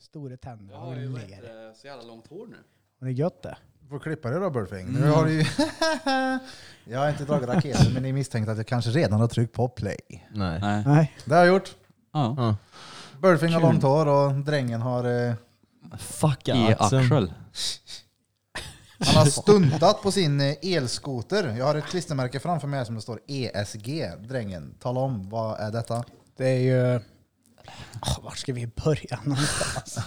stora tänder. Jag har ju Hon vad ler. heter det, så jävla långt hår nu. Hon är gött det. Du får klippa det då Burfing. Nu har du ju... jag har inte dragit raketen men ni misstänkte att jag kanske redan har tryckt på play. Nej. Nej. Nej. Det har jag gjort. Ja. Ja. Burfing har långt hår och drängen har... Eh, Fucka I axeln. axel. han har stuntat på sin eh, elskoter. Jag har ett klistermärke framför mig här som det står ESG. Drängen, tala om vad är detta? Det är ju... Oh, var ska vi börja någonstans?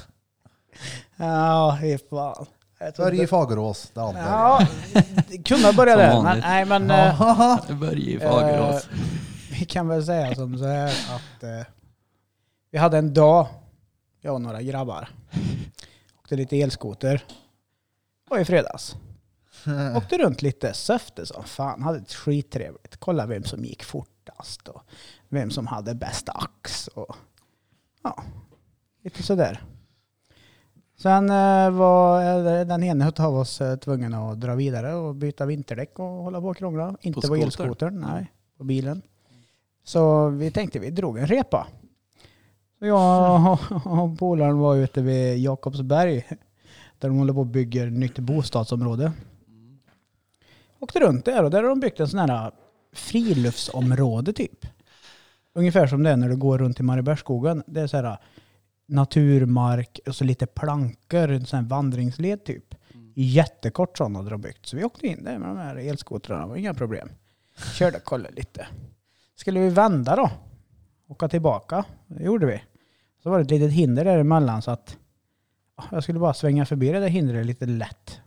Ja, fy fan. Jag tror Börje inte- Fagerås. Där har vi det. Ja, kunna börja Som där. Men, vanligt. nej, men eh, Börje Fagerås. vi kan väl säga som så här att eh, vi hade en dag, jag och några grabbar, åkte lite elskoter. Det var i fredags. Åkte runt lite, söfte som fan, hade ett skittrevligt. Kolla vem som gick fortast och vem som hade bäst ax. Och, ja, lite sådär. Sen eh, var eller, den ena av oss eh, tvungen att dra vidare och byta vinterdäck och hålla på och krångla. Inte på, skoter? elskotern, nej, på bilen. Så vi tänkte vi drog en repa. Så jag och polaren var ute vid Jakobsberg där de håller på och bygger nytt bostadsområde. Åkte runt där och där har de byggt en sån här äh, friluftsområde typ. Ungefär som det är när du går runt i Mariebergsskogen. Det är så här äh, naturmark och så lite plankor, en sån här vandringsled typ. Jättekort sån hade de byggt. Så vi åkte in där med de här elskotrarna, det var inga problem. Körde och kollade lite. Skulle vi vända då? Åka tillbaka? Det gjorde vi. Så var det ett litet hinder däremellan så att ja, jag skulle bara svänga förbi det där hindret lite lätt.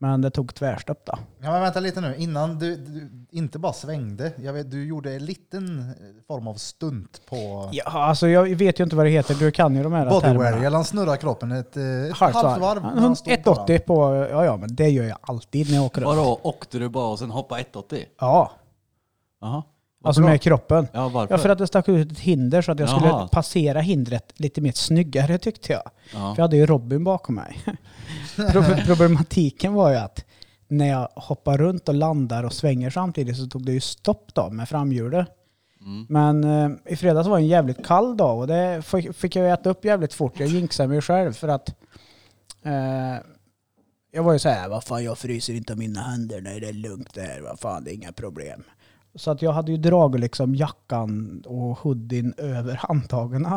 Men det tog tvärstopp då. Ja, men vänta lite nu. Innan du, du inte bara svängde. Jag vet, du gjorde en liten eh, form av stunt på... Ja, alltså jag vet ju inte vad det heter. Du kan ju de här Bodywear, han snurrar kroppen ett, eh, ett halvt varv. när han Hon- stod på den. 180 på... Ja, ja, men det gör jag alltid när jag åker upp. Vadå, åkte du bara och sen hoppade 180? Ja, Jaha. Varför alltså då? med kroppen. Ja, varför? Ja, för att det stack ut ett hinder så att jag skulle Jaha. passera hindret lite mer snyggare tyckte jag. Ja. För jag hade ju Robin bakom mig. Pro- Problematiken var ju att när jag hoppar runt och landar och svänger samtidigt så tog det ju stopp då med framhjulet. Men eh, i fredags var en jävligt kall dag och det fick, fick jag ju äta upp jävligt fort. Jag jinxade mig själv för att eh, jag var ju så här, vad fan jag fryser inte av mina händer, nej det är lugnt det här, vad fan det är inga problem. Så att jag hade ju dragit liksom jackan och hoodien över handtagen.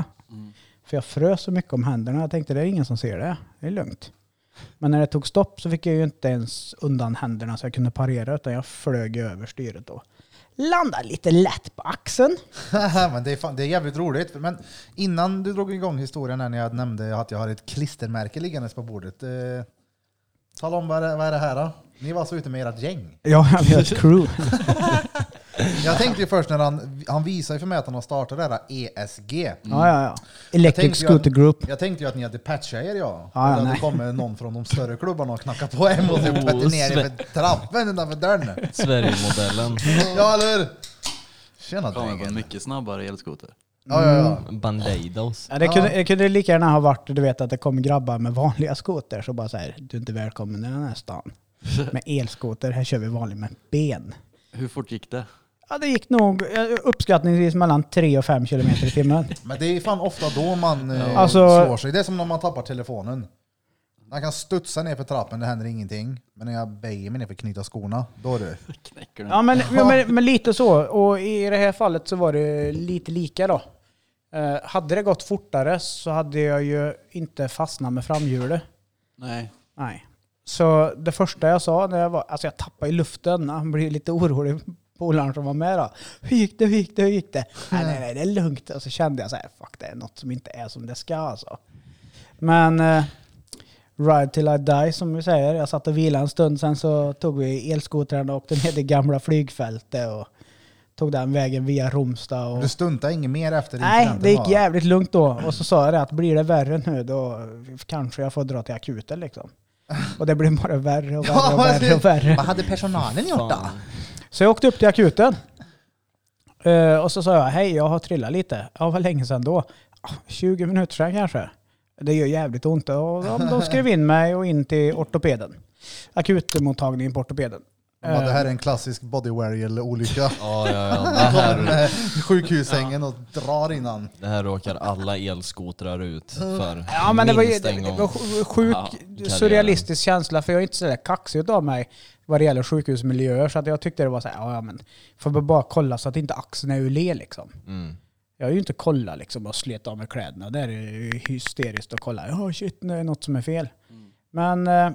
För jag frös så mycket om händerna. Jag tänkte det är ingen som ser det. Det är lugnt. Men när det tog stopp så fick jag ju inte ens undan händerna så jag kunde parera utan jag flög ju över styret då. Landade lite lätt på axeln. men det, är fan, det är jävligt roligt. Men innan du drog igång historien här när jag nämnde att jag har ett klistermärke liggandes på bordet. Eh, tala om vad, det- vad är det här då? Ni var så ute med ert gäng. Ja, vi har ett crew. Jag tänkte ju först när han, han visade för mig att han har startat det här ESG. Ja, ja, ja. Jag Electric tänkte ju Scooter att- Group. Ah, Jag tänkte ju att ni hade patchat er ja. Ja, ja, det hade nej. kommit någon från de större klubbarna och knackat på hem och typ Oh, pötte ner er svett. för trappen utanför dörren. Sverigemodellen. Ja eller hur? Tjena Kommer på en drängen. mycket snabbare elskoter. Ja, ja, ja. Bandeidos. Ja, det, kunde, det kunde lika gärna ha varit, du vet att det kom grabbar med vanliga skoter så bara så här, du är inte välkommen i den här stan. Med elskoter, här kör vi vanligt med ben. Hur fort gick det? Ja, det gick nog eh, uppskattningsvis mellan 3 och 5 kilometer i timmen. Men det är fan ofta då man eh, Alltså- slår sig. Det är som när man tappar telefonen. Man kan studsa ner för trappen, det händer ingenting. Men när jag böjer mig ner för att knyta skorna, då är det... Knäcker den? Ja men, ja, men, men lite så. Och i det här fallet så var det lite lika då. Eh, hade det gått fortare så hade jag ju inte fastnat med framhjulet. Nej. Nej. Så det första jag sa när jag var, alltså jag tappade i luften, han blev lite orolig, polaren som var med då. Hur gick det, hur gick det, hur gick det? Nej, nej, nej, det är lugnt. Och så kände jag så här, fuck det är något som inte är som det ska alltså. Men eh, ride till I die som vi säger, jag satt och vilade en stund, sen så tog vi elskotrarna och åkte ner till gamla flygfältet och tog den vägen via Romsta. Och... Du stuntar inget mer efter Nej, incidenten, det gick va? jävligt lugnt då. Och så sa jag det att blir det värre nu då kanske jag får dra till akuten liksom. Och det blev bara värre och värre och värre och värre. Vad hade personalen gjort då? Så jag åkte upp till akuten. Eh, och så sa jag, hej jag har trillat lite. Ja, vad länge sedan då? "Ah, 20 minuter sedan kanske. Det gör jävligt ont. Och de, de skrev in mig och in till ortopeden. Akutmottagningen på ortopeden. De bara, det här är en klassisk bodywarrior-olycka. Ja, ja, ja. Det här, Med sjukhussängen och drar innan. det här råkar alla elskotrar ut för Eh. Ja men det var ju minst en det gång. var sj- sjuk Ja, karriären. surrealistisk känsla för jag är inte sådär kaxig av mig vad det gäller sjukhusmiljöer så att jag tyckte det var såhär, ja ja, men får man bara kolla så att inte axeln är ur le liksom. Mm. Jag har ju inte kollat liksom och slet av mig kläderna. Där är det ju hysteriskt att kolla. Ja shit, nu är det något som är fel. Men eh,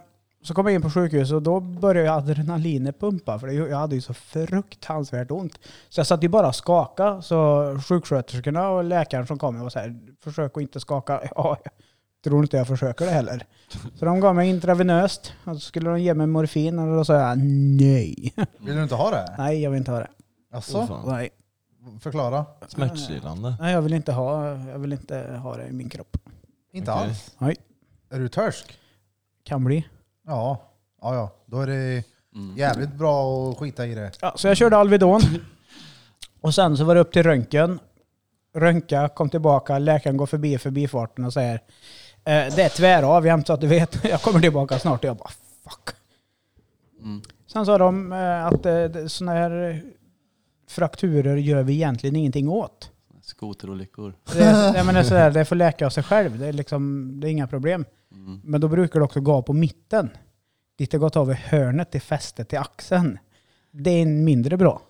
så kom jag in på sjukhus och då började jag adrenalinet pumpa för det- jag hade ju så fruktansvärt ont. Så jag satt ju bara och skakade. Så sjuksköterskorna och läkaren som kom var så här, försök att inte skaka. Ja, jag tror inte jag försöker det heller. Så de gav mig intravenöst och så skulle de ge mig morfin och då sa jag nej. Vill du inte ha det? Nej, jag vill inte ha det. Oh, Alltså, fan. Nej, förklara. Smärtstillande. Nej, jag vill inte ha, jag vill inte ha det i min kropp. Inte Okej. alls. Nej. Är du törsk? Kan bli. Ja. ja, ja. Då är det Mm. jävligt bra att skita i det. Ja, så jag körde Alvedon. Och sen så var det upp till röntgen. Röntga, kom tillbaka, läkaren går förbi i förbifarten och säger eh, Det är tvärav jämt så att du vet. Jag kommer tillbaka snart. Och jag bara fuck. Mm. Sen sa de eh, att eh, sådana här frakturer gör vi egentligen ingenting åt. Skoterolyckor. Det, är- nej, men det, är sådär, det får läka av sig själv. Det är, liksom, det är inga problem. Mm. Men då brukar det också gå av på mitten. Dit det gått av i hörnet till fästet till axeln. Det är en mindre bra.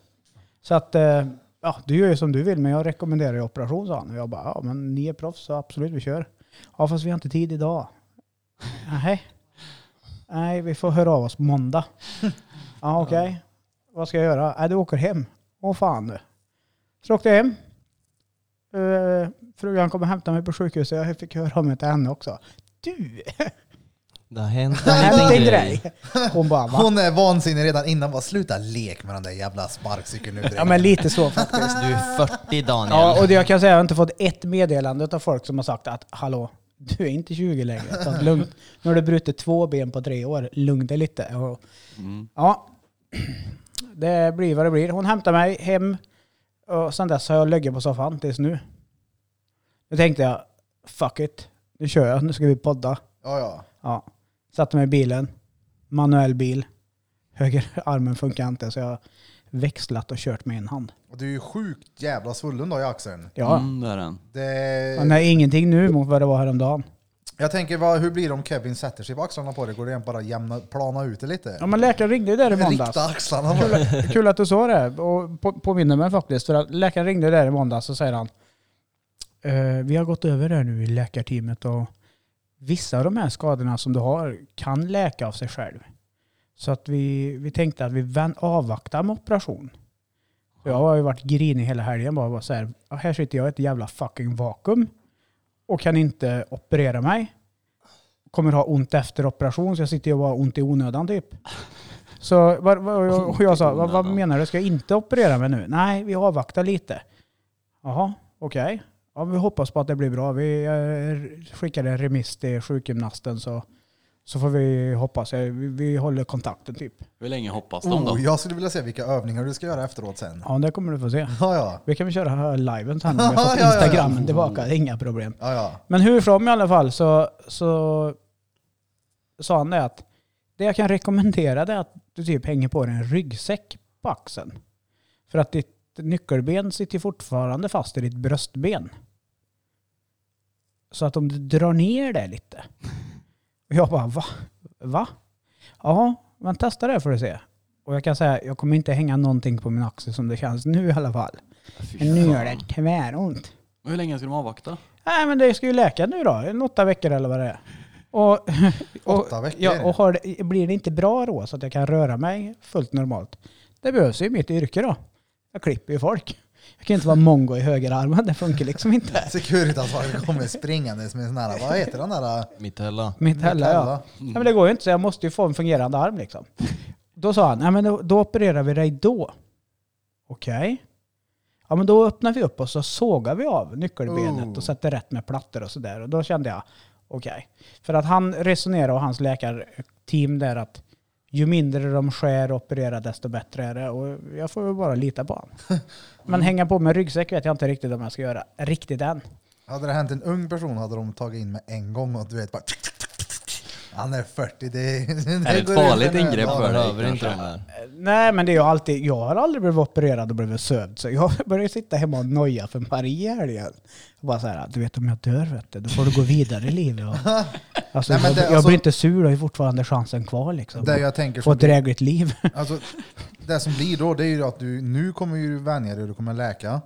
Så att, eh, ja du gör ju som du vill men jag rekommenderar ju operation sa han. Och jag bara, ja men ni är proffs så absolut vi kör. Ja fast vi har inte tid idag. Nej. Nej vi får höra av oss på måndag. Ja okej. Vad ska jag göra? Nej du åker hem. Åh fan du. Så åkte jag hem. Uh, frugan kom och hämtade mig på sjukhuset. Jag fick höra av mig till henne också. Du! Det har hänt Det hände en en grej. grej. Hon bara va? Hon är vansinnig redan innan. Bara, sluta lek med den där jävla sparkcykeln nu. Ja men lite så faktiskt. Du är 40 Daniel. Ja och det jag kan säga, jag har inte fått ett meddelande av folk som har sagt att hallå, du är inte 20 längre. Så att lugnt. Nu har du brutit två ben på tre år, lugna dig lite. Och, Mm. ja, det blir vad det blir. Hon hämtar mig hem och sen dess har jag legat på soffan tills nu. Nu tänkte jag, fuck it, nu kör jag, nu ska vi podda. Ja, ja. Ja. Satte mig i bilen. Manuell bil. Höger armen funkar inte så jag har växlat och kört med en hand. Och du är ju sjukt jävla svullen då i axeln. Ja. Mm, där är den. Det... Men det är ingenting nu mot vad det var häromdagen. Jag tänker, vad, hur blir det om Kevin sätter sig på axlarna på dig? Går det igen bara jämna, plana ut det lite? Ja men läkaren ringde ju där i måndags. Rikta axlarna bara. Kul att du sa det och på- påminner mig faktiskt. För att läkaren ringde där i måndags och säger han eh, Vi har gått över det här nu i läkarteamet och vissa av de här skadorna som du har kan läka av sig själv. Så att vi, vi tänkte att vi vän, avvaktar med operation. Jag har ju varit grinig hela helgen bara. bara så här, "Ja, här sitter jag i ett jävla fucking vakuum och kan inte operera mig. Kommer ha ont efter operation så jag sitter ju och har ont i onödan typ. Så vad, vad, och jag, och jag sa, vad, vad menar du? Ska jag inte operera mig nu? Nej, vi avvaktar lite. Jaha, okej. Ja, vi hoppas på att det blir bra. Vi eh, skickar en remiss till sjukgymnasten så, så får vi hoppas. Eh, Vi, vi håller kontakten typ. Hur länge hoppas de då? Oh, jag skulle vilja se vilka övningar du ska göra efteråt sen. Ja, det kommer du få se. Ja, ja. Vi kan väl köra här liven sen om jag Ja, har fått ja, ja. Instagrammen tillbaka. Det är inga problem. ja, ja. Men hur som i alla fall så, så sa han det att det jag kan rekommendera det är att du typ hänger på dig en ryggsäck på axeln. För att ditt nyckelben sitter fortfarande fast i ditt bröstben. Så att om du drar ner det lite. Och jag bara va? Va? Ja, men testa det får du se. Och jag kan säga, jag kommer inte hänga någonting på min axel som det känns nu i alla fall. Fy Men nu gör fan. det tväront. Men Hur länge ska de avvakta? Nej men det ska ju läka nu då, en åtta veckor eller vad det är. Och, och, Åtta veckor. Ja, och har, det- blir det inte bra då så att jag kan röra mig fullt normalt, det behövs ju i mitt yrke då. Jag klipper ju folk. Jag kan inte vara mongo i högerarmen, det funkar liksom inte. Securitasvakten kommer springandes med en sån här, vad heter den där? Mitella. Mitt heller ja. Mitella. Nej, men det går ju inte så jag måste ju få en fungerande arm liksom. Då sa han, nej men då, då opererar vi dig då. Okej. Ja men då öppnar vi upp och så sågar vi av nyckelbenet Oh. och sätter rätt med plattor och sådär. Och då kände jag, okej. För att han resonerar och hans läkarteam där att ju mindre de skär och opererar desto bättre är det. Och jag får väl bara lita på honom. Men hänga på med ryggsäck vet jag inte riktigt om jag ska göra. Riktigt än. Hade det hänt en ung person hade de tagit in med en gång och du vet bara... Han är 40, det, det Det är ett går ut farligt en öl. ingrepp Man för behöver dig inte de kanske. där. Nej men det är ju alltid, jag har aldrig blivit opererad och blivit sövd så jag börjar sitta hemma och noja för Maria här igen. Och bara så här, du vet om jag dör vet du, då får du gå vidare i livet. Och, alltså, Nej, men jag, det- jag alltså- blir inte sur, jag har ju fortfarande chansen kvar liksom. Det jag tänker Få som ett drägligt liv. Alltså, det som blir då, det är ju att du nu kommer ju vänja dig och du kommer läka.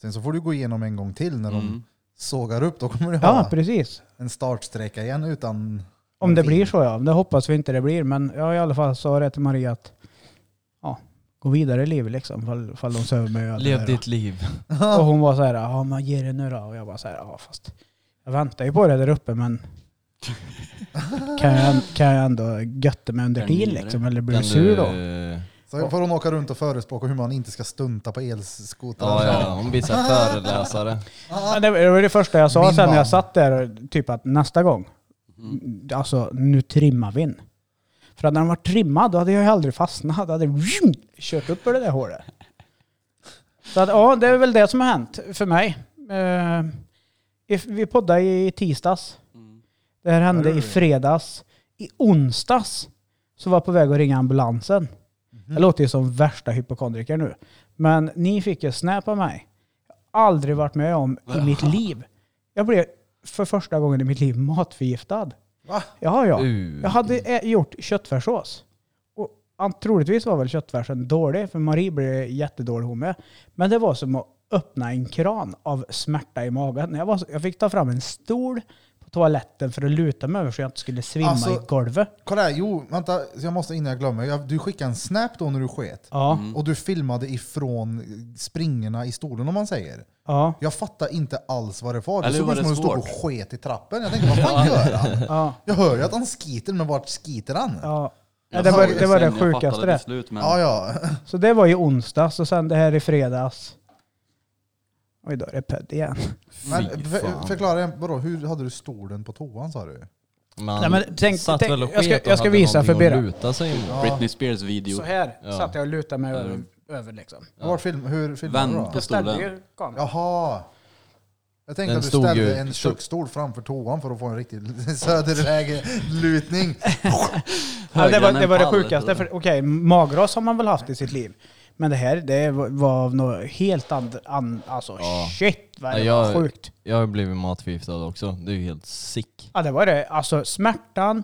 Sen så får du gå igenom en gång till när Mm. de sågar upp. Då kommer du Ja ha precis. en startsträcka igen utan... Om det blir så ja, det hoppas vi inte det blir. Men jag i alla fall sa det till Maria att ja, gå vidare i livet liksom. Fall, fall de söver mig. och allt det Lev där. ditt liv. Och hon var så här, ja men ge det nu då. Och jag bara så här, ja fast jag väntar ju på det där uppe men kan jag, kan jag ändå götta mig under Kan tiden mindre. liksom? Eller blir Kan du sur då? du- Så får hon åka runt och förespråka hur man inte ska stunta på elskotrar. Ja, ja, ja, hon blir så här föreläsare. Ja, det var- det var det första jag sa Min sen när man. jag satt där, och typ att nästa gång, alltså nu trimmar vi in. För hade den varit trimmad då hade jag ju aldrig fastnat. Då hade jag vroom, kört upp ur det där hålet. Så att, ja, det är väl det som har hänt för mig. Eh, if- vi poddade i tisdags. Mm. Det här hände i fredags. I onsdags så var jag på väg att ringa ambulansen. Jag låter ju som värsta hypokondriker nu. Men ni fick ju snap av mig. Jag har aldrig varit med om i mitt liv. Jag blev för första gången i mitt liv matförgiftad. Va? Ja, ja. Uh. Jag hade eh, gjort köttfärssås. Och an- troligtvis var väl köttfärsen dålig, för Marie blev jättedålig hon med. Men det var som att öppna en kran av smärta i magen. Jag, var så, jag fick ta fram en stol på toaletten för att luta mig över så jag inte skulle svimma Alltså- i golvet. Kolla här, jo, vänta, jag måste innan jag glömmer. Jag- Du skickade en snap då när du sket. Ja, Och du filmade ifrån springorna i stolen om man säger. ja, Jag fattar inte alls vad det var. Det Eller såg var ut som det att du stod och svårt? sket i trappen. Jag tänkte, vad fan gör han? ja. Jag hör ju att han skiter, men vart skiter han? ja. Nej, Jag det sa var det, var sen, det jag fattade liksom. sjukaste till det. Slut, men Ja, ja. Så det var ju onsdags och sen det här i fredags. Och idag är det pedd igen. Men Fy för, fan. förklara, vadå, hur hade du stolen på toan sa du? Man Nej, men tänk- satt tänk- väl och jag ska- sket och jag ska hade visa någonting för att Bera. luta sig mot. Britney Spears video. Så här Ja. satt jag och lutade mig över, över liksom. Var film, hur filmade du Vänd då? på- Jag ställde Stolen. ju kameran. Jaha! Jag tänkte Den att du stod ställde ju- en köksstol framför toan för att få en riktig söderläge-lutning. Ja, det Högre var än det, en var det pall, sjukaste. eller? För, okej, magras har man väl haft i sitt liv. Men det här, det var- var något helt and, an, Alltså Ja. shit vad det Ja, var jag- sjukt. Jag har blivit matförgiftad också. Det är ju helt sick. Ja det var det. Alltså smärtan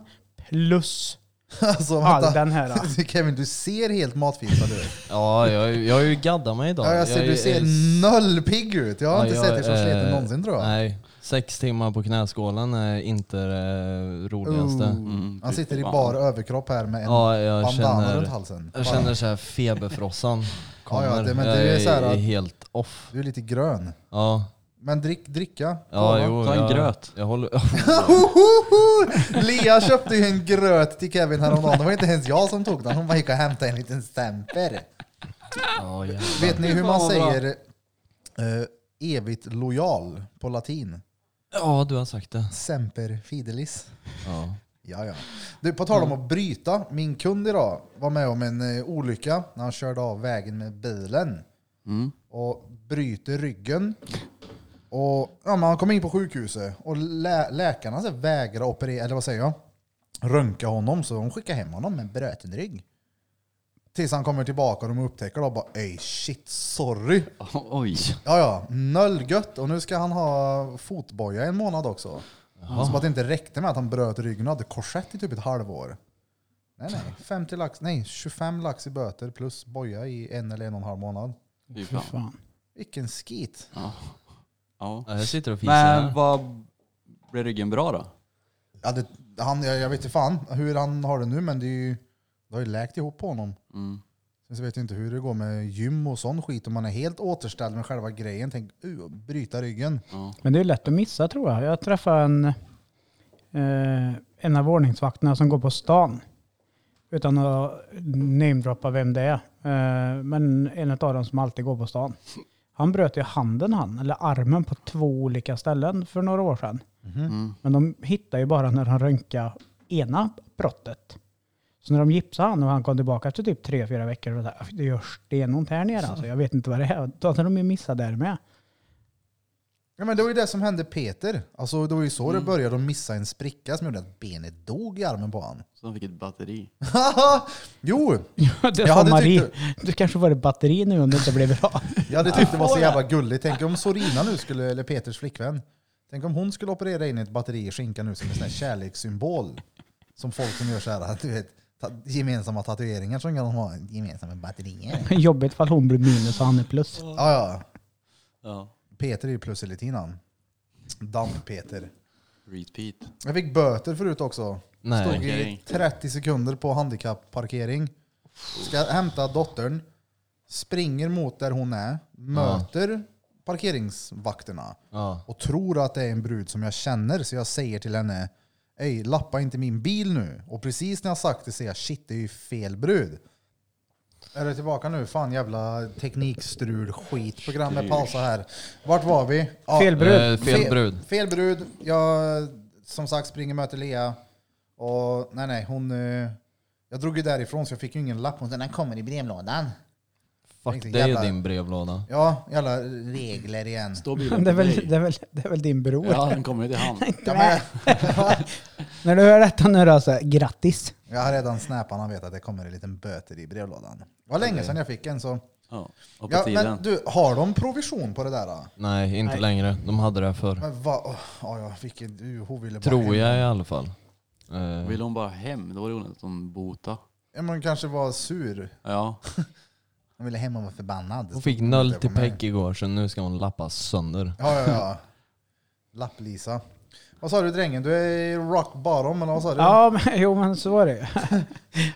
plus Alltså all vänta. den här. Kevin, du ser helt matförgiftad ut. Ja, jag, jag har ju gaddat mig idag. Ja, jag ser, är- du ser är- noll pigg ut. Jag har inte Ja, sett dig så eh, sliten någonsin tror jag. Nej, sex timmar på knäskålen är inte det roligaste. Mm, Han fy sitter i fan. bar överkropp här med en Ja, jag Oh, bandana runt känner, halsen. jag känner så här feberfrossan Ja, kommer. ja, det- men jag det är så här att- helt off. Du är lite grön. Ja, Men drick, dricka. ja Cola. jo, Ta en jag, gröt. Jag håller... Hohoho! Lea köpte ju en gröt till Kevin häromdagen. Det var inte ens jag som tog den. Hon bara gick och hämtade en liten stämper. Ja, jävlar. Vet ni hur man Fan, vad säger eh, evigt lojal på latin? ja, du har sagt det. Semper fidelis. Ja. Ja, ja. Du, på tal om att bryta. Min kund idag var med om en eh, olycka när han körde av vägen med bilen. Mm. och bryter ryggen. Och, ja, men han kommer in på sjukhuset och lä läkarna så här vägrar operera, eller vad säger jag? Röntga honom, så de skickar hem honom med en bruten rygg. Tills han kommer tillbaka och de upptäcker då bara ey shit, sorry. Oj. Ja, ja, noll gött. Och nu ska han ha fotboja i en månad också. Som att det inte räckte med att han bröt ryggen och hade korsett i typ ett halvår. Nej, nej. 50 lax, nej, 25 lax i böter plus boja i en eller en och en halv månad. Fy Fy fan. fan. Vilken skit. Ja. Ja. Ja, Jag sitter och fiser Men här. vad blev ryggen bra då? Ja, det, han, jag, jag vet inte fan hur han har det nu, men det, är ju, det har ju läkt ihop på honom. Mm. Sen så vet jag inte hur det går med gym och sån skit. Om man är helt återställd med själva grejen, tänk uh, bryta ryggen. Ja. Men det är lätt att missa tror jag. Jag träffade en, eh, en av ordningsvakterna som går på stan. Utan att namedroppa vem det är. Eh, men en av dem som alltid går på stan. Han bröt ju handen han, eller armen på två olika ställen för några år sedan. Mm. Men de hittade ju bara när han röntgade ena brottet. Så när de gipsade han och han kom tillbaka efter typ tre, fyra veckor och där, det gör stenont här nere alltså. Jag vet inte vad det är. Då hade de ju missat där med. Ja, men det var ju det som hände Peter. Alltså, det var ju så det började. De missade en spricka som gjorde att benet dog i armen på han. Så de fick ett batteri. jo, det Jag sa hade Marie. tyckt Du kanske var det batteri nu om det inte blev bra. jag hade tyckt det var så jävla gulligt. Tänk om Sorina nu skulle, eller Peters flickvän, tänk om hon skulle operera in ett batteri i skinkan nu som en sån här kärlekssymbol. Som folk som gör så här, du vet, ta, gemensamma tatueringar som kan ha gemensamma batterier. Jobbigt fall hon blir minus och han är plus. Ja, ja. Ja. Peter är ju plus hela tiden. Damp-Peter. Repeat. Jag fick böter förut också. Stod Nej. Okej. i 30 sekunder på handikappparkering. Ska hämta dottern. Springer mot där hon är. Möter parkeringsvakterna. Ja. Och tror att det är en brud som jag känner. Så jag säger till henne. Ej, lappa inte min bil nu. Och precis när jag sagt det säger jag shit, det är ju fel brud. Är du tillbaka nu? Fan jävla teknikstrul skit. Programmet pausar här. Vart var vi? Ja. Fel brud. Eh, fel brud. Fel brud. Jag som sagt springer möter Lea. Och nej, nej, hon... eh, Jag drog ju därifrån så jag fick ju ingen lapp. Hon sa den kommer i brevlådan. Fuck Tänkte, dig och jävlar. din brevlåda. Ja, jävla regler igen. Står Men bilen Det är, på väl, dig? det, är väl, det är väl din bror? Ja, den kommer till hand. Ja, men, När du hör detta nu då, så här, grattis. jag har redan snäpat han vet att det kommer en liten böter i brevlådan. Det var länge sedan jag fick en så... Ja, och på Ja, men tiden. du, har de provision på det där? Då? Nej, inte längre. De hade det förr. Men va? Oh, ja, ja, vilken... du, Hon ville bara... Tror jag i alla fall. Eh, Vill hon bara hem, då var det onödigt att hon bota. Ja, men hon kanske var sur. Ja, Hon ville hem och var förbannad. Hon fick noll till Peck igår så nu ska hon lappas sönder. Ja, ja, ja. Lapplisa. Vad sa du drängen? Du är i rock bottom eller vad sa du? Ja, men, jo men så var det ju.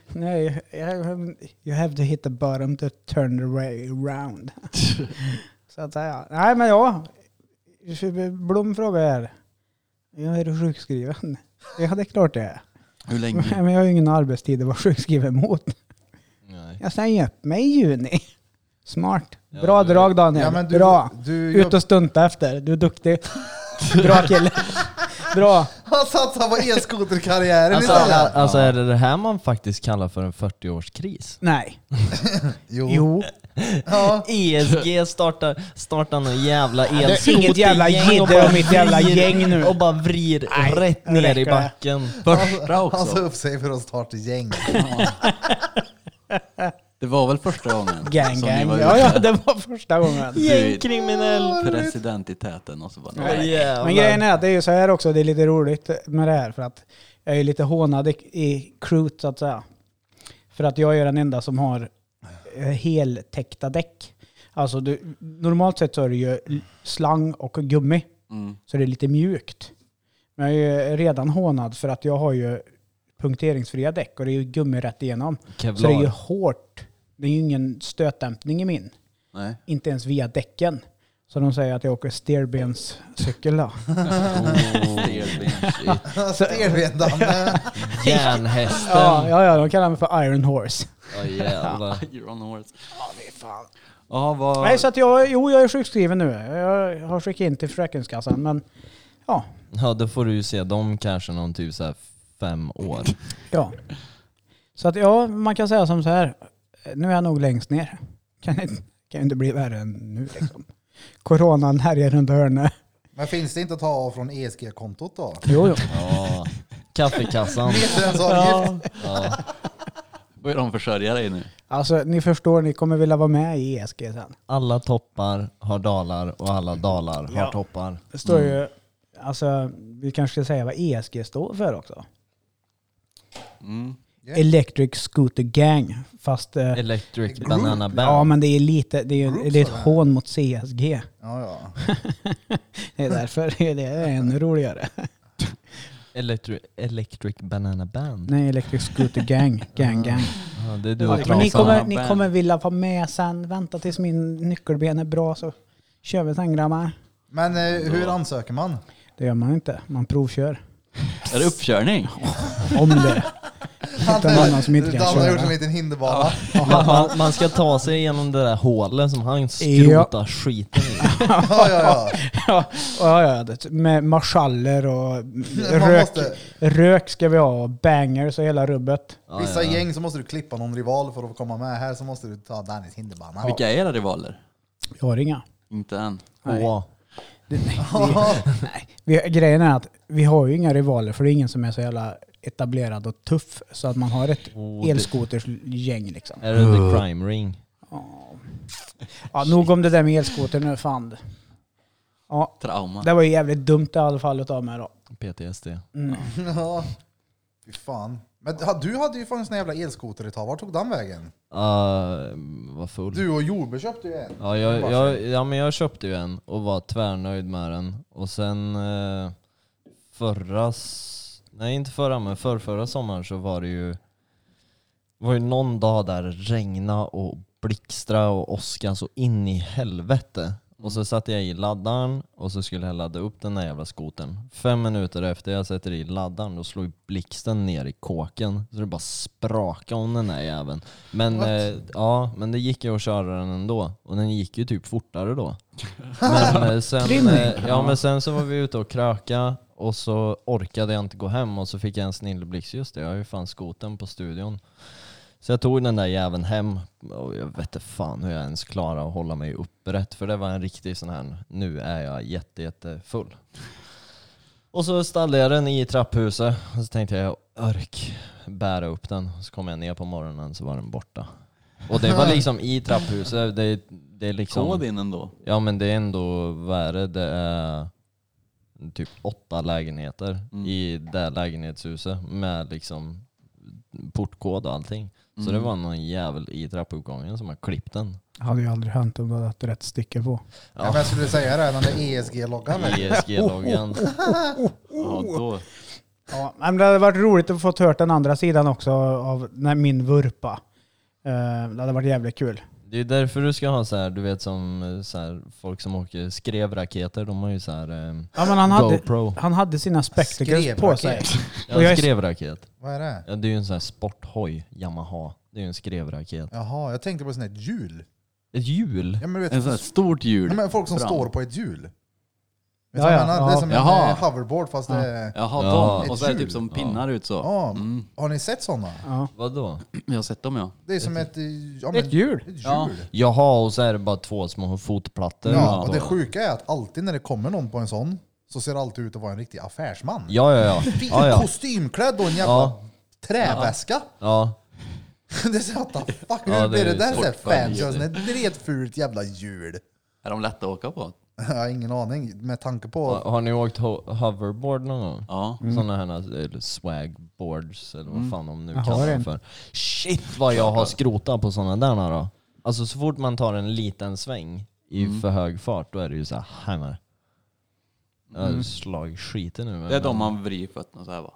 Nej, jag- you have to hit the bottom to turn the way around. så att säga. Nej men ja. Blom frågar här. Jag är du sjukskriven? Ja det är klart det är. hur länge? Men jag har ju ingen arbetstid att vara sjukskriven mot. Nej. Jag säger upp mig i juni. Smart. Ja, Bra du- drag Daniel. Ja, men du, Bra. Du, Ut och stunta efter. Du är duktig. Bra kille. Bra. Han satsar på elskoterkarriären Alltså, istället. alltså är det det här man faktiskt kallar för en 40-årskris? Nej. Jo. Jo. Ja. ESG E startar, startar någon jävla Det är inget jävla elskotergäng och jidder bara om mitt jävla vrider- gäng nu. Och bara vrir Nej, rätt nu ner räcker i det. backen. Första Han sa också. upp sig alltså, för att starta gäng. Det var väl första gången Gang som ni gang. var Ja, ja, ute? det var första gången. Gängkriminell! President i täten och så bara Nej. nej. Jävlar. Men grejen är att det är ju så här också, det är lite roligt med det här för att jag är lite hånad i, i crewet så att säga. För att jag är den enda som har eh, heltäckta däck. Alltså du, normalt sett så är det ju slang och gummi, Mm. så det är lite mjukt. Men jag är ju redan hånad för att jag har ju punkteringsfria däck och det är ju gummi rätt igenom. Så det är ju Kevlar. hårt. Det är ju ingen stötdämpning i min. nej. Inte ens via däcken. Så de säger att jag åker sterbenscykel då. Oh. Stelbent. Alltså, Stelbentande. Järnhästen. Ja, Ja, ja, ja, de kallar mig för Iron Horse. jävlar. You're on horse. Fan. Ja, vad... Nej, så att jag, jo, jag är sjukskriven nu. Jag har skickat in till Försäkringskassan, men ja. Ja, då får du ju se dem kanske någon typ så här fem år. ja. Så att ja, man kan säga som så här. Nu är jag nog längst ner. Kan det kan ju inte bli värre än nu liksom. Coronan härjar runt hörnet. Men finns det inte att ta av från ESG-kontot då? Jo, jo. Ja. Kaffekassan. Medlemsavgift? Ja. Börjar de försörja dig nu? Alltså, ni förstår, ni kommer vilja vara med i ESG sen. Alla toppar har dalar och alla dalar har Ja. toppar. Det står ju, Mm. alltså, vi kanske ska säga vad ESG står för också. Mm. Ja. Electric Scooter Gang, fast... eh, Electric Group. Banana Band. Ja, men det är lite, det är, ju- Group, det är ett sa jag. hån mot CSG. Ja, ja. Det är därför det är ännu roligare. Electric, electric Banana Band. Nej, Electric Scooter Gang. Gang, gang. Ja, det är du och Men ni, Trasan. kommer, ni kommer vilja vara med sen. Vänta tills min nyckelben är bra så kör vi sen grabbar. Men eh, hur ansöker man? Det gör man inte. Man provkör. Är det uppkörning? Om det. Alltså, Hitta någon annan som inte Dan kan har gjort en köra. liten hinderbana. Man, man, man ska ta sig igenom det där hålet som han skrotar skiten i. Ja, ja, ja. Ja, ja, ja, det- med marschaller och Man rök. måste, Rök ska vi ha och bangers och hela rubbet. Ja, vissa ja. gäng så måste du klippa någon rival för att komma med. Här så måste du ta Dannys hinderbana. Vilka är era rivaler? Jag har inga. Inte än. Nej. Åh. Det, nej, vi, nej. Vi, grejen är att vi har ju inga rivaler för det är ingen som är så jävla etablerad och tuff så att man har ett Oh, det- elskotersgäng liksom. Är det the crime ring? Ja. Ja, nog om det där med elskoter nu, fan. Ja, Trauma. det var ju jävligt dumt i alla fall utav mig då. PTSD. Mm. Ja. Fy fan. Men ha- du hade ju fan en sån jävla elskoter ett tag. Vart tog den vägen? Uh, var full. Du och Jorbe köpte ju en. Ja, jag, jag, ja, men jag köpte ju en och var tvärnöjd med den. Och sen eh, förra, s- nej inte förra men förrförra sommaren så var det ju, var ju någon dag där det regna och blixtra och åska så in i helvete. Och så satte jag i laddaren och så skulle jag ladda upp den där jävla skoten. Fem minuter efter jag sätter i laddaren då slog blixten ner i kåken. Så det bara sprakade om den där jäveln. Men, What? eh, ja, men det gick ju att köra den ändå. Och den gick ju typ fortare då. Men, eh, sen, eh, ja, men sen så var vi ute och kröka och så orkade jag inte gå hem och så fick jag en snilleblixt. Just det, jag har ju fan skoten på studion. Så jag tog den där jäveln hem och jag vet inte fan hur jag ens klarade att hålla mig upprätt. För det var en riktig sån här, nu är jag jätte, jätte full. Och så ställde jag den i trapphuset och så tänkte jag, jag ork bära upp den. Så kom jag ner på morgonen så var den borta. Och det var liksom i trapphuset. Det, det är liksom... Kod in ändå. Ja men det är ändå värre. Det är typ åtta lägenheter Mm. i det här lägenhetshuset med liksom portkod och allting. Så Mm. det var någon jävel i trappuppgången som har klippt den. Hade ju aldrig hänt om du hade haft rätt stycke på. Ja. Men jag skulle säga det, den där E ESG-loggan. ESG-loggan. Ja, då. Ja, men det hade varit roligt att få hört den andra sidan också av när min vurpa. Eh, Det hade varit jävligt kul. Det är därför du ska ha så här, du vet som eh, så här, folk som åker skrevraketer, de har ju så här eh, Ja, men han, hade, GoPro. han hade sina spectacles Skrev på sig. Och Ja, jag är- en skrevraket. Vad är det? Ja, det är ju en sån här sporthoj, Yamaha. Det är ju en skrevraket. Jaha, jag tänkte på ett sånt här hjul. Ett hjul? Ja, men du En vet, sån här stort ja, hjul. men folk som Fram. står på ett hjul. Vet du Ja, vad jag ja, menar? Det är ja. som Jaha. en eh, hoverboard fast det är... Jaha, Ja. de. Och så är det typ som pinnar ut så. Ja. Mm. Har ni sett sådana? Ja. Vadå? Jag har sett dem ja. Det är som ett... eh, Ja, men, Ett hjul. Ett hjul. Ja. Jaha, och så är det bara två små fotplattor. Ja, och det sjuka är att alltid när det kommer någon på en sån så ser det alltid ut att vara en riktig affärsman. ja, ja. ja. Fin ja, ja. kostymklädd och en jävla Ja. träväska. ja. det är så what the fuck, hur Ja, det blir det är där så här sportfärg. fancy? och sånt? Ett dretfult jävla hjul. Är de lätta att åka på? Jag har ingen aning med tanke på... Har har ni åkt ho- hoverboard någon gång? Ja. Sådana här eller swagboards eller vad fan de nu Jag har kallar en. dem för. Shit vad jag har skrotat på sådana där då. Alltså så fort man tar en liten sväng i för hög fart då är det ju så här hammer. Jag har slagit skiten nu. Det är de man vrider fötterna så här va?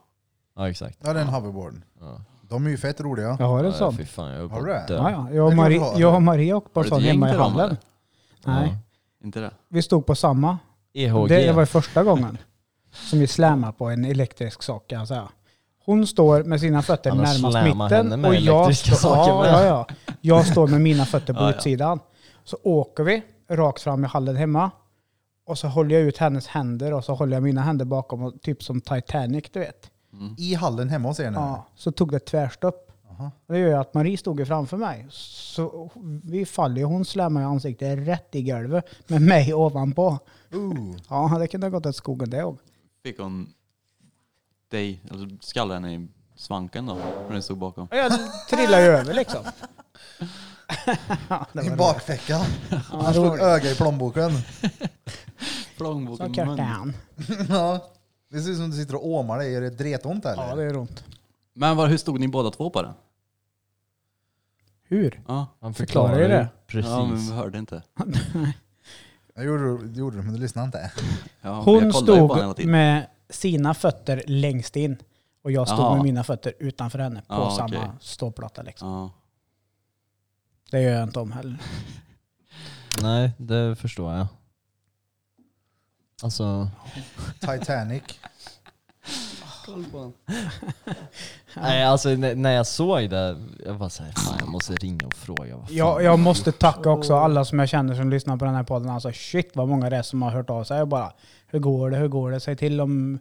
Ja exakt. Ja, det är en hoverboard. Ja. De är ju fett roliga. Jag har en Ja, sån. fy fan, jag eh, är Har på du det? att dö. Ja, ja. Jag, och Det är klart du Marie, har. jag och Maria åkte på Har en du ett sån gäng hemma i till dem, hallen. eller? Nej, Inte det? vi stod på samma. EHG. Det var första gången som vi slammade på en elektrisk sak kan jag säga. Hon står med sina fötter Han har närmast slammat henne mitten med och jag, elektriska står- saker ja, med. ja, ja. jag står med mina fötter på Ja, ja. utsidan. Så åker vi rakt fram i hallen hemma och så håller jag ut hennes händer och så håller jag mina händer bakom, och typ som Titanic du vet. I hallen hemma hos er nu? Ja, så tog det tvärstopp. Aha. Och Det gör ju att Marie stod ju framför mig. Så vi faller ju, hon slammar i ansiktet rätt i golvet med mig ovanpå. Ooh. Ja, det kunde ha gått åt skogen det också. Fick hon dig, eller skallade henne i svanken då? När du stod bakom? Jag trillade ju över liksom. Ja, det var I roligt. bakfickan. Han slog roligt. öga i plånboken. Så Plånboken i kört munnen. down. ja. Det ser ut som du sitter och åmar dig. Är det dretont eller? Ja, det är ont. Men var, hur stod ni båda två på den? Hur? Ja, Han Förklarar förklarar ju ju det. Precis. ja men vi hörde inte. Jag gjorde, det gjorde du, men du lyssnade inte. Ja, Hon jag kollade ju på den hela stod tiden. med sina fötter längst in och jag stod Jaha. med mina fötter utanför henne på Ja, samma okej. ståplatta. Liksom. Ja. Det gör jag inte om heller. Nej, det förstår jag. Alltså, Titanic. nej, alltså n- när jag såg det, jag bara såhär, fan jag måste ringa och fråga. Vad fan. Jag, jag måste tacka också alla som jag känner som lyssnar på den här podden. Alltså shit vad många det är som har hört av sig och bara Hur går det? Hur går det? Säg till om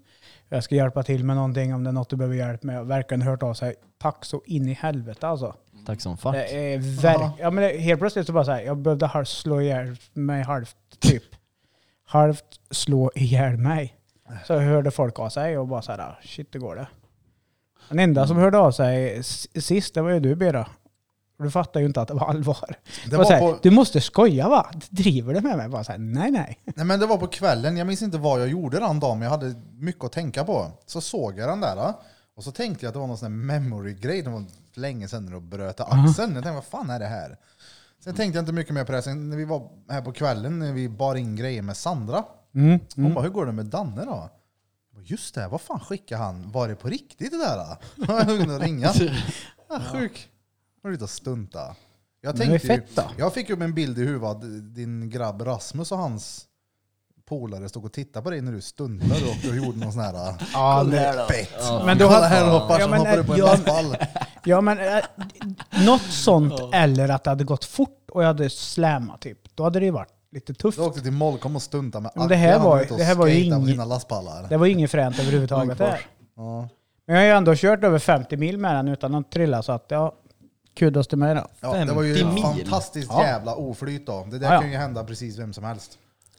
jag ska hjälpa till med någonting, om det är något du behöver hjälp med. Verkligen hört av sig. Tack så in i helvete alltså. Tack som fuck. Det är verk- ja, men det, helt plötsligt så bara så här, jag behövde halv- slå ihjäl mig halvt typ. halvt slå ihjäl mig. Så hörde folk av sig och bara så här, "Ah, shit det går det. Den enda som hörde av sig s- sist, det var ju du Bera. Du fattar ju inte att det var allvar. Det var var så här, på, Du måste skoja va? Driver du med mig? Bara så här, nej nej. nej, men det var på kvällen, jag minns inte vad jag gjorde den dagen, men jag hade mycket att tänka på. Så såg jag den där och så tänkte jag att det var någon sån här memory-grej, det var länge sedan när du bröt axeln. Jag tänkte, vad fan är det här? Sen tänkte jag inte mycket mer på det, sen när vi var här på kvällen, när vi bar in grejer med Sandra, Mm. Hon bara, hur går det med Danne då? Jag bara, Just det, vad fan skickade han? Var det på riktigt det där? då?" Jag var tvungen att ringa. Ah, sjuk. Var du ute och stunta? Jag Det var tänkte ju ju, fett då. jag fick upp en bild i huvudet att din grabb Rasmus och hans polare stod och tittade på dig när du stuntade och du gjorde någon sån här... Ja, Fett! Men Men då då Kolla hade- här hoppar Ja, som men, hoppar upp på en ja, lastball. Ja men eh, något sånt eller att det hade gått fort och jag hade slämat typ. Då hade det ju varit lite tufft. Du åkte till Molkom och stuntade med Men det här Acke. Han var- ute och det här var ju skejtade på inget- sina lastpallar. Det var ju inget fränt överhuvudtaget. Långfors. Där. Ja. Men jag har ju ändå kört över 50 mil med den utan att trilla så att ja, kudos till mig då. Ja, det var ju 50 ett mil. fantastiskt Ja. jävla oflyt då. Det där Ja, ja. kan ju hända precis vem som helst.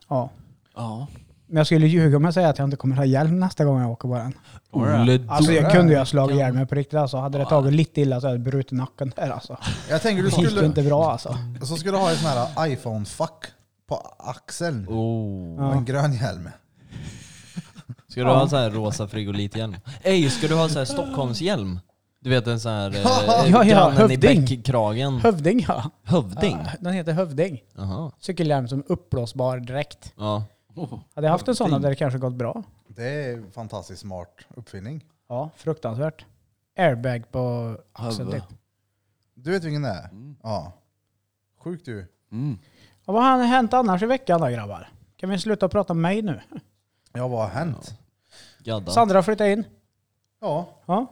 Ja. Ja. Men jag skulle ljuga om jag säger att jag inte kommer ha hjälm nästa gång jag åker på den. Olle. Alltså jag Tror kunde ju det. ha slagit ihjäl mig på riktigt alltså. Hade det tagit lite illa så hade jag brutit nacken där alltså. Jag tänker du Det gick ju skulle, inte bra alltså. så skulle du ha en sån här iPhone-fuck på axeln Oh. och en grön hjälm. Ska du ha en sån här rosa frigolithjälm? Ej, ska du ha en sån här Stockholmshjälm? Du vet en sån här eh, ja, grannen i hövding. bäckkragen. Hövding ja. Hövding? Ja, Den heter Hövding. Jaha. Cykelhjälm som uppblåsbar direkt. Ja. Oh. Hade jag haft en sån hade det kanske gått bra. Det är en fantastiskt smart uppfinning. Ja, fruktansvärt. Airbag på axeln Hövud. typ. Du vet vilken det är? Mm. Ja. Sjukt ju. Mm. Och vad har hänt annars i veckan då grabbar? Kan vi sluta prata om mig nu? Ja, vad har hänt? Gadda. Sandra flyttade in. Ja, Ja.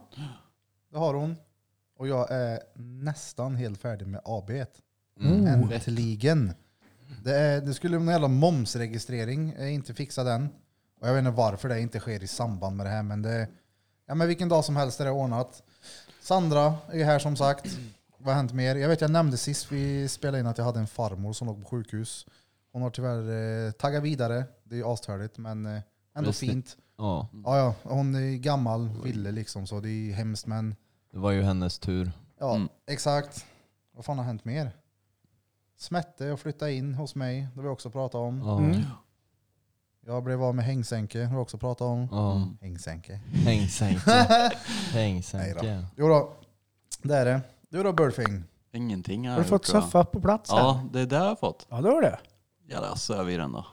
det har hon. Och jag är nästan helt färdig med E AB. Mm. Äntligen. Det, är, det skulle vara en jävla momsregistrering, jag är inte fixat än. Och jag vet inte varför det inte sker i samband med det här, men det... Ja men vilken dag som helst är det ordnat. Sandra är här som sagt. Vad har hänt mer? Jag vet jag nämnde sist vi spelade in att jag hade en farmor som låg på sjukhus. Hon har tyvärr eh, taggat vidare. Det är ju astörligt men eh, ändå Just det. fint. Ja, Ja, ja, hon är gammal, ville liksom så det är hemskt men det var ju hennes tur. Ja, Mm. exakt. Vad fan har hänt mer? Smette och flytta in hos mig, det har vi också pratat om. Ja. Mm. Jag blev av med hängsänke, det har vi också pratat om. Ja. Hängsänke. Hängsänke. Nej Hängsänke. Jo då, det är det. Du då Burfing? Ingenting Har du fått soffa på plats än? Ja, det är där jag har fått. Ja, det har du. Ja, där söv i den då.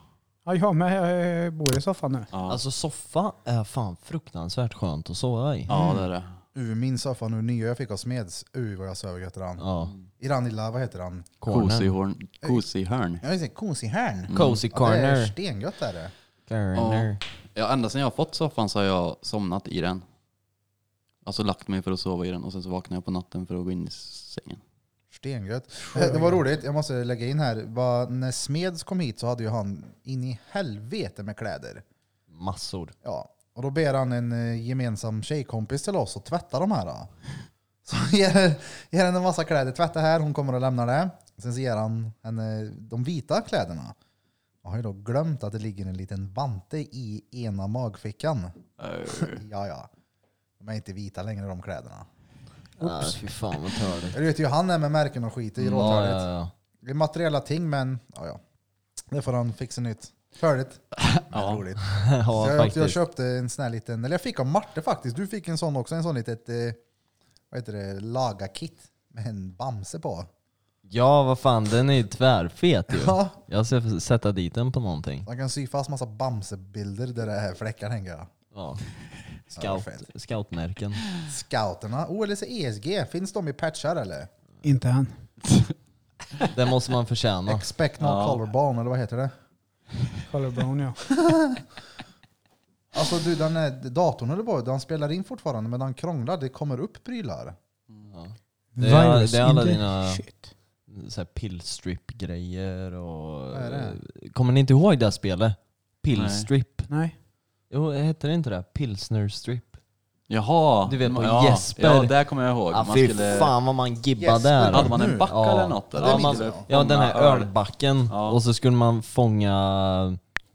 Ja, jag med. Jag bor i soffan nu. Ja, Alltså soffa är fan fruktansvärt skönt att sova i. ja det är det. Uh, min soffa nu, nya jag fick av Smeds. Uh, vad jag söver gött i den. Ja. I den lilla, vad heter den? Corner. Mm. Kosihorn. Kosihörn. Jag vill säga Kosihärn. Cozy Ja, det är corner. stengött är det. Corner. Ja, ända sedan jag har fått soffan så har jag somnat i den. Alltså lagt mig för att sova i den och sen så vaknade jag på natten för att gå in i sängen. Stengött. Eh, Det var roligt, jag måste lägga in här. Va, när Smeds kom hit så hade ju han in i helvete med kläder. Massor. Ja, och då ber han en eh, gemensam tjejkompis till oss att tvätta de här. Då. Så han ger, ger henne en massa kläder. Tvätta här, hon kommer och lämnar det. Sen så ger han henne de vita kläderna. Jag har ju då glömt att det ligger en liten vante i ena magfickan. Äh. Ja, ja. De är inte vita längre de kläderna. Nej, fy fan vad törligt. Du vet ju hur han är med märken och skit i Ja, råtörligt. ja, ja. Det är materiella ting, men ja, ja. Det får han fixa nytt. Färdigt. Men roligt. Så ja, jag, jag faktiskt. köpte en sån här liten, eller jag fick av Marte faktiskt, du fick en sån också, en sån litet, eh, vad heter det, laga-kit med en Bamse på. Ja, vad fan, den är ju tvärfet ju. Ja. Jag ska f- sätta dit den på någonting. Man kan sy fast massa Bamse-bilder där det är fläckar tänker jag. Ja. Ja, Scout, fett. scoutmärken. Scouterna, oh eller så ESG, finns de i patchar eller? Inte än. Den måste man förtjäna. Expect no colorbone eller vad heter det? Colorbrown ja. Alltså du, den är, datorn eller på, den spelar in fortfarande men den krånglar, det kommer upp prylar. Det är- Virus det är alla in the dina- shit. Så här pillstrip-grejer och... Vad är Kommer ni inte ihåg det här spelet? Pillstrip. Nej. Jo, hette det inte det? Pilsnerstrip. Jaha! Du vet på ja, Jesper. Ja, det kommer jag ihåg. Ja, Man Ah, fy skulle- fan vad man gibbade Jesper. där. Hade man en backa Ja. eller något? Ja, eller? det Ja, minns man, jag. ja, den här Fånga öl. ölbacken. Ja. Och så skulle man fånga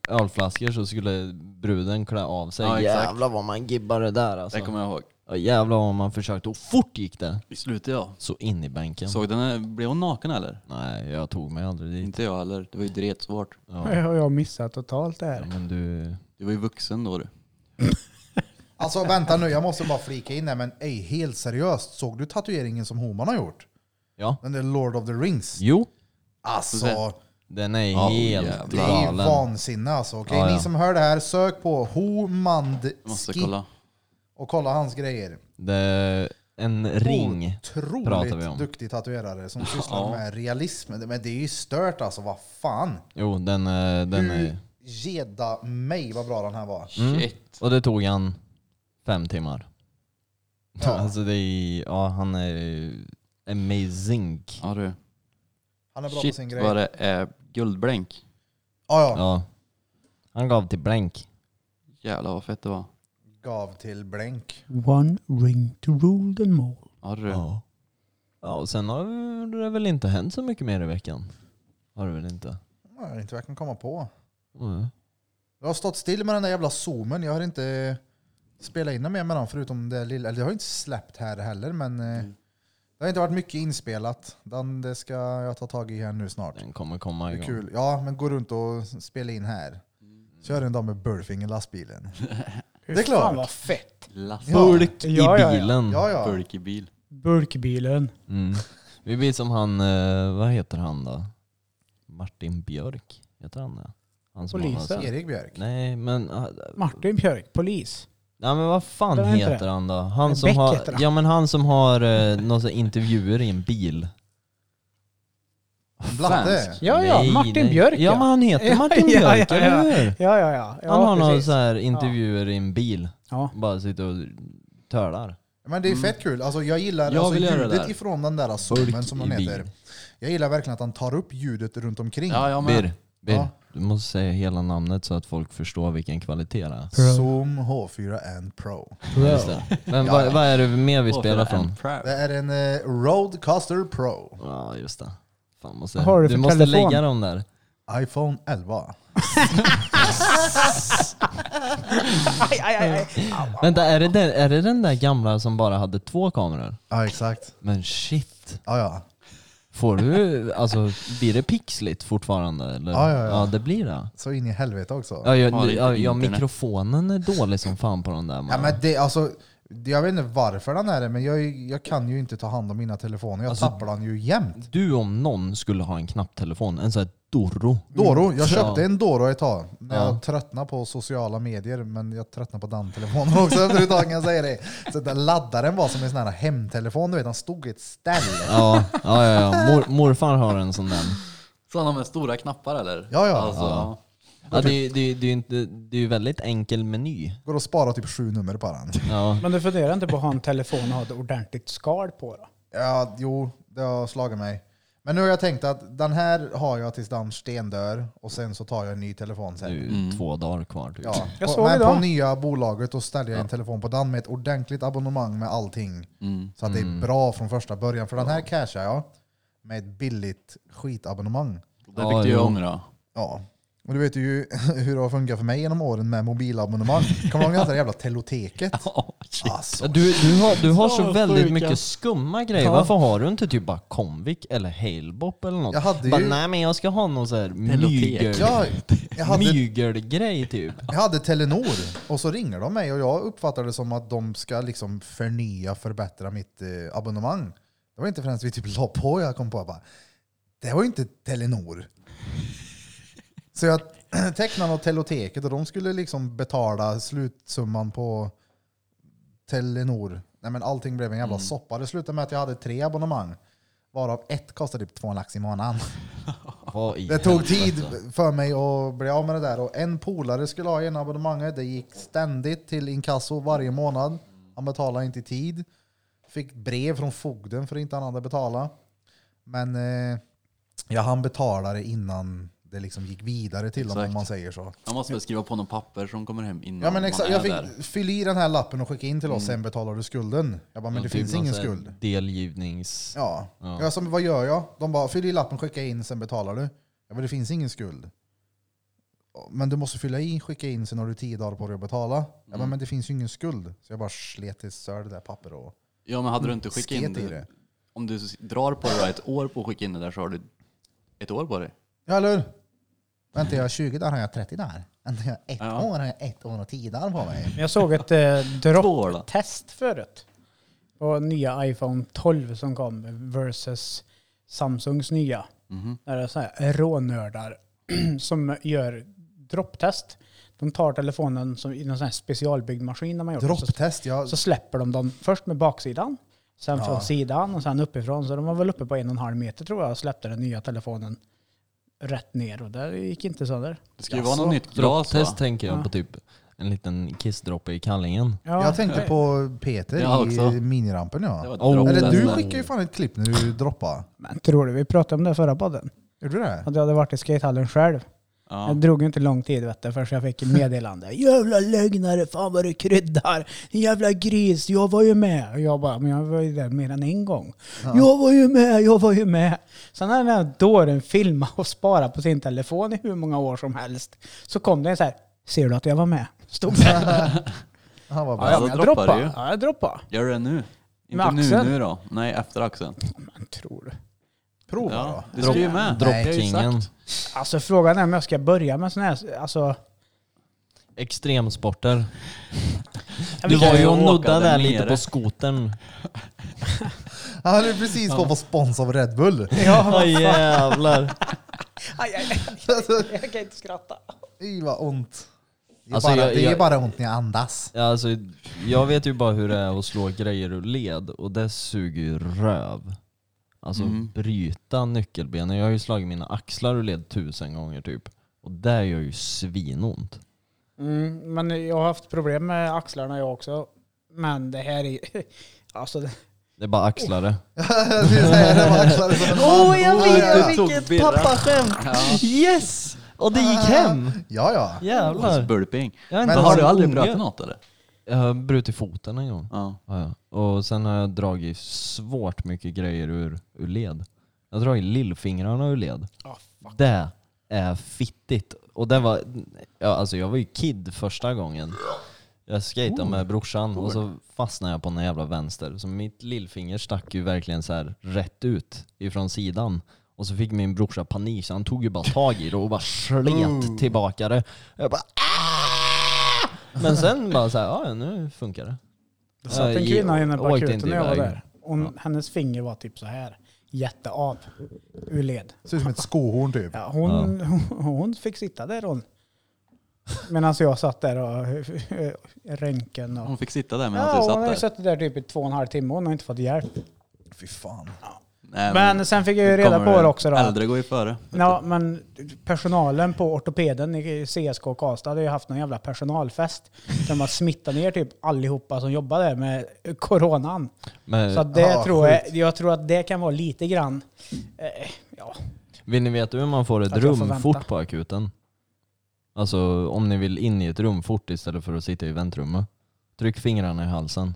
ölflaskor så skulle bruden klä av sig. Ja, exakt. jävlar vad man gibbade där alltså. Det kommer jag ihåg. Ja, jävlar vad man försökte. Och fort gick det! I slutet ja. Så in i bänken. Såg den, eh, blev hon naken eller? Nej, jag tog mig aldrig dit. Inte jag heller. Det var ju dretsvårt. har Ja. jag missat totalt det Ja, här. men du... Du var ju vuxen då du. Alltså vänta nu, jag måste bara flika in här, men ej, helt seriöst. Såg du tatueringen som homan har gjort? Ja. Den där Lord of the Rings. Jo, Alltså, den är Ja, helt jävlar. det är ju galen. vansinne alltså. Okej, Ja, ja. ni som hör det här, sök på Jag måste Homandski kolla. och kolla hans grejer. Det är en ring. pratar vi Otroligt om. duktig tatuerare som sysslar Ja. med realism. Men det är ju stört alltså, vad fan. Jo, den, är- den Hur är... geda mig vad bra den här var. Mm. Shit. Och det tog han fem timmar. Ja. Alltså det är... Ja, han är amazing. Ja du. Han är bra på Shit sin grej. vad det är guldblänk. Ja, ja. Ja. Han gav till blänk. Jävlar vad fett det var. Gav till blänk. One ring to rule them all. Ja du. Ja. Ja, och sen har det väl inte hänt så mycket mer i veckan? Har det väl inte? Ja, Jag vet inte vad jag kan komma på. Mm. Jag har stått still med den där jävla zoomen. Jag har inte spelat in något mer med den förutom det lilla. Eller jag har inte släppt här heller men eh, Mm. det har inte varit mycket inspelat. Den det ska jag ta tag i här nu snart. Mm. Den kommer komma Det är igång. kul. Ja, men gå runt och spela in här. Mm. Kör en dag med Burfing i lastbilen. Det är klart. Fan vad fett. Last Ja. Bulk i Ja, ja, ja. Mm. bilen. Ja, ja. burk i bil. Burkbilen. Mm. Vi blir som han, eh, vad heter han då? Martin Björk, heter han det? Han som har- alltså- Polisen. Erik Björk. Nej men, ah, Martin Björk, polis. nej, men vad fan Det var inte heter det. han då? Nej, Han som Beck har, heter han. ja men han som har eh, några så här intervjuer i en bil. Blatte. Ja, ja. Nej, Martin nej. Björk Ja men han heter Ja, Martin ja, ja, Björk, ja. eller hur? Ja, ja, ja. ja Han har några precis. så här intervjuer i en bil. Ja. Bara sitter och tölar. Men det är fett kul. Alltså, jag gillar Mm. Jag vill alltså, göra det ljudet där. ifrån den där zoomen Burk som i den heter. bil. Jag gillar verkligen att han tar upp ljudet runt omkring. Ja jag med. Bir, Bir. Ja. Du måste säga hela namnet så att folk förstår vilken kvalitet det är. Zoom H4N Pro. Just det. Men Ja, ja. vad, vad är det mer vi spelar Åh, från? en proud. Det är en eh, Rodecaster Pro. Ja, just det. Fan, måste, Vad har du du för måste telefon? lägga dem där. iPhone 11. Aj, aj, aj, aj. Vänta, är det, den, är det den där gamla som bara hade två kameror? Ja, exakt. Men shit. Ja, ja. Får du, alltså, blir det pixligt fortfarande? Eller? Ja, ja, ja. det blir det. Så in i helvete också. Ja, jag, Har ja, inte ja, internet. mikrofonen är dålig som fan på den där. man. Ja, men det, alltså, det- jag vet inte varför den är det, men jag, jag kan ju inte ta hand om mina telefoner. Alltså- Jag tappar den ju jämt. Du om någon skulle ha en knapptelefon, en sån här Doro. Doro. Jag köpte Ja. en Doro ett tag. När Ja. jag tröttnade på sociala medier, men jag tröttnade på den telefonen också efter ett tag kan jag säga det. Så den laddaren var som en sån här hemtelefon, du vet, den stod i ett ställ. Ja, ja, ja, ja. Mor, morfar har en sån Mm. där. Sådana med stora knappar eller? Ja, ja. Alltså, Ja. Ja, det, är- det, är- det, är inte- det är ju väldigt enkel meny. Går att spara typ sju nummer på den. Ja. Men du funderar inte på att ha en telefon och ha ett ordentligt skal på då? Ja, jo, det har slagit mig. Men nu har jag tänkt att den här har jag tills den stendör och sen så tar jag en ny telefon Det är sen. ju Mm. två dagar kvar typ. Ja, Jag på, såg men idag. på nya bolaget och ställer jag en telefon på den med ett ordentligt abonnemang med allting. Mm. Så att det är bra från första början. För den här cashar jag med ett billigt skitabonnemang. Det Ja, fick du ju jo. ångra. Ja. Och du vet ju hur det har funkat för mig genom åren med mobilabonnemang. Kommer du ihåg det där jävla teloteket? Ja, shit. Alltså, Ja, Du, du har, du har så, Så väldigt sjuka. mycket skumma grejer. Ja. Varför har du inte typ bara Comviq eller Halebop eller något? Jag hade bara, ju- Nej men jag ska ha någon sån här Telotek. mygel, ja, jag hade mygelgrej typ. Jag hade Telenor och så ringer de mig och jag uppfattar det som att de ska liksom förnya, förbättra mitt eh, abonnemang. Det var inte förrän vi typ la på jag kom på bara, det var ju inte Telenor. Så jag tecknade åt Teloteket och de skulle liksom betala slutsumman på Telenor. Nej men allting blev en jävla soppa. Det slutade med att jag hade tre abonnemang. Varav ett kostade typ två lax i månaden. Vad i Det tog helvete? alltså. tid alltså. för mig att bli av med det där och en polare skulle ha en abonnemanget. Det gick ständigt till inkasso varje månad. Han betalade inte i tid. Fick brev från fogden för att inte han hade betalat. Men eh, ja, han betalade innan det liksom gick vidare till honom om Exakt. man säger så. Jag måste väl skriva på något papper som kommer hem innan Ja men exakt, man är jag där. Mm. fick fyll i den här lappen och skicka in till oss, sen betalar du skulden. Jag bara, men det Typ finns någon ingen Alltså, sån här skuld. Delgivnings... Ja. Jag sa, men vad gör jag? De bara, fyll i lappen, skicka in, sen betalar du. Ja, men det finns ingen skuld. men du måste fylla i, skicka in, sen har du tio dagar på dig att betala. Jag bara, Mm. men det finns ju ingen skuld. Så jag bara slet i sör det där pappret och Ja men hade du inte skickat in sket i det, det. om du s- drar på det då, ett år på att skicka in det där så har du ett år på dig. Ja, eller hur? Väntar jag 20 dagar har jag 30 dagar. Väntar jag ett Ja. år har jag ett år och 10 dagar på mig. Men jag såg ett eh, Två år då? dropptest förut. På nya iPhone 12 som kom versus Samsungs nya. Mhm. Där det är så här rånördar som gör dropptest. De tar telefonen som, i någon sån här specialbyggd maskin när man gör det. Så, Dropptest, ja. så släpper de den först med baksidan, sen Ja. från sidan och sen uppifrån. Så de var väl uppe på en och en halv meter tror jag och släppte den nya telefonen rätt ner och det gick inte sönder. Det ska ju vara något nytt glas va? Dropptest tänker jag på typ en liten kissdroppe i kallingen. Ja, Jag tänkte på Peter Jag också. i minirampen Det ja. var ett Oh. dropptest. Eller du där. skickade ju fan ett klipp när du droppade. Men tror du vi pratade om det i förra podden? Gjorde du det? Att jag hade varit i skatehallen själv. Ja. Jag drog ju inte lång tid vet du, förrän jag fick meddelande. Jävla lögnare, fan vad du kryddar. Jävla gris, jag var ju med. Och jag bara, men jag var ju där mer än en gång. Jag var ju med, jag var ju med. Sen när den här dåren filmade och sparade på sin telefon i hur många år som helst. Så kom det en så här, ser du att jag var med? Stod det. Han var bra. ja, men då jag droppar du droppade. ju. Ja, jag droppade. Gör du det nu? Inte Med nu axeln? nu då? Nej, efter axeln. Men tror du? Prova Ja, då. det ska ju med. Nej. Det har jag ju Droppkingen. sagt. Alltså frågan är om jag ska börja med sån här, alltså. Extremsporter. vi Du kan var ju ju och åka nuddade där där lite nere. på skotern. Han hade precis fått på spons av Red Bull. Ja jävlar. Aj, aj, aj, Alltså, jag kan inte skratta. Fy vad ont. Det är, Alltså, bara, jag- det är jag- bara ont när jag andas. Ja, Alltså, jag vet ju bara hur det är att slå grejer ur led och det suger ju röv. Alltså Mm. bryta nyckelbenen. Jag har ju slagit mina axlar ur led tusen gånger typ. Och det gör ju svinont. Mm, men jag har haft problem med axlarna jag också. Men det här är ju... Alltså, det- Det är bara axlare. det är så här, det var axlar som en man. Åh, jag vet! vet! du tog Vilket bilder. pappaskämt! Ja. Yes! Och det gick hem! Ja, ja. Jävlar. Burping. Jag har Men inte Men haft har du aldrig unge. brutit något eller? Jag har brutit foten en gång. Ja. Ja, ja. Och sen har jag dragit svårt mycket grejer ur, ur led. Jag har dragit lillfingrarna ur led. Ja, det är fittigt. Och det var, ja, alltså jag var ju kid första gången. Jag skejtade Oh, med brorsan och så fastnade jag på någon jävla vänster. Så mitt lillfinger stack ju verkligen så här rätt ut ifrån sidan. Och så fick min brorsa panik så han tog ju bara tag i det och bara Mm. slet tillbaka det. Jag bara "Ah!" Men sen bara så här, ja nu funkar det. Eh, det satt Jag en kvinna inne på åkte akuten inte när jag var iväg. där. Och hennes finger var typ så här. Jätteav. Ur led. Ser ut som ett skohorn typ. Ja, hon, Hon, hon fick sitta där hon. Medan jag satt där och röntgen och... Hon fick sitta där medan Ja, du hon har ju satt där. suttit där typ i två och en halv timme och hon har inte fått hjälp. Fy fan. Nej, Men sen fick jag ju reda på kommer det också då. Äldre går ju före. Ja, men personalen på ortopeden i CSK Karlstad hade ju haft någon jävla personalfest. Där man smittade ner typ allihopa som jobbade där med coronan. Men Så att det Ja, tror jag, jag tror att det kan vara lite grann... Eh, ja. Vill ni veta hur man får ett Att jag får rum vänta. fort på akuten? Alltså om ni vill in i ett rum fort istället för att sitta i väntrummet. Tryck fingrarna i halsen.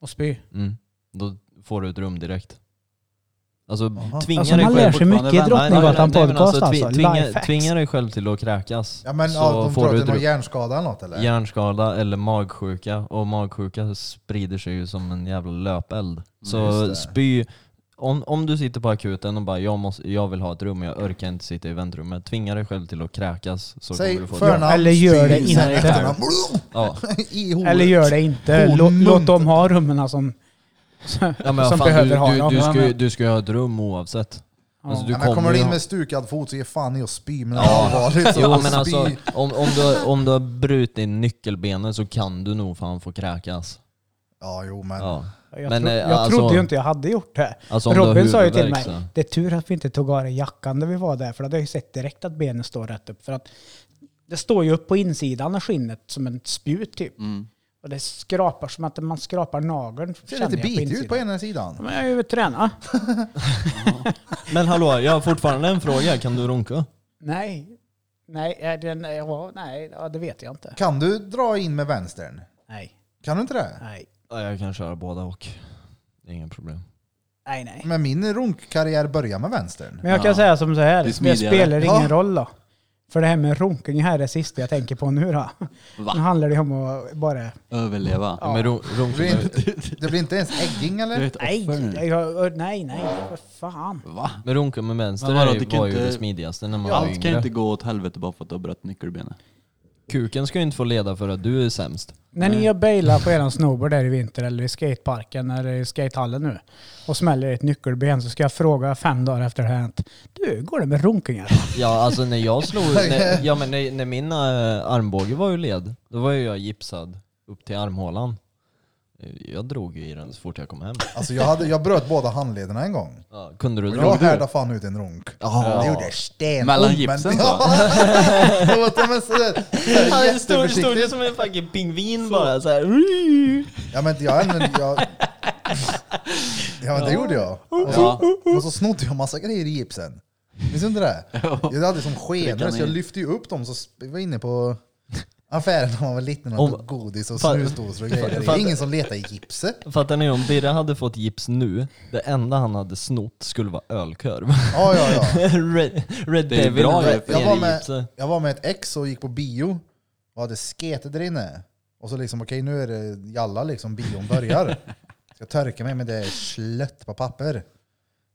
Och spy. Mm. Då får du ett rum direkt. Alltså Jaha. tvinga Alltså, dig man själv lär sig fortfarande mycket i vända. Nej, nej, nej, Drottninggatan nej, men podcast tvi- alltså. Tvinga, Lifehacks. tvinga dig själv till att kräkas. Ja, men så ja, de får tror du att ett det är rum. någon hjärnskada eller något eller? Hjärnskada eller magsjuka. Och magsjuka sprider sig ju som en jävla löpeld. just Så det. spy. Om, om du sitter på akuten och bara jag, måste, jag vill ha ett rum, jag orkar inte sitta i väntrummet. Tvinga dig själv till att kräkas. Så Säg kommer du få ett förnamn, Eller gör det styr, sen inte. efternamn. Ja. I håret. Eller gör det inte. Hon Låt, munt. låt dem ha rummen alltså. som, Ja, men som fan, behöver du, ha du, dem. du, ska, ju- Ja, du ska ju ha ett rum oavsett. Alltså, du Ja, men kommer ju du in ha- med stukad fot så ge fan i att spy. Men allvarligt så Jo, men alltså, spy. om, om, du, har- om du har brutit nyckelbenet så kan du nog fan få kräkas. Ja, jo men. Ja. Jag, Men, tro, eh, jag alltså- trodde ju inte jag hade gjort det. Alltså, om du har Robin sa ju till mig, huvudvärk, så. det är tur att vi inte tog av dig jackan när vi var där, för då hade jag ju sett direkt att benen står rätt upp. För att det står ju upp på insidan av skinnet som en spjut typ. Mm. Och det skrapar som att man skrapar nageln. Det ser känner lite jag bitig ut på insidan. ena sidan. Men jag är ju tränad. Men hallå, jag har fortfarande en fråga. Kan du runka? Nej. Nej, är det, nej, ja, nej ja, det vet jag inte. Kan du dra in med vänstern? Nej, Kan du inte det? nej, Ja, jag kan köra båda och. Det är inga problem. nej. nej. Men min runkkarriär börjar med vänstern. Men jag kan Ja. säga som så här, Det är det smidigare. spelar ingen Ja. roll då. För det här med runkning här är det sista jag tänker på nu då. Nu Va? handlar det om att bara... Överleva? Ja. Men ro- Det runken blir är- inte, det blir inte ens ägging Du är eller? ett Nej, offer nu. jag, nej, nej, för fan. Va? men runken med vänster Men vadå, är ju- det kan var ju inte- det smidigaste när man var Allt kan yngre. ju inte gå åt helvete bara för att du har bröt nyckelbenet. Kuken ska ju inte få leda för att du är sämst. När ni har bailat på eran snowboard där i vinter eller i skateparken eller i skatehallen nu och smäller ett nyckelben så ska jag fråga fem dagar efter det har hänt. Du, går det med runkingar? Ja alltså när jag slog, när, ja, men när, när min eh, armbåge var ju led, då var ju jag gipsad upp till armhålan. Jag drog ju i den så fort jag kom hem. Alltså jag, hade, jag bröt båda handlederna en gång. Ja, kunde du Jag dra? härdade fan ut en runk. Ja. Det gjorde stenont. Mellan men- gipsen så? Ja. Det var- men så där, så Han där stod, stod ju jätteförsiktigt. som en fucking pingvin bara såhär. "Ruu." Ja men jag använde... Jag, ja men det gjorde jag. Ja. Och så snodde jag massa grejer i gipsen. Minns du inte det? Jag hade som skenor Pricka så jag ner. lyfte ju upp dem så sp- jag var inne på affären när man var liten och Om- tog godis och Fan- snusdosor och grejer. Det är fan- ingen som letar i gipset. Fattar ni om Birre hade fått gips nu, det enda han hade snott skulle vara ölkorv. Ja, ja, ja. Red, Red Det är Devil bra ju, Red, för jag, var Red med, jag var med ett ex och gick på bio och hade sketet där inne. Och så liksom, okej nu är det jalla liksom, bion börjar. Ska törka mig med det slött på papper.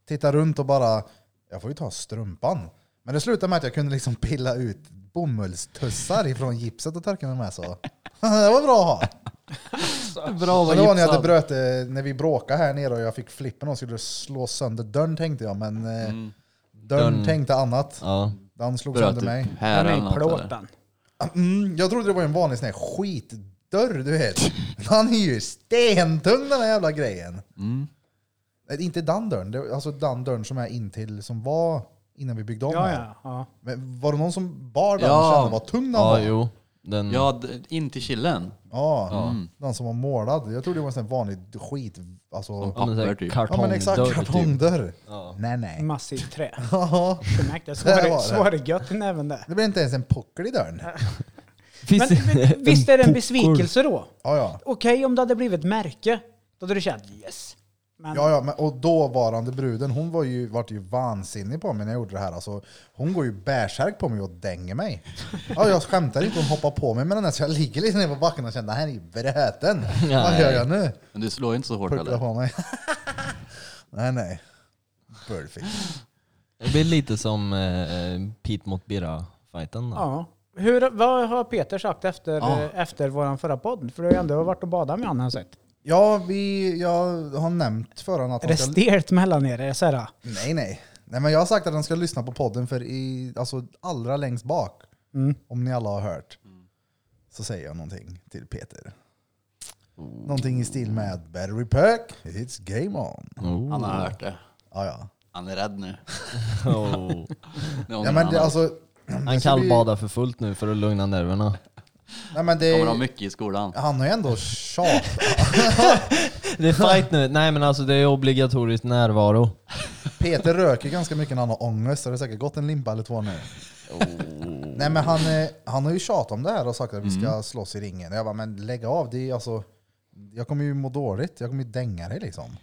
Titta runt och bara, jag får ju ta strumpan. Men det slutade med att jag kunde liksom pilla ut bomullstussar ifrån gipset och torka mig med så. det var bra att ha. Bra Men det var när jag hade bröt, eh, när vi bråkade här nere och jag fick flippen och skulle slå sönder dörren tänkte jag, men eh, dörren Mm. Dörren. tänkte annat. Ja. Den slog Bröt sönder typ mig. här Den eller är i något eller? plåten. Mm, jag trodde det var en vanlig sån här skitdörr du vet. Han är ju stentung den här jävla grejen. Mm. Nej, inte den dörren, det, var- alltså den dörren som är in till som var innan vi byggde om Ja, här. ja, ja. Men var det någon som bar den Ja. och kände vad tung den ja, var? jo. Den, Mm. Ja, d- in till killen. Ja, Mm. den som var målad. Jag trodde det var en sån här vanlig skit... Alltså, Som- ja, men, så här papper, typ. kartongdörr ja men exakt, typ. kartongdörr. Ja. Nej nej. Massivt trä. Ja, Jag märkte det. Så Där var det, var så det. var det gött i näven där. det blir inte ens en puckel i dörren. Men vi- visst är det en besvikelse då? Ja, ja. Okej om det hade blivit ett märke, då hade du känt yes. Men Ja, ja, men, och dåvarande bruden, hon var ju, vart ju vansinnig på mig när jag gjorde det här. Alltså, hon går ju bärsärk på mig och dänger mig. Ja, jag skämtar inte, hon hoppar på mig med den här så jag ligger lite ner på backen och känner den här är ju bröten. Vad Nej. gör jag nu? Men du slår ju inte så hårt Pucklar eller? på mig. nej, nej. Perfect. Det blir lite som eh, Pete mot Birra-fighten. då. ja. Hur, vad har Peter sagt efter, Ja. eh, efter vår förra podd? För du har ju ändå varit och badat med honom har jag sett. Ja, vi, jag har nämnt förrän att Är han det ska... stelt mellan er? Är det så här, Nej, nej. Nej, men jag har sagt att han ska lyssna på podden för i, alltså, allra längst bak, mm. om ni alla har hört, så säger jag någonting till Peter. Någonting i stil med battery pack, it's game on. Oh. Han har hört det. Ja, ja. Han är rädd nu. Oh. Nu ja ångrar men han det, allt. alltså, Han kallbadar för fullt nu för att lugna nerverna. nej, men det, Kommer ha mycket i skolan. han har ju ändå tjatat. Det är fight nu. Nej men alltså det är obligatoriskt närvaro. Peter röker ganska mycket när han har ångest, så det har säkert gått en limpa eller två nu. Oh. Nej men han, eh, han har ju tjatat om det här och sagt att vi ska Mm. slåss i ringen. Jag bara, men lägg av. Det är, alltså, jag kommer ju må dåligt, jag kommer ju dänga dig liksom.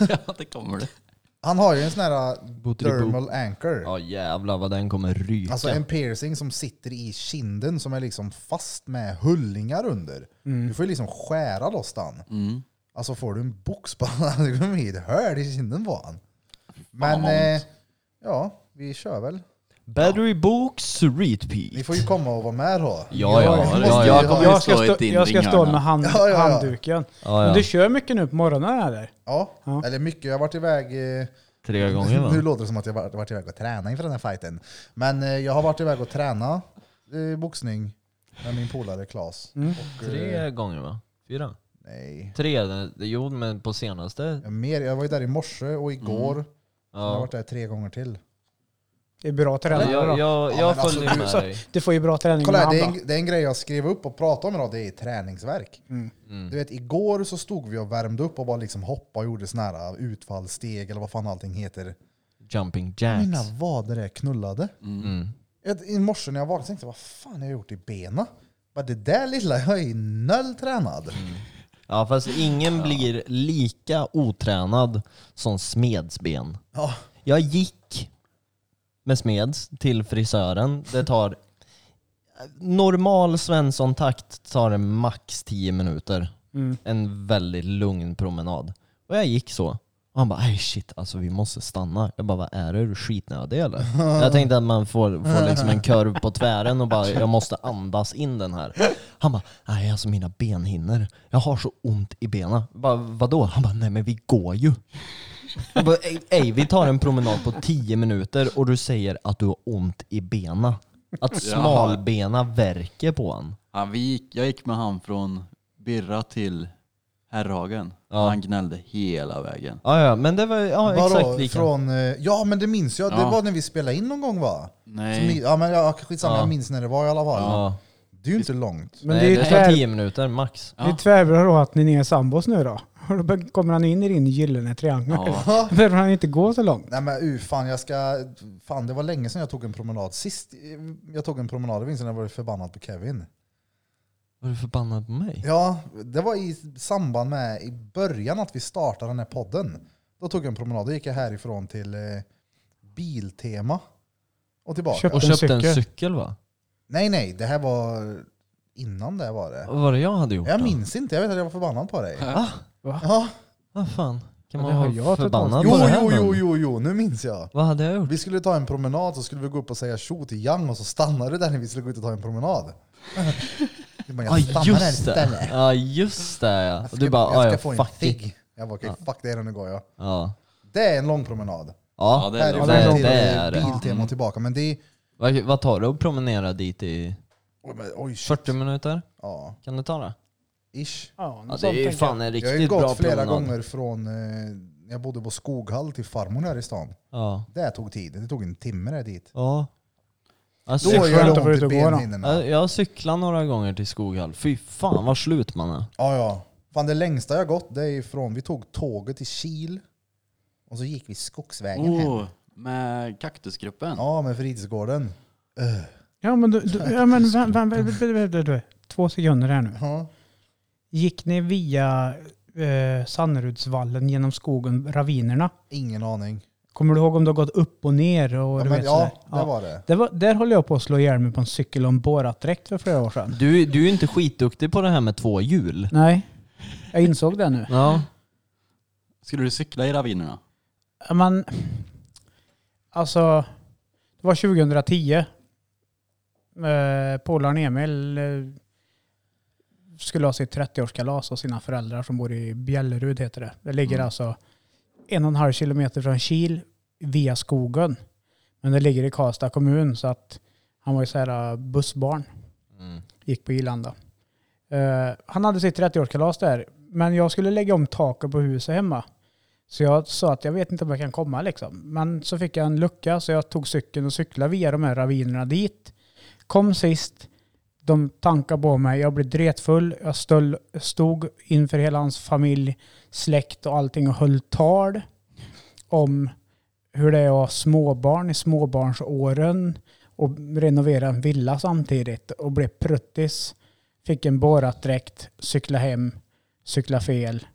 Ja, det kommer det. Han har ju en sån här eh, Bootylipoo. dermal anchor. Ja jävlar vad den kommer ryka. Alltså en piercing som sitter i kinden som är liksom fast med hullingar under. Du får ju liksom skära loss den. Mm. Alltså får du en box på den, det kommer bli ett hål i kinden på den. Men vad ont. eh, ja, vi kör väl. Battery Books Ni repeat. får ju komma och vara med då. Ja, ja, måste ja, ju ja. kommer ha- ju jag ska stå i stå, din jag ska stå ringhörna. med hand, Ja, ja, ja. handduken. Ja, Men ja. du kör mycket nu på morgonen eller? ja, Ja. eller mycket. Jag har varit iväg... Eh, Tre gånger nu va? låter det som att jag har varit iväg och träna inför den här fighten. Men eh, jag har varit iväg och träna eh, boxning med min polare Klas. Och, eh, Tre gånger va? Fyra? Nej. Tre? det- Jo men på senaste. Ja, Mer, jag var ju där i morse och igår. Jag har Mm. Ja. varit där tre gånger till. Det är bra Jag, träning jag, då. jag, men jag alltså, följer med alltså- dig. Du får ju bra träning Kolla med här, det, är hand då. en, det är en grej jag skrev upp och pratade om idag, det är träningsverk. Mm. Du vet, igår så stod vi och värmde upp och bara liksom hoppade och gjorde såna här utfallssteg eller vad fan allting heter. Jumping Mina jacks. vader är knullade. Mm. Jag- I morse när jag vaknade tänkte jag, vad fan har jag gjort i benen? Bara det där lilla, jag är ju noll tränad. Mm. Ja fast ingen blir lika otränad som smedsben. Ja, Jag gick med smeds till frisören. Det tar normal Svensson-takt tar det max 10 minuter. Mm. En väldigt lugn promenad. Och jag gick så. Och han bara "Aj, shit, alltså vi måste stanna. Jag bara vad är det? Är du skitnödig eller? jag tänkte att man får, får liksom en kurv på tvären och bara jag måste andas in den här. Han bara nej alltså mina benhinnor. Jag har så ont i benen. Jag Bara, Vadå? Han bara nej men vi går ju. Jag bara, "Ey, Ey, vi tar en promenad på 10 minuter och du säger att du har ont i benen. Att Jaha. smalbena värker på en. Ja, vi gick, jag gick med han från Birra till Herrhagen. Ja. Han gnällde hela vägen. Ja, ja, men det var ja, exakt Vadå? lika. Från, eh, ja men det minns jag, det Ja. var när vi spelade in någon gång va? Som, i- Nej, ja men ja, skitsamma, Ja. jag minns när det var i alla fall. Ja. Det är ju inte långt. Men Nej, det det är ju tar tvär, 10 minuter max. det är tvärbra då att ni är sambos nu då. Och då kommer han in i din gyllene triangel. Ja. Då behöver han inte gå så långt. Nej men uh, fan, jag ska... Fan det var länge sedan jag tog en promenad. Sist eh, jag tog en promenad, det minns jag när jag var förbannad på Kevin. Var du förbannad på mig? Ja, det var i samband med i början att vi startade den här podden. Då tog jag en promenad, då gick jag härifrån till eh, Biltema. Och tillbaka. Köpte- Och En köpte en cykel. cykel va? Nej nej, det här var innan det var det. Vad var det jag hade gjort Jag då? minns inte, jag vet att jag var förbannad på dig. Va? Ja. Vad fan? Kan Ja, man det har vara jag totalt- förbannad Jo, på det här jo, men? jo, jo, jo, nu minns jag. Vad hade jag gjort? Vi skulle ta en promenad så skulle vi gå upp och säga tjo till Yang och så stannade du där när vi skulle gå ut och ta en promenad. Du bara, jag Ja stannar här just istället. det! Ja just det ja! Jag Och ska, du bara jag "Ah, ska ja, få fuck en it. fig. Jag bara okej, fuck det, är den, nu går jag. Ja. Det är en lång promenad. Ja, det är Härifrån det är- till det är det. Biltema och tillbaka. Men det är... Vad- vad tar det att promenera dit i Oj, men, oj shit. 40 minuter? Ja, Kan det ta det? ish. Ja, Ja, det är ju fan en Mm, Jag har ju riktigt bra gått flera promenad. gånger från eh, när jag bodde på Skoghall till farmor här i stan. Ja. Det tog tid. Det tog en timme där dit. Ja. Jag, Då Det är gör skönt att det vara ont ute i och gå då. benhinnorna. jag, jag cyklar några gånger till Skoghall. Fy fan vad slut man är. Ja, ja. Fan det längsta jag gått det är ifrån, vi tog tåget till Kil och så gick vi skogsvägen hem. oh, med kaktusgruppen. Ja, med fritidsgården. Eh, Ja men, du, du, ja, men vem, vem, vem, vem, vem, vem, vem, två sekunder här nu. Ja. Gick ni via eh, Sannerudsvallen genom skogen, ravinerna? Ingen aning. Kommer du ihåg om du har gått upp och ner? Och Ja, du men, vet, sådär? ja det var det. Det var, där höll jag på att slå ihjäl mig på en cykel och en borrat-dräkt för flera år sedan. Du, du är ju inte skitduktig på det här med två hjul. Nej, jag insåg det nu. Ja. Skulle du cykla i ravinerna? Men, alltså, det var 2010. Eh, Polaren Emil eh, skulle ha sitt 30-årskalas och sina föräldrar som bor i Bjällerud heter det. Det ligger Mm. alltså en och en halv kilometer från Kil via skogen. Men det ligger i Karlstad kommun så att han var ju så här eh, bussbarn. Mm. gick på Irlanda. Eh, han hade sitt 30-årskalas där, men jag skulle lägga om taket på huset hemma. Så jag sa att jag vet inte om jag kan komma liksom. Men så fick jag en lucka så jag tog cykeln och cyklade via de här ravinerna dit. Kom sist, de tankade på mig, jag blev dretfull, jag stöll, stod inför hela hans familj, släkt och allting och höll tal om hur det är att ha småbarn i småbarnsåren och renovera en villa samtidigt och blev pruttis. Fick en borrat direkt, cykla hem, cykla fel,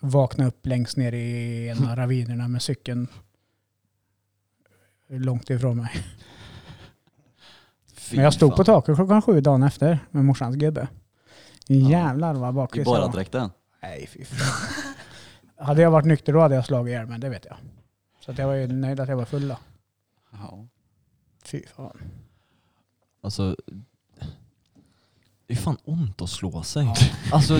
vakna upp längst ner i en av ravinerna med cykeln långt ifrån mig. Fy Men jag stod fan. på taket klockan sju dagen efter med morsans gubbe. Jävlar vad I bakis jag var. borradräkten? Nej, fy fan. Hade jag varit nykter då hade jag slagit ihjäl mig, det vet jag. Så att jag var ju nöjd att jag var full då. Ja. Fy fan. Alltså, det är fan ont att slå sig. Alltså,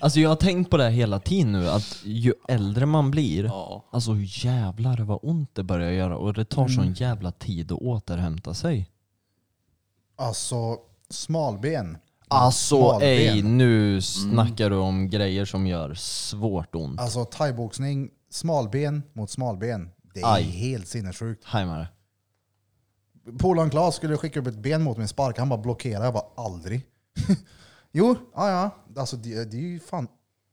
alltså jag har tänkt på det här hela tiden nu, att ju äldre man blir, ja. alltså jävlar vad ont det börjar göra. Och det tar sån Mm. jävla tid att återhämta sig. Alltså, smalben. Alltså Smalben. ej, nu snackar du om grejer som gör svårt ont. Alltså thaiboxning, smalben mot smalben. Det är Aj. helt sinnessjukt. Hajmare. Polaren Klas skulle skicka upp ett ben mot min spark, han bara blockerade. Jag bara aldrig. jo, ja ja. Alltså det, det är ju fan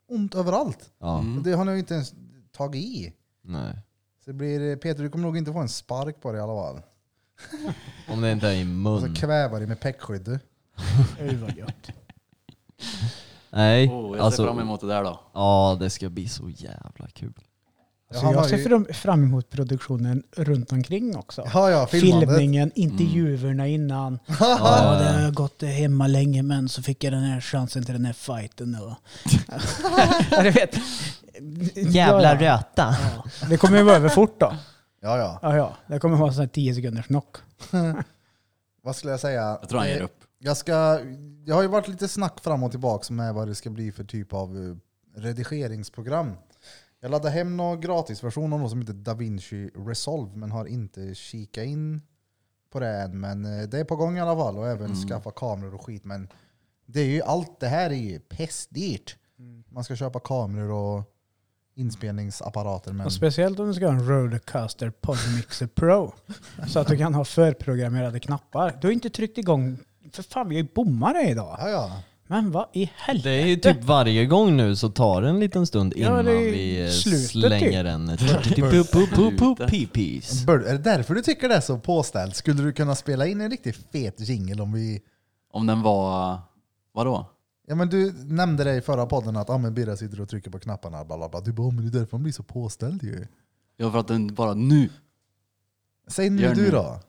ont överallt. Ja, Mm. Det har ni ju inte ens tagit i. nej. Så det blir, eh, Peter, du kommer nog inte få en spark på dig i alla fall. Om det inte är i Och Mm. mun. så kvävar dig med peckskydd. Alltså, Det var gött. Nej, Oh, jag ser fram alltså emot det där då. ja det ska bli så jävla kul. Så han Alltså, jag var ser ju- fram- fram emot produktionen runt omkring också. Ja, ja, filmandet. Filmningen, Mm. intervjuerna innan. Ja, det har gått hemma länge men så fick jag den här chansen till den här fighten. Och... ja, du vet. Jävla ja, röta. ja. Det kommer ju vara över fort då. Ja, ja. Ja, ja. Det kommer vara sån här 10 sekunders knock. Vad skulle jag säga? Jag tror han ger upp. Jag ska... Jag har ju varit lite snack fram och tillbaka med vad det ska bli för typ av eh, redigeringsprogram. Jag laddade hem någon gratisversion av något som heter DaVinci Resolve, men har inte kikat in på det än. Men eh, det är på gång i alla fall, och även skaffa kameror och skit. Men det är ju allt det här är ju pestdyrt. Man ska köpa kameror och inspelningsapparater. Men... Och speciellt om du ska ha en Rodecaster Podmixer Pro. så att du kan ha förprogrammerade knappar. Du har inte tryckt igång. För fan, vi har ju bommare idag. Ja, ja. Men vad i helvete? Det är ju typ varje gång nu så tar det en liten stund Ja, innan det är ju vi eh, slutet slänger typ. en pipis. Bör, är det därför du tycker det är så påställt? Skulle du kunna spela in en riktigt fet jingle om vi... Om den var... Vadå? Ja men du nämnde det i förra podden att ah, men Birra sitter och trycker på knapparna. Bla, bla, bla. Du bara, "Ah, men det är därför man blir så påställd ju. Jag för att den bara nu, Säg nu Gör du nu. då.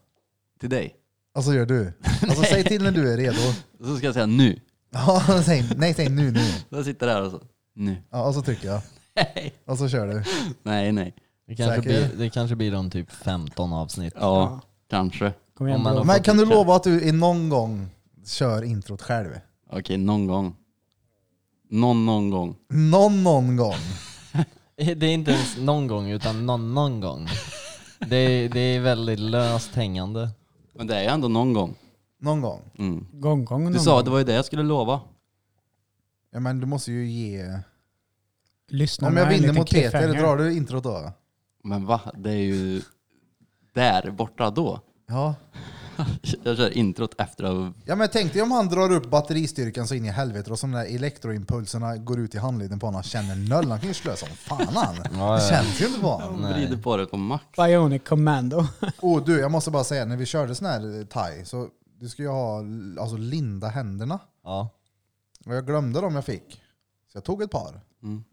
till dig. Alltså gör du. Alltså säg till när du är redo. Så ska jag säga nu. Ja, säg, nej, säg nu nu. Jag sitter där och så, nu. Ja, och så trycker jag. Nej. Och så kör du. Nej, nej. Det kanske, Säker? blir, det kanske blir om typ 15 avsnitt. Ja, kanske. Kom igen, Om man bro. har- Men kan du lova att du i någon gång kör introt själv? Okej, någon gång. Någon, någon gång. Någon, någon gång. Det är inte ens någon gång, utan någon, någon gång. Det är, det är väldigt löst hängande. Men det är ändå någon gång. Någon gång. Mm. Gång, gång, Du någon sa gång. att det var ju det jag skulle lova. Ja, men du måste ju ge... Lyssna Om jag med en vinner liten mot Peter, cliffhanger. drar du introt då? Men va? Det är ju där borta då. Ja. Jag kör introt efter att... Ja men tänk dig om han drar upp batteristyrkan så in i helvete och så de där elektroimpulserna går ut i handleden på honom. Han känner noll. Han kan ju slösa som fan han. ja. Det känns ju inte på honom. vrider på det på max. Bionic Commando. Och du, jag måste bara säga, när vi körde sån här eh, thai så du ska ju ha alltså, linda händerna. Ja. Och jag glömde dem jag fick. Så jag tog ett par. Mm.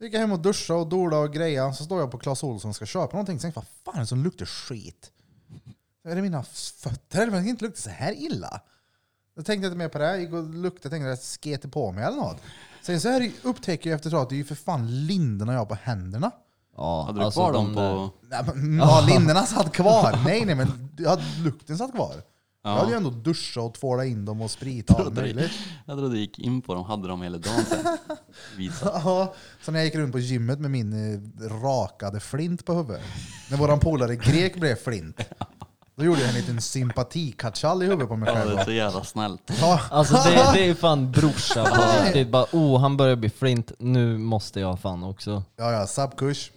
Gick jag hem och duschade och dola och greja. Så står jag på Clas Ohlson och ska köpa någonting. Sen vad fan är det som luktar skit? Är det mina fötter? eller Det kan inte lukta så här illa. Då tänkte jag inte mer på det. Gick och luktade tänkte att jag sket på mig eller något. Sen så här upptäcker jag efter ett tag att det är ju för fan linderna jag har på händerna. ja. alltså Hade du Alltså, kvar dem de där- på... Nej, men, ja, linderna satt kvar. Nej, nej, men ja, lukten satt kvar. Jag hade ju ändå duschat och tvålat in dem och sprita allt möjligt. Jag trodde du gick in på dem, hade dem hela dagen sen. Visa. Ja, så när jag gick runt på gymmet med min eh, rakade flint på huvudet. När våran polare grek blev flint. Då gjorde jag en liten sympatikatschall i huvudet på mig Ja, det är själv. så jävla snällt. Ja, Alltså det, det är fan brorsa på riktigt. Bara oh, han börjar bli flint, nu måste jag fan också. ja, ja subkurs.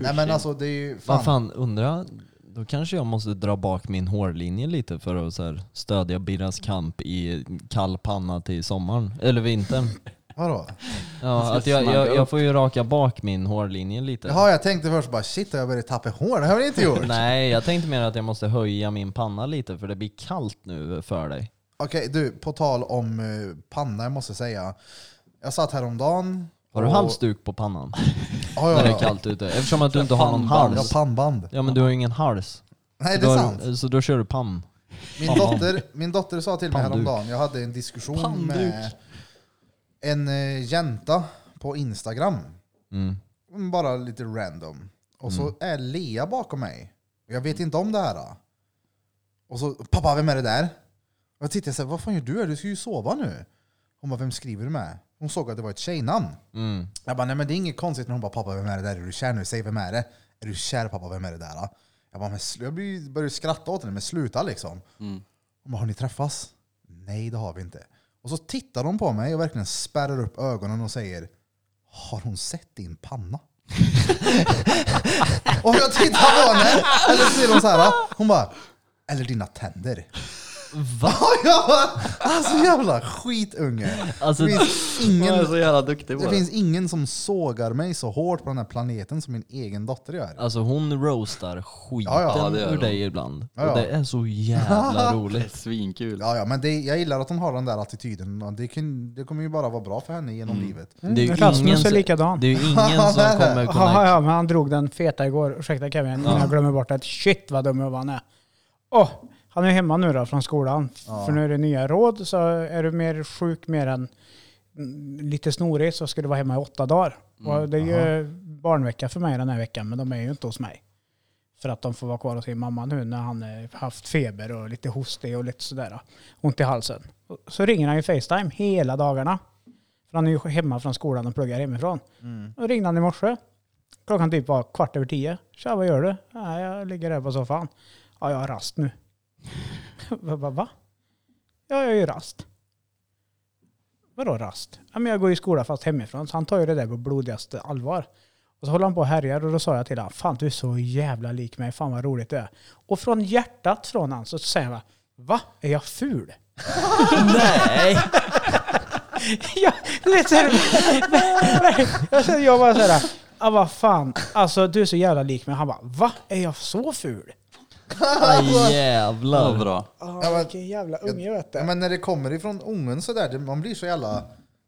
Nej men alltså det är ju... Vad Fan. fan, undra, då kanske jag måste dra bak min hårlinje lite för att så här, stödja Birras kamp i kall panna till sommaren, eller vintern. Vadå? Ja, att jag, jag, jag får ju raka bak min hårlinje lite. Jaha, jag tänkte först bara shit har jag börjat tappa hår? Det har jag inte gjort. Nej, jag tänkte mer att jag måste höja min panna lite för det blir kallt nu för dig. Okej du, på tal om eh, panna, jag måste säga. Jag satt häromdagen... Har du och- halsduk på pannan Ja, när ja, det ja. är kallt ute? Eftersom att du inte har någon Pannband. Ja, hals. pannband. Ja men du har ju ingen hals. Nej, det Du är har- sant. Så då kör du pann. Min Fan. dotter, min dotter sa till mig Pannduk. häromdagen, jag hade en diskussion med Pannduk. en eh, jänta på Instagram. Mm. Mm, Bara lite random. Och så är Lea bakom mig. Och Jag vet inte om det här. då. Och så, pappa vem är det där? Och jag tittade så här, vad fan gör du här? Du ska ju sova nu. Hon bara, vem skriver du med? Hon såg att det var ett tjejnamn. Mm. Jag bara, nej men det är inget konstigt när hon bara pappa vem är det där? Är du kär nu? Säg vem är det? Är du kär pappa? Vem är det där? Då? Jag bara, men slu- jag blir- börjar skratta åt henne, men sluta liksom. Mm. Hon bara, har ni träffats? Nej det har vi inte. Och så tittar hon på mig och verkligen spärrar upp ögonen och säger, har hon sett din panna? och jag tittar på henne, eller så ser hon så här, hon bara, eller dina tänder. Va? jag bara, alltså jävla skitunge. Alltså, Det finns, Jag är ingen, så jävla duktig på det det. finns ingen som sågar mig så hårt på den här planeten som min egen dotter gör. alltså hon roastar skiten Ja, ja, det gör ur hon. dig ibland. Ja, ja. Och det är så jävla Det är roligt. svinkul. Ja, ja, men det, jag gillar att hon har den där attityden. och Det, kan, det kommer ju bara vara bra för henne genom livet. Mm, Det är ju Rasmus ingen är som- likadan. Det är ju ingen som kommer Jaha, kunna... ja, men han drog den feta igår. Ursäkta Kevin, innan jag glömmer bort att shit vad dum han är. Åh, han är hemma nu då från skolan. Ja. För nu är det nya råd, så är du mer sjuk mer än mm, lite snorig så ska du vara hemma i åtta dagar. och det är ju barnvecka för mig den här veckan, men de är ju inte hos mig. För att de får vara kvar hos sin mamma nu när han eh, haft feber och lite hostig och lite sådär. Ont i halsen. Så ringer han ju Facetime hela dagarna. För han är ju hemma från skolan och pluggar hemifrån. Mm. Då ringde han i morse. Klockan typ var kvart över tio. Tja, vad gör du? Ja, jag ligger här på soffan. Ja, jag har rast nu. Jag bara, va? Ja, jag är ju rast. Vadå rast? Ja, men jag går i skola fast hemifrån, så han tar ju det där på blodigaste allvar. Och så håller han på och härjar och då sa jag till honom, fan du är så jävla lik mig, fan vad roligt det är. Och från hjärtat från han så säger han, va? Är jag ful? Nej! Ja, du vet, så här, jag, känner- jag bara såhär, ah, vad fan, alltså du är så jävla lik mig. Han bara, va? Är jag så ful? Aj, Det var jävlar. bra. Oh, Ja, men- vilken jävla unge vet Ja, du. men när det kommer ifrån ungen sådär, det- man blir så jävla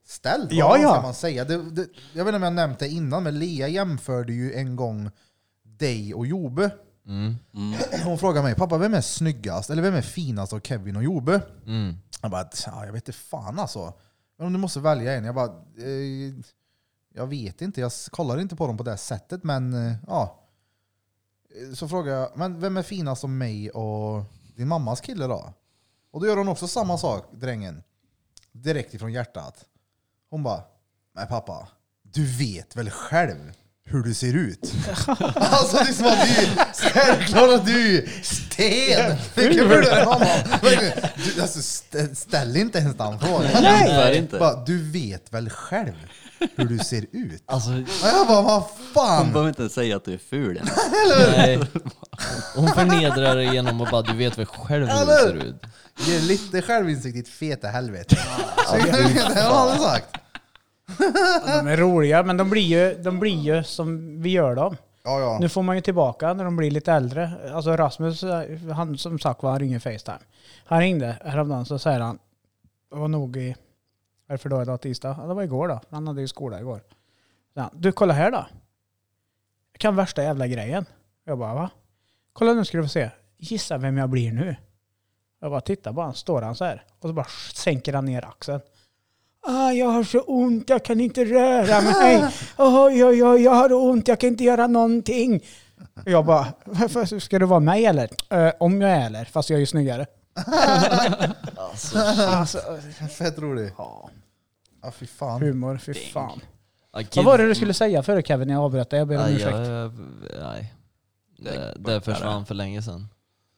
ställd. Ja, Vad ja. ska man säga? Det, det, jag vet inte om jag nämnt det innan, men Lea jämförde ju en gång dig och Jobe. Mm, Mm. Hon frågade mig, pappa vem är snyggast, eller vem är finast av Kevin och Jobe? Mm. Jag bara, "Tja, jag vet inte fan alltså. Men om du måste välja en. Jag bara, eh, jag vet inte, jag s- kollar inte på dem på det här sättet, men eh, ja. Eh, Så frågar jag, men vem är finast av mig och din mammas kille då? Och då gör hon också samma sak, drängen. Direkt ifrån hjärtat. Hon bara, men pappa, du vet väl själv hur du ser ut? alltså det är som att du, självklart att du är sten! Vilken ful du är, mamma! Verkligen. Du, alltså, st- ställ inte ens den frågan. Nej! Tyvärr inte. Bara, du vet väl själv hur du ser ut? Alltså, Och jag bara, vad Hon fan! behöver inte ens säga att du är ful ens. nej. Hon förnedrar dig genom att bara, du vet väl själv hur du Eller? ser ut. Ge lite självinsikt ditt feta helvete. Så jag vet, jag har aldrig sagt. De är roliga, men de blir, ju, de blir ju som vi gör dem. Ja, ja. Nu får man ju tillbaka när de blir lite äldre. Alltså Rasmus, han som sagt var, han ringer Facetime. Han ringde häromdagen så säger han, det var nog i, varför då idag tisdag? Ja, det var igår då, han hade ju skola igår. Så han, du kolla här då. Jag kan värsta jävla grejen. Jag bara va? Kolla nu ska du få se. Gissa vem jag blir nu. Jag bara tittar på han, står han så här. Och så bara sänker han ner axeln. Ah, jag har så ont, jag kan inte röra mig. Oj, oj, oj, jag har ont, jag kan inte göra någonting. Och Jag bara, varför ska du vara mig eller? "Eh, om jag är eller, fast jag är ju snyggare. alltså, Fett rolig. ja, Ja, fy fan. humor, fy fan. Ja, Vad kid- var det du skulle säga förut Kevin, när jag avbröt dig? Jag ber om Nej, ursäkt. jag, nej. Det, borta det försvann där. för länge sedan.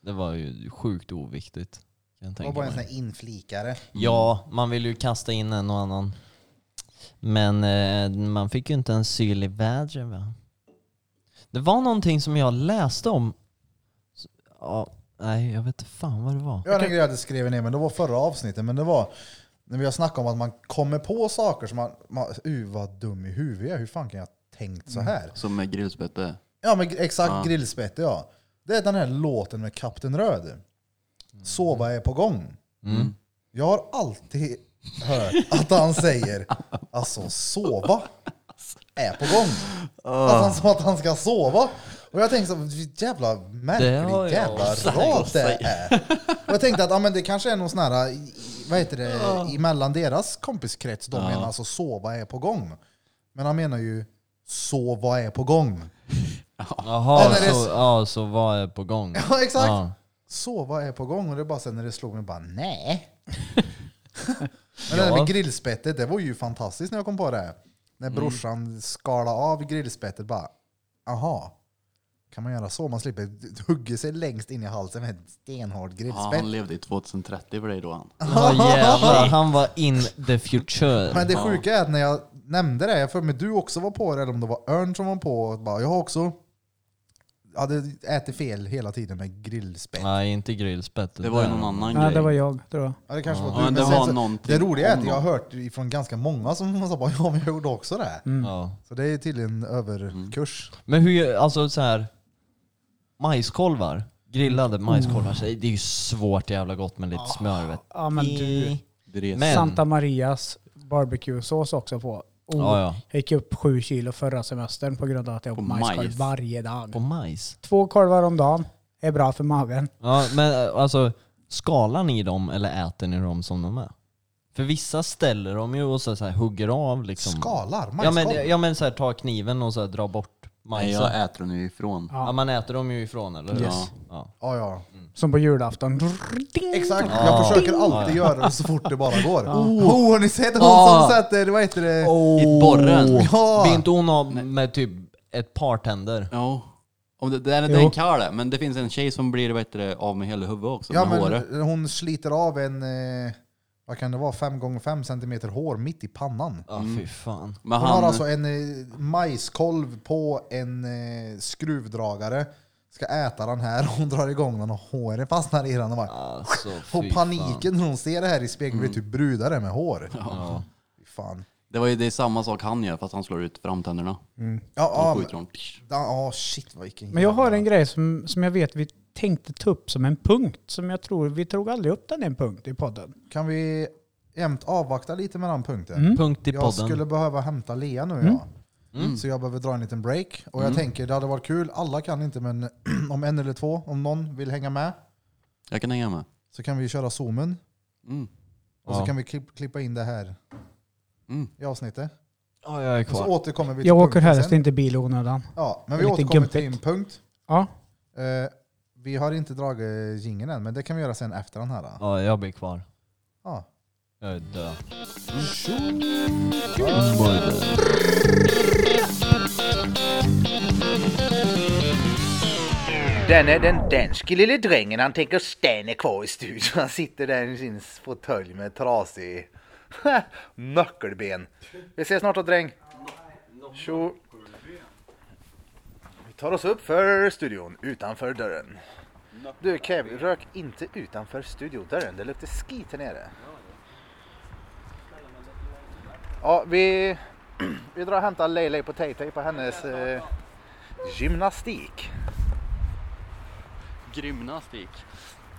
Det var ju sjukt oviktigt. Kan jag Det var tänka bara en sån mig. här inflikare. Ja, man vill ju kasta in en och annan. Men eh, man fick ju inte en syl i vädret va? Det var någonting som jag läste om. Så- Ja, nej, jag vet inte fan vad det var. Jag har en grej jag hade skrivit ner, men det var förra avsnittet. Men det var när vi har snackat om att man kommer på saker som man, man uh, vad dum i huvudet jag är. Hur fan kan jag ha tänkt så här? Som med grillspette. Ja men exakt, grillspett ja. Det är den här låten med Kapten Röd. Sova är på gång. Mm. Jag har alltid hört att han säger alltså sova är på gång. Ah. Att han sa att han ska sova. Och jag tänkte så vilken jävla Det har märklig jag jävla sagt rad och det sagt. är. Och jag tänkte att ja, men det kanske är någon sån här, i- vad heter det, Ah. emellan deras kompiskrets. De menar alltså sova är på gång. Men han menar ju sova är på gång. Jaha, Nej, men det- så, ja, så vad är på gång? Ja exakt. Ja. Sova är på gång och det är bara sen när det slog mig bara nej. Men det Ja. där med grillspettet, det var ju fantastiskt när jag kom på det. När Mm. brorsan skalade av grillspettet bara, aha. Kan man göra så? Man slipper d- hugga sig längst in i halsen med ett stenhårt Ja, grillspett. han levde i 2030 för dig då han. Ja, jävlar, han var in the future. Men det sjuka är att när jag nämnde det, jag för mig du också var på det, eller om det var Örn som var på, och bara, jag har också hade ätit fel hela tiden med grillspett. Nej, inte grillspett. Det var ju någon annan Nej, grej. det var jag tror jag. Ja, det kanske Ja, var du. men det Men sen var så- någonting. det roliga är om att jag har något. hört från ganska många som sa bara ja, men jag gjorde också det. Ja. Så det är tydligen överkurs. Mm. Men hur, alltså så här majskolvar. Grillade Mm. majskolvar, så det är ju svårt jävla gott med lite smör vet Ja men du, Det res- Mm. Men- Santa Marias barbecuesås också på. Oh, Ja, ja. Jag gick upp sju kilo förra semestern på grund av att jag På åt majskolv majs. varje dag. På majs? Två korvar om dagen är bra för magen. Ja, men eh, alltså skalar ni dem eller äter ni dem som de är? För vissa ställer dem ju och så, så här, hugger av liksom. Skalar? Ja Majskolv? men, ja, men så här, ta kniven och så här, dra bort Nej, majsen. jag äter den ju ifrån. ja. man äter dem ju ifrån eller hur? Yes. Ja. Ja, ja. Som på julafton. Exakt, Ja. jag försöker alltid göra det så fort det bara går. Oh, har ni sett hon som sätter, vad heter det? Oh, I borren. Ja. Vill inte hon ha med typ ett par tänder? Ja. Om det, det, är, det är en karl det, men det finns en tjej som blir vad heter det, av med hela huvudet också, Ja, med håret. men hon sliter av en, eh, vad kan det vara, 5x5 cm hår mitt i pannan. Ja fy fan. Men Hon har han, alltså en eh, majskolv på en eh, skruvdragare. Ska äta den här, hon drar igång den och håret fastnar i den. Och, bara, Alltså, fy och Fan. paniken när hon ser det här i spegeln blir typ brudare med hår. Ja. Fy Fan. det var ju det är samma sak han gör fast han slår ut framtänderna. Ja, Han ja, men- skjuter dem. ja, shit vad vilken Men jag har jävla- en grej som, som jag vet vi tänkte ta upp som en punkt. Som jag tror, vi tog aldrig upp den i en Mm. punkt i podden. Kan vi jämt avvakta lite med den punkten? Punkt i podden. Mm. Jag skulle behöva hämta Lea nu. Mm. Ja. Så jag behöver dra en liten break. Och jag tänker det hade varit kul, alla kan inte men om en eller två, om någon vill hänga med, Jag kan hänga med. så kan vi köra zoomen. Mm. Och så kan vi klipp, klippa in det här Mm. i avsnittet. Ja, jag är Och så kvar. återkommer vi till Jag åker punkten helst sen. inte bil i onödan. Ja, men Det vi är lite återkommer till din gumpigt. punkt. Ja, Eh, vi har inte dragit jingeln än, men det kan vi göra sen efter den här. då. Ja, jag blir kvar. Ja. Jag är död. Denne, den danske lille drängen han tänker stanna kvar i studion. Han sitter där i sin fåtölj med trasig nyckelben. Vi ses snart då dräng. Tjo. Vi tar oss upp för studion, utanför dörren. Du Kev, rök inte utanför studiodörren. Det luktar skit här nere. Ja, vi, vi drar och hämtar Leila på Tay-Tay på hennes eh, gymnastik. Gymnastik.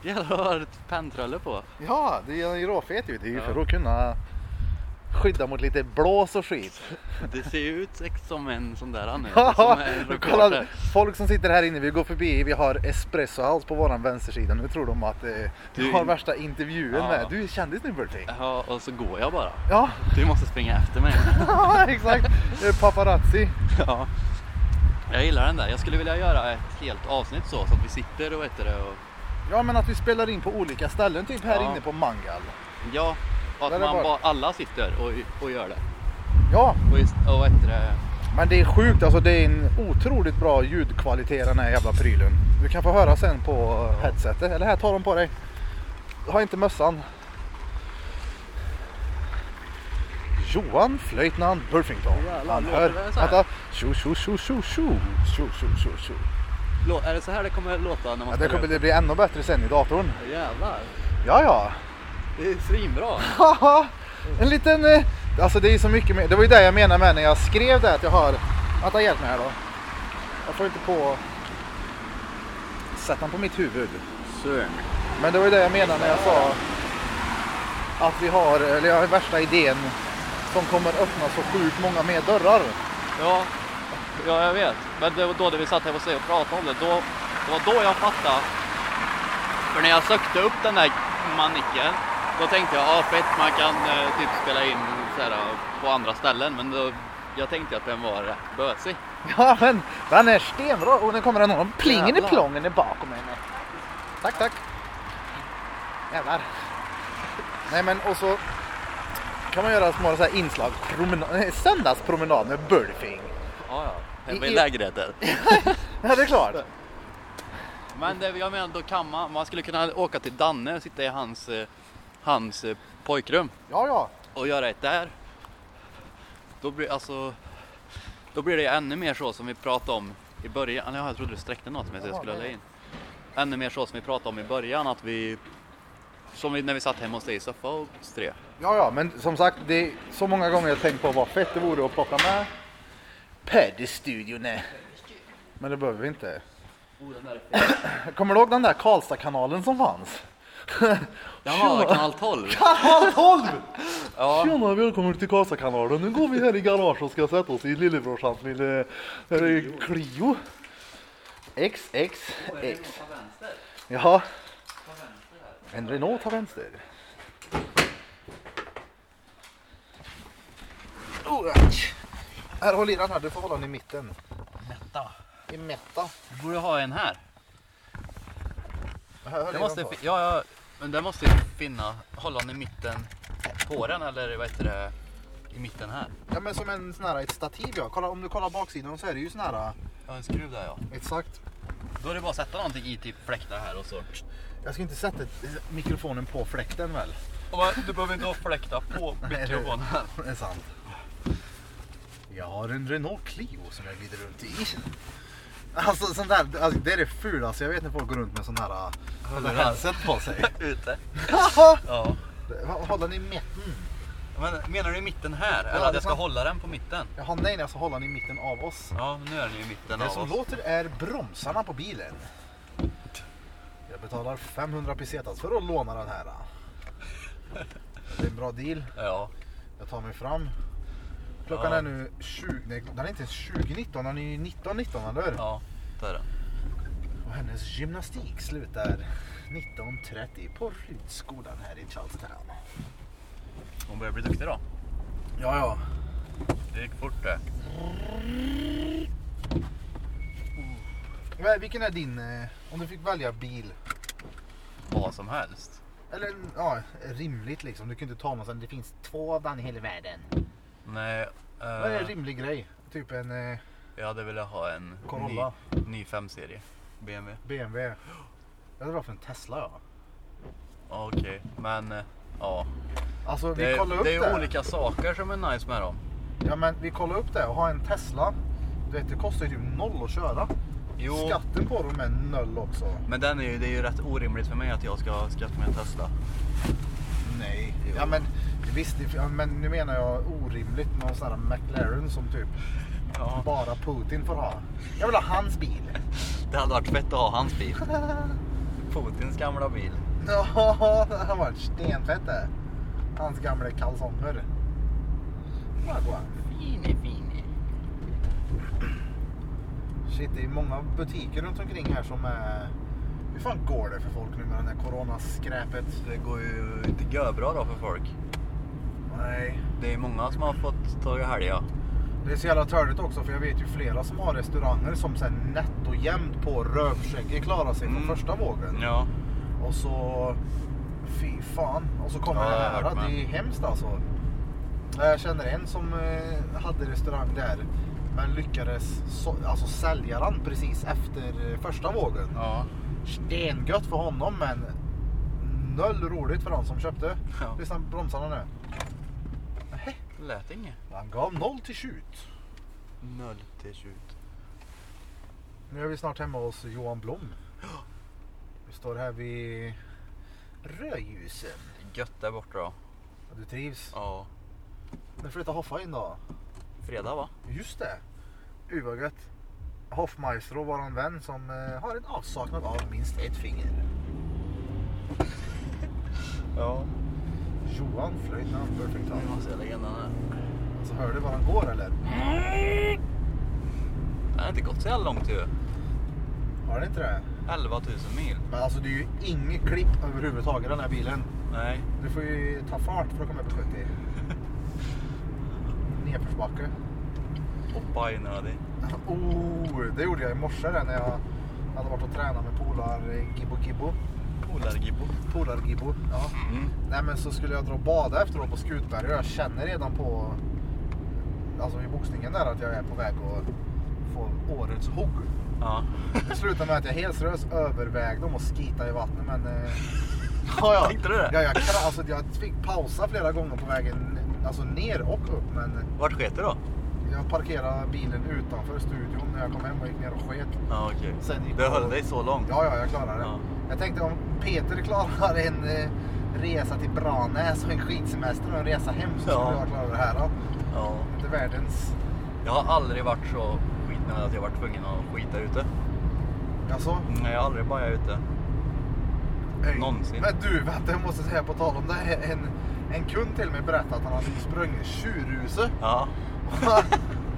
Jävlar vad har du ett penntrölle på? Ja, det är ju råfet ut. Det är ju för att kunna skydda mot lite blås och skit. Det ser ju ut ex- som en sån där han är. Ja, Som en kolla, reporter. folk som sitter här inne, vi går förbi, vi har Espresso House på våran vänstersida. Nu tror de att eh, Du- du har värsta intervjun Ja. med. Du är kändis nu Bertil. Ja, och så går jag bara. Ja, Du måste springa efter mig. exakt. Jag är Paparazzi. Ja. Jag gillar den där. Jag skulle vilja göra ett helt avsnitt så, så att vi sitter och vet du det och... Ja, men att vi spelar in på olika ställen, typ här Ja. inne på Mangal. Ja, att Där är man bara- bara, alla sitter och, och gör det. Ja, Och, just, och vet du det... men det är sjukt. Alltså, det är en otroligt bra ljudkvalitet i den här jävla prylen. Du kan få höra sen på eh, headsetet. Eller här, tar de på dig. Ha inte mössan. Johan Flöjtnant Burfington. Han låter hör. det så här? Vänta. Tjo, tjo, tjo, tjo, tjo. Tjo, tjo, tjo, tjo. Lå- Är det så här det kommer låta när man Ja, det spelar kommer upp? det bli ännu bättre sen i datorn. Jävlar, Ja, ja. det är svinbra. Haha, en liten... eh, Alltså det är så mycket mer. Det var ju det jag menade med när jag skrev det att jag har... Vänta, hjälp mig här då. Jag får inte på... Sätt den på mitt huvud. Sure. Men det var ju det jag menade när jag sa att vi har, eller jag har värsta idén som kommer öppna så sjukt många mer dörrar. Ja, ja, jag vet. Men det var då när vi satt här och och pratade om det. Då, det var då jag fattade. För när jag sökte upp den där manicken, då tänkte jag, ja ah, fett, man kan eh, typ spela in så här, eh, på andra ställen. Men då, jag tänkte att den var rätt bösig. Ja men den är stenbra och nu kommer den någon. Plingen i Jävlar. plången är bakom henne. Tack tack. Jävlar. Nej men och så kan man göra små så här inslag. Promenad, nej, söndagspromenad med Burfing. Ja, ja. Det var I- i i- lägenheten. Ja det är klart. Men det, jag menar, då kan man, man skulle kunna åka till Danne och sitta i hans, eh, hans eh, pojkrum. Ja ja. och göra ett där. Då blir, alltså, då blir det ju ännu mer så som vi pratade om i början, ja, jag trodde du sträckte något med så jag skulle hålla in. Ännu mer så som vi pratade om i början att vi, som vi, när vi satt hemma hos dig i soffa och strö. Ja, ja, men som sagt, det är så många gånger jag tänkt på vad fett det vore att plocka med Pöddestudion. Men det behöver vi inte. Oh, Kommer du ihåg den där Karlstadkanalen som fanns? Jaha, kanal 12. Halv tolv! Tjena, välkommen till Karlstadkanalen. Nu går vi här i garaget och ska sätta oss i lillebrorsans lille Clio. Clio. X, X, X. Ja. En Renault tar vänster. Oh, aj. här, håll i den här. Du får hålla den i mitten. I mätta. Du borde ha en här. Här, höll i Det den måste, så. fi- ja, ja, men det måste ju finna, hålla den i mitten på den eller vad heter det, i mitten här. Ja, men som en sån här, ett stativ ja. Kolla, om du kollar baksidan så är det ju sån här. eh, Ja, en skruv där ja. Exakt. Då är det bara att sätta någonting i typ fläktar här och så. Jag ska inte sätta ett- mikrofonen på fläkten väl? Och vad- du behöver inte ha fläktar på mikrofonen. Det är sant. Jag har en Renault Clio som jag glider runt i. Alltså sån där, alltså, det är det fulaste jag vet när folk går runt med sån här äh, sån där Hörlurar. headset på sig. Ute. Ja. Håll den i mitten. Men, menar du i mitten här? Eller Ja, att det är jag ska sant. hålla den på mitten? Jaha nej, nej, alltså håll den i mitten av oss. Ja, men nu är den ju i mitten Det av som oss. låter är bromsarna på bilen. Jag betalar 500 pesetas för att låna den här. Det är en bra deal. Ja. Jag tar mig fram. Klockan Ja. är nu 20, nej, den är inte ens 2019, den är ju 1919 eller hur? Ja, där är den. Och hennes gymnastik slutar 19.30 på Rydskolan här i Charlestown. Hon börjar bli duktig då. Ja, ja. Det gick fort det. Vad- Vilken är din, eh, om du fick välja bil? Vad som helst. Eller ja, rimligt liksom. Du kan inte ta någon sån. Det finns två av den i hela världen. Nej, eh, Vad är en rimlig grej? Typ en eh, jag hade velat ha en Corolla. ny, ny 5-serie. BMW. BMW. Jag hade varit för en Tesla ja. Ja, Okej, men eh, ja. Alltså vi Det, kollar upp det det. är olika saker som är nice med dem. Ja men vi kollar upp det och ha en Tesla. Du vet det kostar ju typ noll att köra. Jo, Skatten på dem är noll också. men den är ju, det är ju rätt orimligt för mig att jag ska skatta med en Tesla. Nej. Jo. Ja men visst, det- ja, men nu menar jag orimligt med någon sån här McLaren som typ Ja. bara Putin får ha. Jag vill ha hans bil. Det hade varit fett att ha hans bil. Putins gamla bil. Ja, det har varit stenfett det. Hans gamla kalsonger. Vad går han? Fine, fine. Shit, det är många butiker runt omkring här som är... Hur fan går det för folk nu med det här coronaskräpet? Det går ju inte görbra då för folk. Nej. Det är många som har fått ta i helga. Det är så jävla törligt också för jag vet ju flera som har restauranger som sen nätt och jämnt på rövskägget klarar sig Mm. från första vågen. Ja. Och så... Fy fan. Och så kommer Ja, det jag har här. hört med. Det är hemskt alltså. Jag känner en som eh, hade restaurang där. Men lyckades så, alltså sälja den precis efter eh, första vågen. Ja. Stengött för honom men noll roligt för han som köpte. Ja. Lyssna på bromsarna nu. Nähä. Lät inget. Han gav noll till tjut. Noll till tjut. Nu är vi snart hemma hos Johan Blom. Vi står här vid rödljusen. Gött där borta då. Du trivs? Ja. Nu flyttar Hoffa in då. Fredag va? Just det. Gud vad gött. Hoffmaestro, våran vän som eh, har en avsaknad av minst ett finger. Ja. Johan flöjt när han perfekt Nu hand. måste jag lägga in den här. Så hör du var han går eller? Den har inte gått så jävla långt ju. Har det inte det? 11 000 mil. Men alltså det är ju inget klipp överhuvudtaget i den här bilen. Nej. Du får ju ta fart för att komma upp i 70. Nedförsbacke. Och bajnödig. Oh, det gjorde jag i morse där när jag hade varit och tränat med polar Gibbo Gibbo. Polargibbo. Polar Gibbo, ja. Mm. Nej men så skulle jag dra och bada efteråt på Skutberg och jag känner redan på, alltså vid boxningen där att jag är på väg att få årets hugg. Ja. Det slutade med att jag helt seriöst övervägde om att skita i vattnet men... Eh, ja, ja. Tänkte du det? Ja, jag, kra- alltså, jag fick pausa flera gånger på vägen alltså ner och upp men Vart sket det då? jag, Jag parkerade bilen utanför studion när jag kom hem och gick ner och sket. Ja, okej. Sen gick Det jag- höll dig så långt? Ja, ja, jag klarar det. Ja. Jag tänkte om Peter klarar en eh, resa till Branäs och en skidsemester och en resa hem så skulle Ja. jag klara det här. Då. Ja. Inte världens... Jag har aldrig varit så skitnödig att jag varit tvungen att skita ute. Alltså, Nej, jag har aldrig bajat ute. Hej. Någonsin. Men du, vänta, jag måste säga på tal om det. här. En, en kund till mig berättade att han hade sprungit tjurhuset. Ja.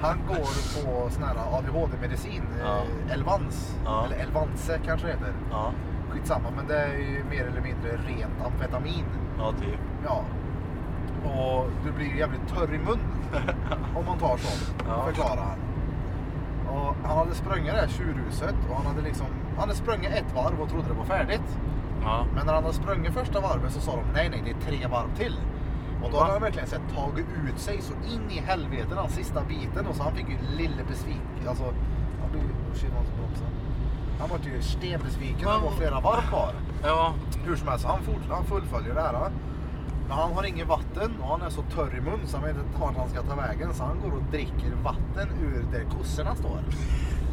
Han går på sån här ADHD-medicin, Ja. eh, Elvans. Ja. Eller Elvanse kanske det heter. Ja. Skitsamma, men det är ju mer eller mindre rent amfetamin. Ja, typ. Ja. Och du blir jävligt törr i munnen om man tar sånt, Ja. förklarar han. Och han hade sprungit det här tjurhuset och han hade liksom, han hade sprungit ett varv och trodde det var färdigt. Ja. Men när han hade sprungit första varvet så sa de nej, nej, det är tre varv till. Och då hade han verkligen sett tagit ut sig så in i helvete den sista biten och så han fick ju lille besviken. Alltså, han blev ju... Oh shit, han som bromsade. Han var ju stenbesviken. Det var flera varv kvar. Ja. Hur som helst, han, fort, han fullföljer det här. va? Men han har ingen vatten och han är så törr i mun så han vet inte vart han ska ta vägen. Så han går och dricker vatten ur där kossorna står.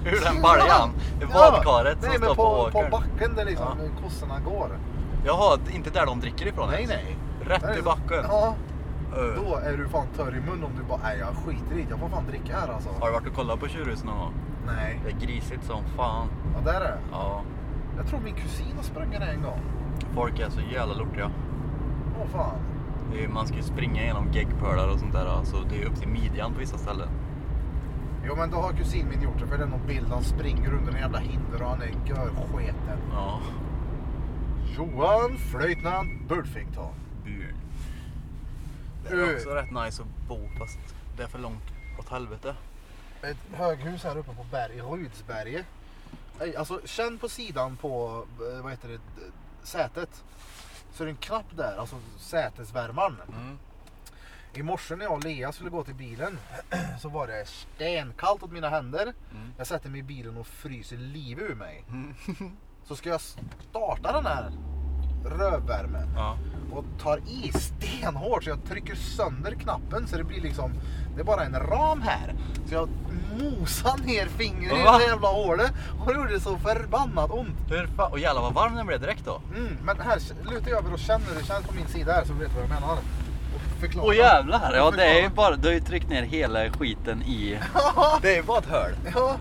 Ur den baljan. Det badkaret Nej, som men står på, på, på åkern. backen där liksom kossorna går. Jaha, inte där de dricker ifrån Nej, ens. nej. Rätt Där är i så- backen. Ja, Ö. då är du fan törr i mun om du bara, nej jag skiter i det, jag får fan dricka här alltså. Har du varit och kollat på tjurhuset någon gång? Nej. Det är grisigt som fan. Ja, där är det. Ja. Jag tror min kusin har sprungit där en gång. Folk är så jävla lortiga. Åh fan. Det är, man ska ju springa genom geggpölar och sånt där. Alltså, det är ju upp till midjan på vissa ställen. Jo men då har kusin min gjort det, för det är någon bild han springer under en jävla hinder och han är görsketen. Ja. Johan Flöjtnant Bulfington. Burn. Det är också rätt nice att bo fast det är för långt åt helvete. Ett höghus här uppe på berg, Rydsberget. Ej, Alltså känn på sidan på, eh, vad heter det, eh, sätet. Så är det en knapp där, alltså sätesvärmaren. Mm. I morse när jag och Lea skulle gå till bilen så var det stenkallt åt mina händer. Jag sätter mig i bilen och fryser livet ur mig. så ska jag starta den här rödvärmen Ja. och tar i stenhårt så jag trycker sönder knappen så det blir liksom, det är bara en ram här. Så jag mosar ner fingret i Va? det jävla hålet och det gjorde så förbannat ont. Hur fan? Och jävlar vad varm den blev direkt då. Mm, men här lutar jag över och känner hur det känns på min sida här så vet du vad jag menar. Och förklara. Åh jävlar! Ja det är ju Förklara. bara, du har ju tryckt ner hela skiten i... Det är ju bara ett hål. Ja,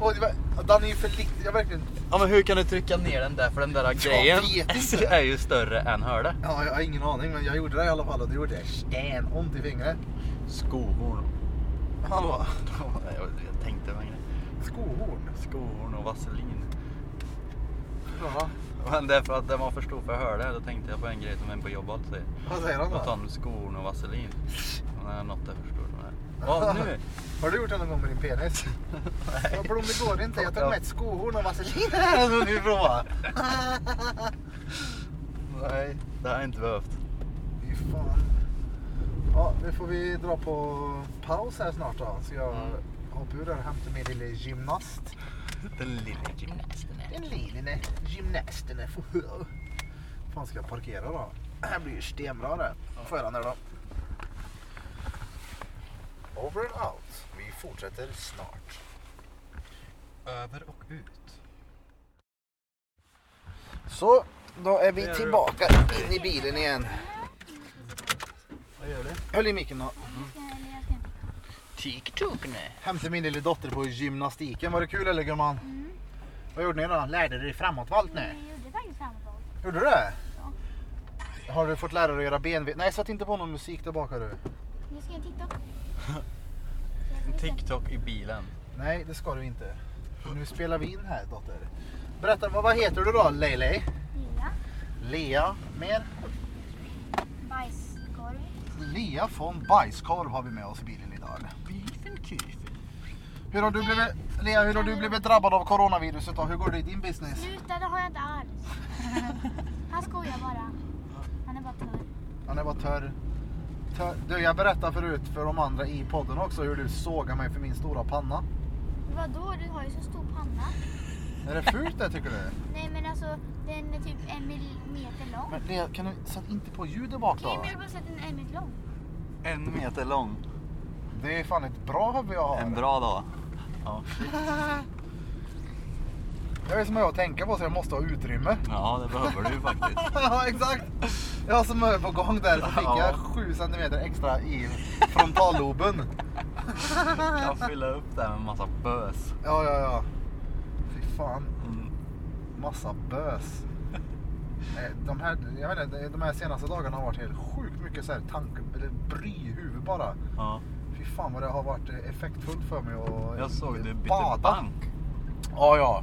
och det var, den är ju för liten. Jag verkligen... Ja men hur kan du trycka ner den där för den där grejen vet inte. är ju större än hålet. Ja, jag har ingen aning, men jag gjorde det i alla fall och det gjorde jag stenont i fingret. Skohorn. Hallå? Jag, jag tänkte på en grej. Skohorn. Skohorn och vaselin. Ja, Men det är för att den var för stor för hålet. Då tänkte jag på en grej som en på jobbet säger. vad säger han Då tar då? han skohorn och vaselin. Nej, något är för stort. Nej. Vad nu? Har du gjort det någon gång med din penis? Nej. Blom, det går inte. Jag tog med ett skohorn och vaselin. Nu ni prova. Nej, det har jag inte behövt. Fy fan. Ja, nu får vi dra på paus här snart då. Så jag hoppar ur där och hämtar min lille gymnast. Den lilla gymnasten. Den lille gymnasten är för hög. fan ska jag parkera då? Det här blir ju stenbra det. Får jag den här då? Over and out. Vi fortsätter snart. Över och ut. Så, då är vi tillbaka in i bilen igen. Vad gör du? Höll i micken då. TikTok nu. Hämtade min lilla dotter på gymnastiken. Var det kul eller gumman? Vad gjorde ni då? Lärde du dig framåtvolt nu? Jag gjorde faktiskt handboll. Gjorde du det? Har du fått lära dig att göra benvikt? Nej, sätt inte på någon musik där bak du. Nu ska jag titta. TikTok i bilen. Nej, det ska du inte. Nu spelar vi in här, dotter. Berätta, vad, vad heter du då, Leilei? Lilla Lea, mer? bajskorv. Lea von Bajskorv har vi med oss i bilen idag. Hur har du blivit, Lea, hur har du blivit drabbad av coronaviruset då? Hur går det i din business? Sluta, det har jag inte alls. Han skojar bara. Han är bara törr. Han är bara törr. törr. Du, jag berättade förut för de andra i podden också hur du sågar mig för min stora panna. Vadå, du har ju så stor panna. Är det fult det tycker du? Nej men alltså, den är typ en millimeter lång. Men Lea, kan du sätta inte på ljudet bak Okej, då? men jag har bara sett den en meter lång. En meter lång. Det är fan ett bra huvud jag har. En bra dag. Det är så mycket att tänka på så jag måste ha utrymme. Ja, det behöver du faktiskt. ja, exakt. Jag har så mycket på gång där så fick jag 7 cm extra i frontalloben. Jag fyller upp det med en massa bös. Mm, Ja, ja, ja. Fy fan. Massa bös. Eh, De här, jag vet inte, de här senaste dagarna har varit helt sjukt mycket så här tanke, eller bry i huvudet bara. Ja. Fy fan vad det har varit eh, effektfullt för mig att Jag såg du bytte bada. bank. Ja, ja.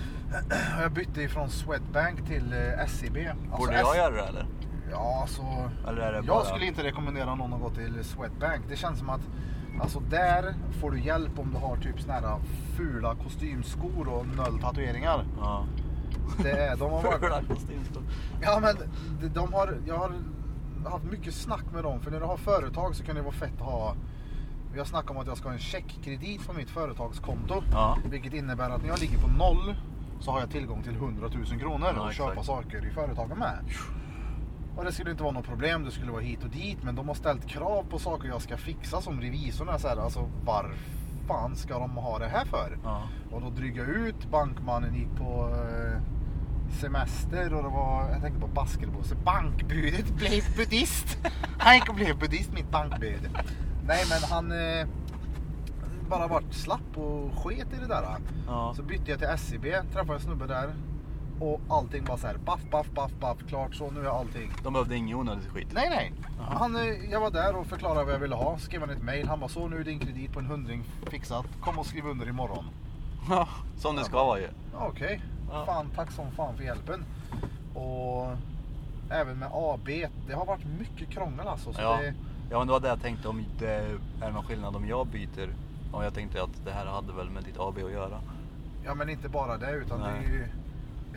Jag bytte ifrån Swedbank till eh, SEB. Alltså, Borde S- jag göra det eller? Ja, så... Eller är det bara... Jag skulle inte rekommendera någon att gå till Swedbank. Det känns som att alltså där får du hjälp om du har typ såna här fula kostymskor och noll tatueringar. Ja. Det är, de har varit... Fula kostymskor. Ja men de, de har, jag har haft mycket snack med dem för när du har företag så kan det vara fett att ha jag snackade om att jag ska ha en checkkredit på mitt företagskonto. Ja. Vilket innebär att när jag ligger på noll så har jag tillgång till 100 000 kronor Ja, och exakt. köpa saker i företagen med. Och det skulle inte vara något problem, det skulle vara hit och dit. Men de har ställt krav på saker jag ska fixa som revisorn. är Så här, alltså var fan ska de ha det här för? Ja. Och då drygade jag ut, bankmannen gick på eh, semester och det var, jag tänkte på basketbosse. Bankbudet blev buddhist. Han gick och blev buddhist, mitt bankbud. Nej men han eh, bara vart slapp och sket i det där. Ja. Så bytte jag till SEB, träffade en snubbe där. Och allting bara så här, baff, baff, baff, baff, klart så, nu är allting De behövde ingen onödig skit. Nej, nej. Han, eh, jag var där och förklarade vad jag ville ha. Skrev han ett mail. Han bara så nu är din kredit på en hundring fixat. Kom och skriv under imorgon. Ja, Som det ska vara ju. Ja, Okej. Ja. Fan, tack som fan för hjälpen. Och även med AB. Det har varit mycket krångel alltså. Så Ja. det, ja, men det var det jag tänkte om det är någon skillnad om jag byter. Och jag tänkte att det här hade väl med ditt AB att göra. ja, men inte bara det utan Nej. det är ju...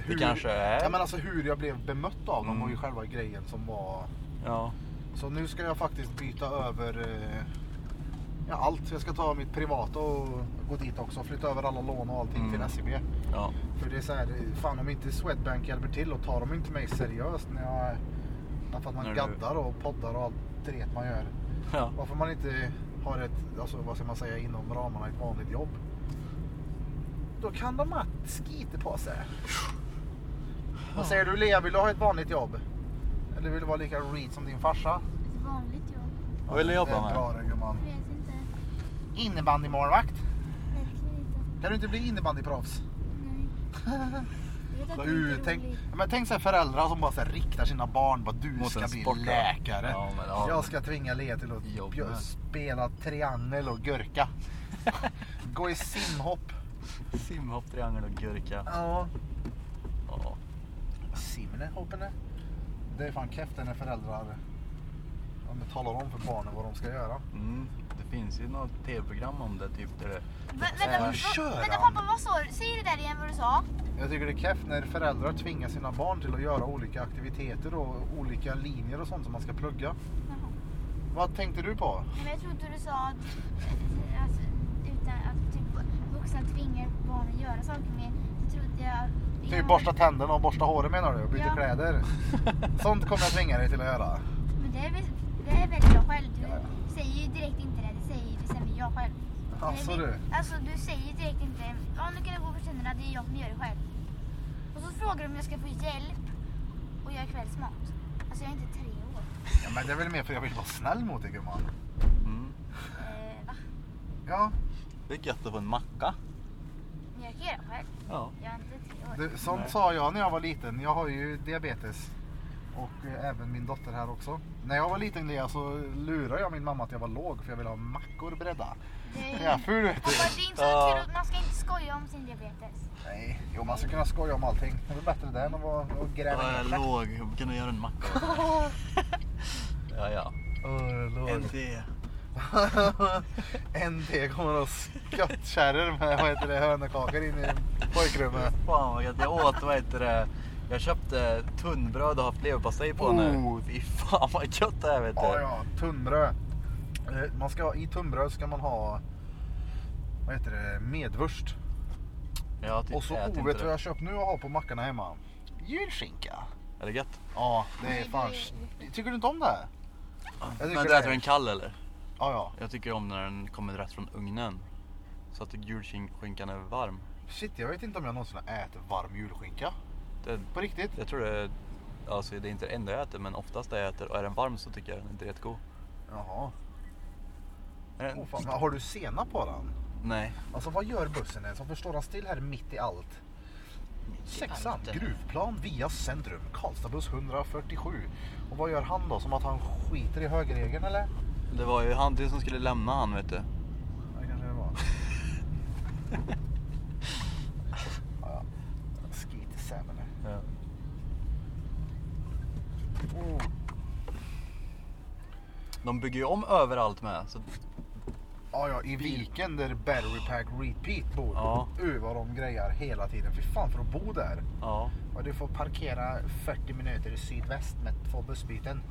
Det kanske är... Ja, men alltså hur jag blev bemött av dem Mm. var ju själva grejen som var... Ja. Så nu ska jag faktiskt byta över eh, ja, allt. Jag ska ta mitt privata och gå dit också. Flytta över alla lån och allting Mm. till E SEB. Ja. För det är så här, fan om inte Swedbank hjälper till och tar de inte mig seriöst när jag... För att man När du- gaddar och poddar och allt tret man gör. ja. Varför man inte har ett, alltså vad ska man säga, inom ramarna ett vanligt jobb. Då kan de att skita på sig. Vad säger du Lea, vill du ha ett vanligt jobb? Eller vill du vara lika reed som din farsa? Ett vanligt jobb. Vad vill du jobba Det med? är bra det gumman. Jag vet inte. Innebandymålvakt. Verkligen inte. Kan du inte bli innebandyproffs? Nej. Jag vet att det Du, inte är tänk, roligt. ja, men tänk så här föräldrar som bara så här riktar sina barn bara du Mot ska en bli sport, ja. läkare. Ja, men, ja. Jag ska tvinga Lea till att Jobba. bjö- spela triangel och gurka. Gå i simhopp. Simhopp, triangel och gurka. Ja. Ja. Simne hoppene. Det är fan keft när föräldrar ja, men talar om för barnen vad de ska göra. Mm. Det finns ju något tv-program om det, typ där det... Vä- Vänta, Vad vad- kör vänta han? pappa, vad sa du? Säg det där igen vad du sa. Jag tycker det är keft när föräldrar tvingar sina barn till att göra olika aktiviteter och olika linjer och sånt som man ska plugga. Jaha. Vad tänkte du på? Nej, men jag trodde du sa att, alltså, utan att typ, vuxna tvingar barn att göra saker med. Det trodde jag... Typ borsta tänderna och borsta håret menar du? Och byta Ja. kläder? Sånt kommer jag tvinga dig till att göra. Men det är, väl, det är väl jag själv. Du säger ju direkt inte det. Det säger det säger jag själv. Alltså Det är väl- du. Alltså du säger ju direkt inte. Ja nu kan jag gå på tänderna. Det är jag som gör det själv. Och så frågar du om jag ska få hjälp. Och jag är kvällsmat. Alltså jag är inte tre år. Ja, men det är väl mer för jag vill vara snäll mot dig gumman. Mm. Eh, va? Ja, Det är gött att få en macka. Men jag kan göra det själv. Ja. Jag är inte tre år. det, sånt sa jag när jag var liten. Jag har ju diabetes. Och eh, även min dotter här också. När jag var liten Lea så lurade jag min mamma att jag var låg för jag ville ha mackor bredda. Det Det är- är jag ful vet du. Pappa det är inte så Ja. kul. att- Man ska inte skoja om sin diabetes. Nej, jo man ska kunna skoja om allting. Det är väl bättre det än att vara och gräva Jag är ner sig. låg. Kan du göra en macka? ja, ja. En till. En till kommer och skottkärror med vad heter det, hönökakor in i pojkrummet. Fan vad gött. Jag åt, vad heter det? Jag köpte tunnbröd och har haft leverpastej på nu. Oh. Fy fan vad gött det är vet du. Ja, ja, tunnbröd. Eh, Man ska, I tunnbröd ska man ha vad heter det, medvurst. Jag typ Och så, äter Typ inte oh, vet du det. vad jag har köpt nu och har på mackorna hemma? Julskinka. Är det gött? Ja, det är Nej, fan... det Tycker du inte om det? Jag tycker Men du det. äter en kall eller? Ja, ja. Jag tycker om när den kommer rätt från ugnen. Så att julskinkan är varm. Shit, jag vet inte om jag någonsin har ätit varm julskinka. Det, På riktigt. jag tror det är, alltså det är inte det enda jag äter men oftast det jag äter och är den varm så tycker jag den inte är jättegod. Jaha. Är den- Oh, fan. Men har du senap på den? Nej. Alltså vad gör bussen ens? Varför står han still här mitt i allt? Sexan, gruvplan via centrum, Karlstadbuss 147. Och vad gör han då? Som att han skiter i högerregeln eller? Det var ju han det som skulle lämna han vet du. Det kanske det var. ja, ja. skit i Sam eller? Ja. Oh. De bygger ju om överallt med. Så, Ja, ja, i viken där Battery Pack Repeat bor. Ja. Uh, vad de grejar hela tiden. Fy fan för att bo där. ja. Och du får parkera 40 minuter i sydväst med två bussbyten.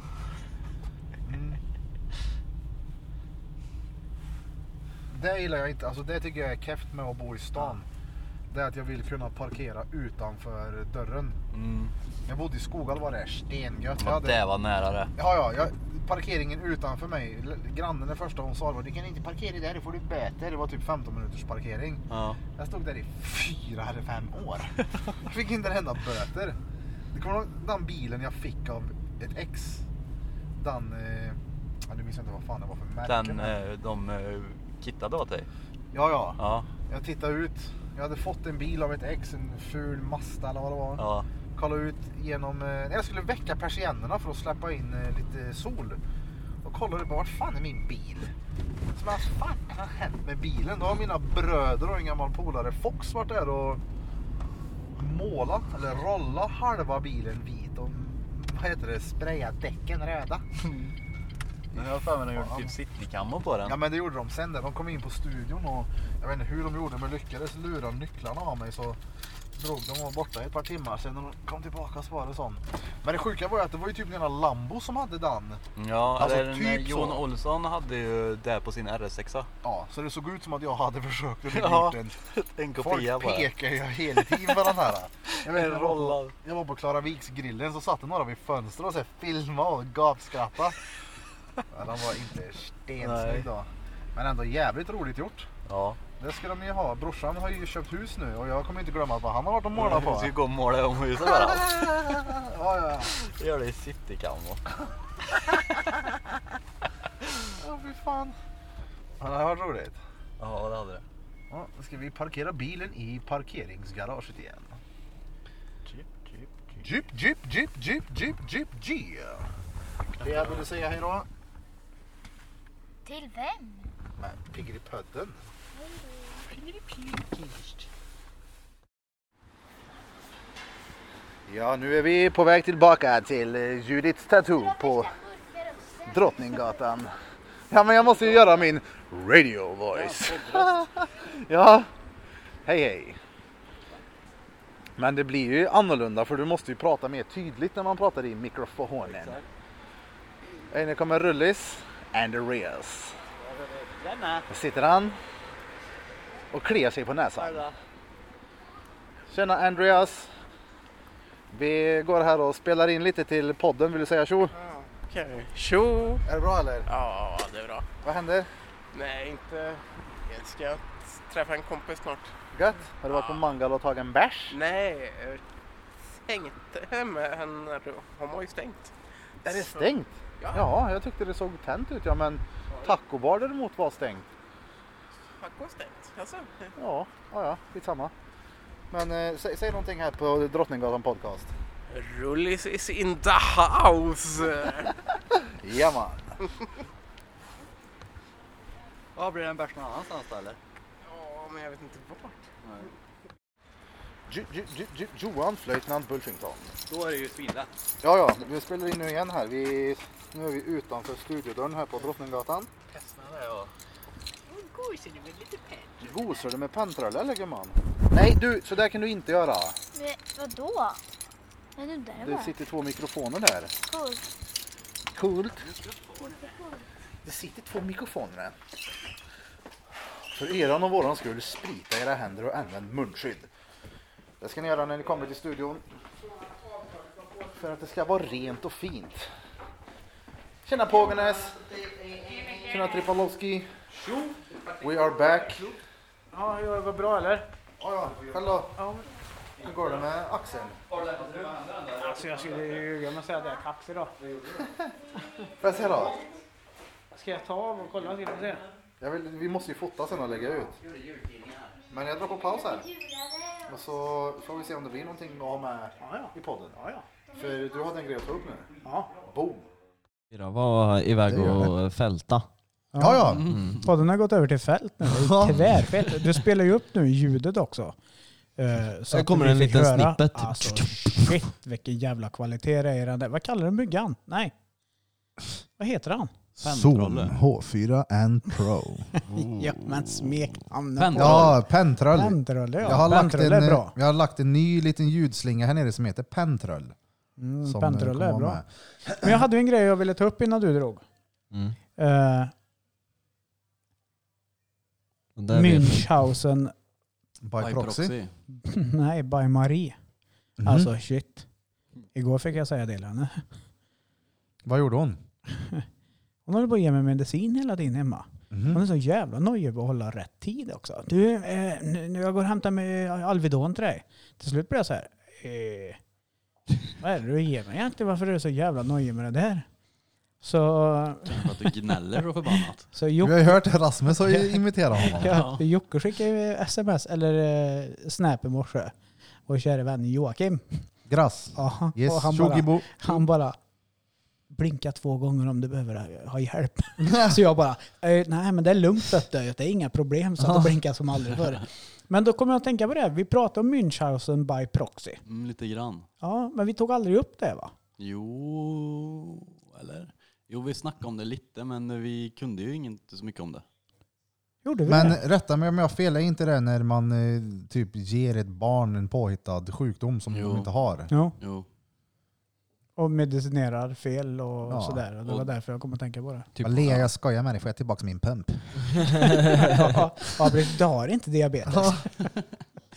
Mm. Det gillar jag inte. Alltså det tycker jag är keft med att bo i stan. Det är att jag vill kunna parkera utanför dörren. Mm. Jag bodde i Skoghall var det stengött. Jag Ja, hade- det var nära det. Ja, ja, jag, parkeringen utanför mig. l- Grannen det första hon sa var du kan inte parkera där, då får du böter. Det var typ 15 minuters parkering. Ja. Jag stod där i fyra eller fem år. Jag fick inte en enda böter. Det kommer du ihåg den bilen jag fick av ett ex. Den, eh, ja, nu minns jag inte vad fan det var för märke. Den, men- eh, de eh, kittade åt dig. Ja, ja. Ja. Jag tittade ut. Jag hade fått en bil av ett ex, en ful Mazda eller vad det var. Ja. kolla ut genom... eh, Jag skulle väcka persiennerna för att släppa in eh, lite sol. Och kollade bara, vart fan är min bil? Så bara, vad fan har hänt med bilen? Då har mina bröder och en gammal polare Fox varit där och målat, eller rollat halva bilen vit och vad heter det, sprayat däcken röda. Nu har jag för mig de gjorde Fan. typ citykammor på den. Ja men det gjorde de sen där. De kom in på studion och jag vet inte hur de gjorde men lyckades lura nycklarna av mig så drog de och borta i ett par timmar. Sen när de kom tillbaka så var det sån. Men det sjuka var ju att det var ju typ den där Lambo som hade den. Ja, Alltså, eller när typ Jon så. Olsson hade ju det på sin RS6. Ja, så det såg ut som att jag hade försökt att Ja, gjort en. En kopia Folk bara. pekar ju hela tiden på den här. Jag, vet, En jag, var på, rollad. jag var på Klaraviksgrillen så satt några vid fönstret och så här filmade och gapskrattade. Men han var inte Nej. stensnygg då. Men ändå jävligt roligt gjort. Ja. Det ska de ju ha. Brorsan har ju köpt hus nu och jag kommer inte glömma vad han har varit och målat Vi på. ska gå och måla om huset bara. Ja, ja. Vi gör det i citykammor. Ja, fy fan. Ja, det här var roligt. Ja, det hade det. Ja, nu ska vi parkera bilen i parkeringsgaraget igen. Jeep, jeep, jeep, jeep, jeep, jeep, G. Lea, vill du säga hej då? Till vem? Nej, pigger i pödden. Ja, nu är vi på väg tillbaka till eh, Judiths Tattoo på Drottninggatan. Ja, men jag måste ju göra min radio voice. ja, hej hej. Men det blir ju annorlunda för du måste ju prata mer tydligt när man pratar i mikrofonen. Här inne kommer Rullis and Andreas. Där sitter han och kliar sig på näsan. Tjena Andreas. Vi går här och spelar in lite till podden. Vill du säga tjo? Okej. Tjo! Är det bra eller? Ja, det är bra. Vad händer? Nej, inte... Jag ska träffa en kompis snart. Gött? Har du varit på Mangal och tagit en bärs? Nej, jag tänkte med henne. Hon var ju stängt. Är det stängt? Ja. Ja, jag tyckte det såg tänt ut ja, men tacobar däremot var stängt. Taco stängt. Alltså, Ja, ja, ja, skitsamma. Men eh, säg, säg någonting här på Drottninggatan podcast. Rullis is in the house! Jajamän. Ja, blir det en bärs någon annanstans då eller? Ja, men jag vet inte vart. Ju- Ju- Ju- Ju- Johan, löjtnant Bulfington. Då är det ju svinlätt. Ja, ja, vi spelar in nu igen här. Vi, nu är vi utanför studiodörren här på Drottninggatan. Gosar du med penntrölla eller gumman? Nej du, så där kan du inte göra. Men vadå? Jag nuddade Det bara. sitter två mikrofoner där. Cool. Coolt. Det sitter två mikrofoner där. För eran och våran skull, sprita era händer och använd munskydd. Det ska ni göra när ni kommer till studion. För att det ska vara rent och fint. Tjena Pågenäs! Tjena Tripalovski! We are back! Ja, det var bra eller? Ja, ja, själv då? Hur går det med axeln? Alltså jag skulle ljuga om jag säger att jag är kaxig då. Får jag se då? Ska jag ta av och kolla till och se? Jag vill, vi måste ju fota sen och lägga ut. Men jag drar på paus här. Och så får vi se om det blir någonting att ha med i podden. För du hade en grej att ta upp nu. Ja. Boom! Fyra var iväg Det gör och fälta. Ja, ja. Podden har gått över till fält nu. Det är Tvärfält. Du spelar ju upp nu ljudet också. Eh, Så Här att kommer vi en fick liten höra. snippet. Alltså, shit vilken jävla kvalitet det är i den där. Vad kallar du myggan? Nej. Vad heter han? Zoom H4 and Pro. Oh. Ja men smeknamnet. Pendel. Ja, pentrull. Pentrull, ja. Jag har, lagt en, eh, Pentrull är bra. jag har lagt en ny liten ljudslinga här nere som heter pentrull. Mm, som Pentrull kommer är vara bra. med. Men jag hade ju en grej jag ville ta upp innan du drog. Mm. Eh, Och där vet vi. Münchhausen, By proxy. nej, by Marie. Mhm. Alltså shit. Igår fick jag säga det till henne. Vad gjorde hon? Hon håller på att ge mig medicin hela tiden hemma. Mhm. Hon är så jävla nöjd på att hålla rätt tid också. Du, eh, nu, nu jag går och hämtar med Alvedon till dig. Till slut blir jag så här. Eh, vad är det du ger mig egentligen? Varför är du så jävla nöjd med det där? Så, För att du gnäller så förbannat. så Vi Jocke, har ju hört att Rasmus har ju imiterat honom. ja, Jocke skickade ju sms eller eh, snap i morse. Vår kära vän Joakim. Grass. Aha, Yes, och han, bara, Shogibo. han bara blinka två gånger om du behöver ha hjälp. Så jag bara, eh, nej men det är lugnt vet du, det är inga problem. Så att blinka som aldrig förr. Men då kommer jag att tänka på det, här. vi pratade om Münchhausen by proxy. Mm, lite grann. Ja, men vi tog aldrig upp det va? Jo, eller? Jo, vi snackade om det lite, men vi kunde ju inte så mycket om det. Gjorde vi Men det? rätta mig om jag har fel, är inte det när man eh, typ ger ett barn en påhittad sjukdom som Jo. Typ de inte har? Jo, Jo. och medicinerar fel och Ja. sådär. Och det Och- var därför jag kom att tänka på det. typ- Vad ler jag skojar med dig, får jag tillbaka min pump? ja, ja, precis. du har inte diabetes.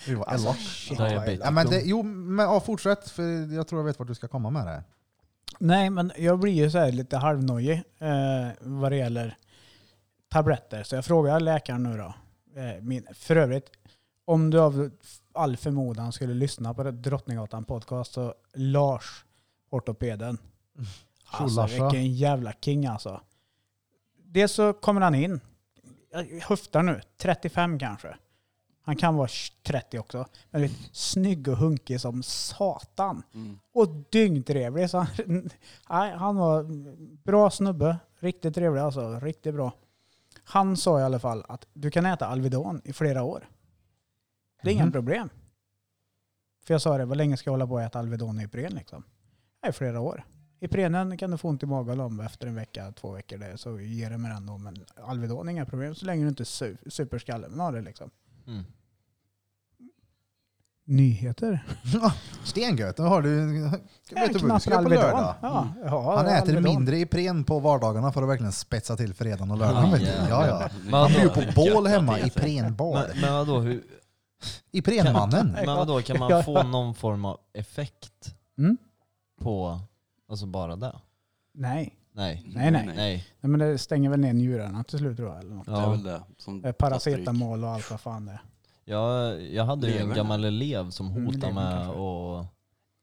Gud vad Alltså, elakt. shit, Diabetes. vad elakt. Ja, men det, jo, men ja, fortsätt för jag tror jag vet vart du ska komma med det. Nej, men jag blir ju så här lite halvnojig eh, vad det gäller tabletter. Så jag frågar läkaren nu då. Eh, min, för övrigt, om du av all förmodan skulle lyssna på det- Drottninggatan podcast så Lars, ortopeden. Alltså Tjolarsa. vilken jävla king alltså. Dels så kommer han in, jag höftar nu, 35 kanske. Han kan vara 30 också. Men du vet, snygg och hunkig som satan. Mm. Och dyngtrevlig. Så han, nej, han var bra snubbe. Riktigt trevlig alltså. Riktigt bra. Han sa i alla fall att du kan äta Alvedon i flera år. Det är inga Mhm. problem. För jag sa det, vad länge ska jag hålla på och äta Alvedon i Ipren liksom? Nej, flera år. Iprenen kan du få ont i magen om efter en vecka, två veckor. Det, så ger det mig den då. Men Alvedon, inga problem. Så länge du inte su- superskallen har det liksom. Mm. Nyheter. Stengött, då har du... Vet du vad du ska göra på Alvedon. lördag? Ja, ja, Han äter Alvedon. mindre Ipren på vardagarna för att verkligen spetsa till fredagen och lördagen. vet du. Ja, ja. Han Vadå? bjuder på bål hemma, Gött att Iprenbal. Men, men vadå, hur, Iprenmannen. men vadå, kan man få någon form av effekt Mm. på, alltså bara det? Nej. Nej. Nej, nej. Nej. Nej. Nej, men det stänger väl ner njurarna till slut tror jag. Eller något. Det är Ja. väl det. Som Eh, Paracetamol och allt vad fan det är. Jag, jag hade ju en Levern. gammal elev som Mm, hotade levern med kanske. att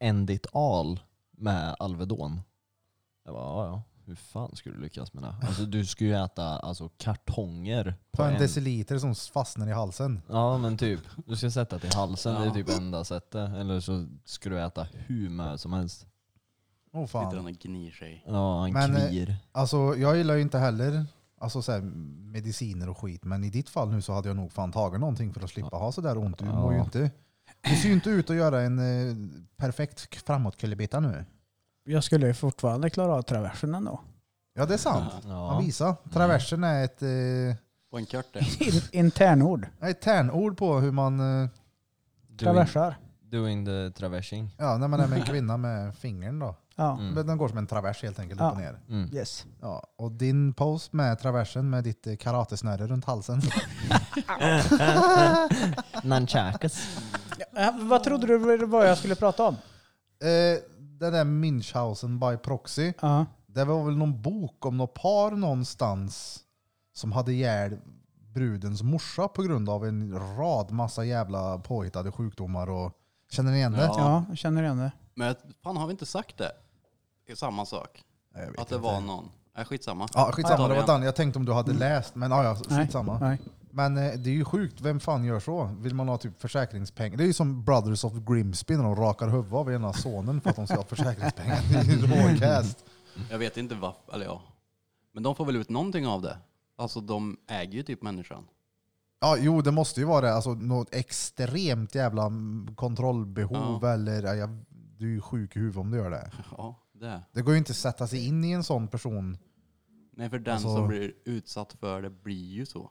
end it all med Alvedon. Jag bara, ja, ja. Hur fan skulle du lyckas med det? Alltså du ska ju äta alltså, kartonger på Ta en en... deciliter som fastnar i halsen. Ja men typ. Du ska sätta till halsen, det är Ja. typ enda sättet. Eller så ska du äta hur mycket som helst. Oh, Sitter fan. han och gnir sig. Ja, en Men, eh, kvir. Alltså, jag gillar ju inte heller alltså, så här, mediciner och skit, men i ditt fall nu så hade jag nog fan tagit någonting för att slippa ha sådär ont. Du Ja. mår ju inte... Du ser ju inte ut att göra en eh, perfekt k- framåtkullerbytta nu. Jag skulle ju fortfarande klara av traversen ändå. Ja, det är sant. Ja. Mm. Han visar. Traversen är ett, eh, På en kört In- Internord. ett tärnord på hur man... Eh, Doing, Traversar. doing the traversing. ja, när man är med en kvinna med fingern då. Ja. Mm. Men Den går som en travers helt enkelt, Ja. upp och ner. Mm. Yes. Ja, och din post med traversen med ditt eh, karatesnöre runt halsen. Nunchakas. Eh, vad trodde du det var jag skulle prata om? eh, den där Münchhausen by proxy. Ja. Det var väl någon bok om något par någonstans som hade ihjäl brudens morsa på grund av en rad massa jävla påhittade sjukdomar. Och, känner ni igen det? Ja. Ja, jag känner igen det. Men jag- fan har vi inte sagt det? Det är samma sak. Nej, jag vet Att det inte. var någon. Nej, skitsamma. Ja, skitsamma, Ja. det var den. Jag tänkte om du hade läst, men ja, ja, Mm. Nej. skitsamma. Nej. Men eh, det är ju sjukt, vem fan gör så? Vill man ha typ försäkringspengar? Det är ju som Brothers of Grimsby när de rakar huvudet av ena sonen för att de ska ha försäkringspengar. Det är ju råkast. Jag vet inte varför, eller ja. Men de får väl ut någonting av det. Alltså de äger ju typ människan. Ja, jo, det måste ju vara det. Alltså, något extremt jävla mm, kontrollbehov eller... Ja, jag, du är ju sjuk i huvudet om du gör det. Ja, det. är. Det går ju inte att sätta sig in i en sån person. Nej, för den Alltså- som blir utsatt för det blir ju så.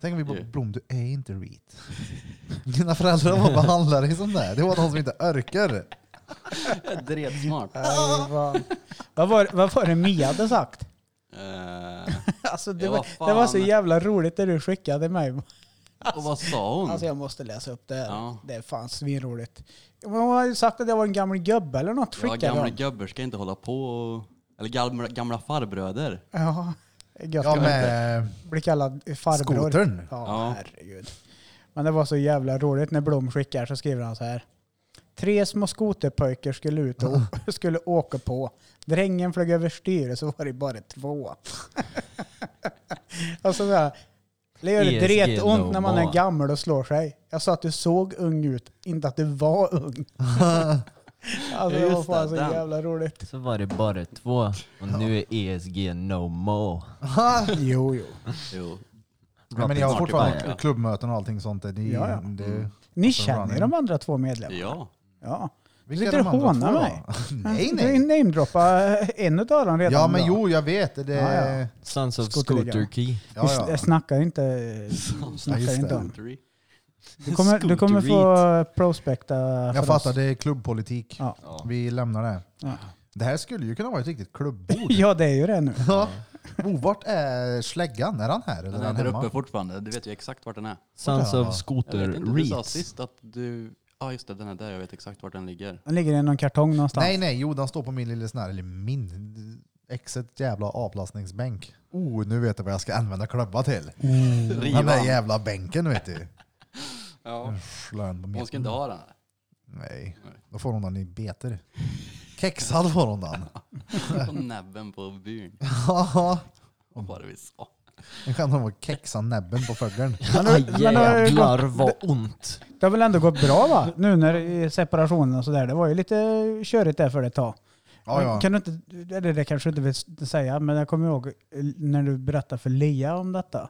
Tänk om vi bara, Yeah. Blom, du är inte reet. Dina föräldrar bara behandlar dig som det. här. Det var de som inte örker. Dret smart. Nej, Eh, vad- vad, var, vad var det Mia hade sagt? Eh, Alltså, det, Ja, var, vad fan. det var så jävla roligt det du skickade mig. och vad sa hon? Alltså jag måste läsa upp det här. Ja. Det är fan svinroligt. Men Hon hade ju sagt att jag var en gammal gubbe eller något. ja, Skickade gamla hon. gubbar ska inte hålla på och... Eller gamla, gamla farbröder. Ja, det är gött Ja, att med bli kallad farbror. skotern. Ja, Ja. herregud. Men det var så jävla roligt när Blom skickar så skriver han så här. Tre små skoterpojkar skulle ut och skulle åka på. Drängen flög överstyr och så var det bara två. och så där. Det E gör det ESG dretont när man är normal. gammal och slår sig. Jag sa att du såg ung ut, inte att du var ung. alltså, det var Just fan det, så den. jävla roligt. Så var det bara två och nu är ESG no more. Jo, jo. Jo. Ja, eh, men jag har Snart fortfarande tillbaka. klubbmöten och allting sånt. där. Det, är- Ja, Mm. ja. det, Ni Alltså, känner ju running. de andra två medlemmarna? Ja. Ja. Vilka Sitter är de och andra hånar två då? mig. nej, Du nej. namedroppade eh, en av dem redan. Ja, men idag. jo, jag vet. Det, Ja, ja. Sons of Skoterligan. Scooter Key. Ja, Vi ja. s- snackar inte, snackar just inte det. om. Du kommer, du kommer få prospekta för Jag oss. fattar, det är klubbpolitik. Alltså, Ja. Vi lämnar det. Ja. Det här skulle ju kunna vara ett riktigt klubbord. ja, det är ju det nu. Ja. Oh, vart är släggan? Är han här eller Den är är han där hemma? uppe fortfarande. Du vet ju exakt vart den är. Sons Ja. of Jag Scooter vet inte, du sa Reeds. sist att du... Ja just det, den är där. Jag vet exakt vart den ligger. Den ligger i någon kartong någonstans. Nej, nej, jo, den står på min lilla sån här, eller min, exet jävla avlastningsbänk. Oh, nu vet jag vad jag ska använda klubba till. Den där Riva. Mm. jävla Mm. bänken vet du. Ja. Slön på Mm. Hon mitten. ska inte ha den. Nej, Nej. då får hon den i beter. Kexad får hon den. På näbben på byn. Ja, Vad var det vi sa? en chans om att kexa näbben på fågeln. Men, Aj, men det, har ju gått, jävlar vad ont. det har väl ändå gått bra va? Nu när i separationen och sådär. Det var ju lite körigt där för ett tag. Ja, ja. Kan du inte, eller det kanske du inte vill säga, men jag kommer ihåg eh, när du berättade för Lea om detta.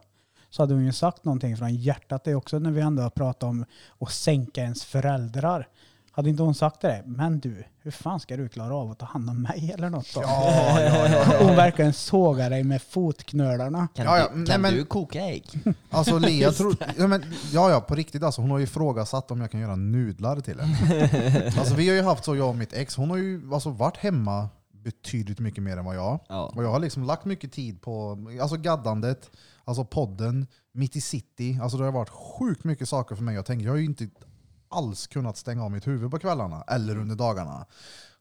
Så hade hon ju sagt någonting från hjärtat det också när vi ändå har pratat om att sänka ens föräldrar. Hade inte hon sagt det? Men du, hur fan ska du klara av att ta hand om mig eller något då? Ja, ja, ja. Hon verkligen sågar dig med fotknölarna. Kan, Ja, ja, du, nej, kan men- du koka ägg? Alltså Lea tror... Ja, men, ja, ja, på riktigt alltså. Hon har ju ifrågasatt om jag kan göra nudlar till henne. Alltså vi har ju haft så, jag och mitt ex, hon har ju alltså, varit hemma betydligt mycket mer än vad jag. Ja. Och jag har liksom lagt mycket tid på alltså gaddandet, alltså podden, mitt i city. Alltså det har varit sjukt mycket saker för mig. Jag tänker, jag har ju inte alls kunnat stänga av mitt huvud på kvällarna eller under dagarna.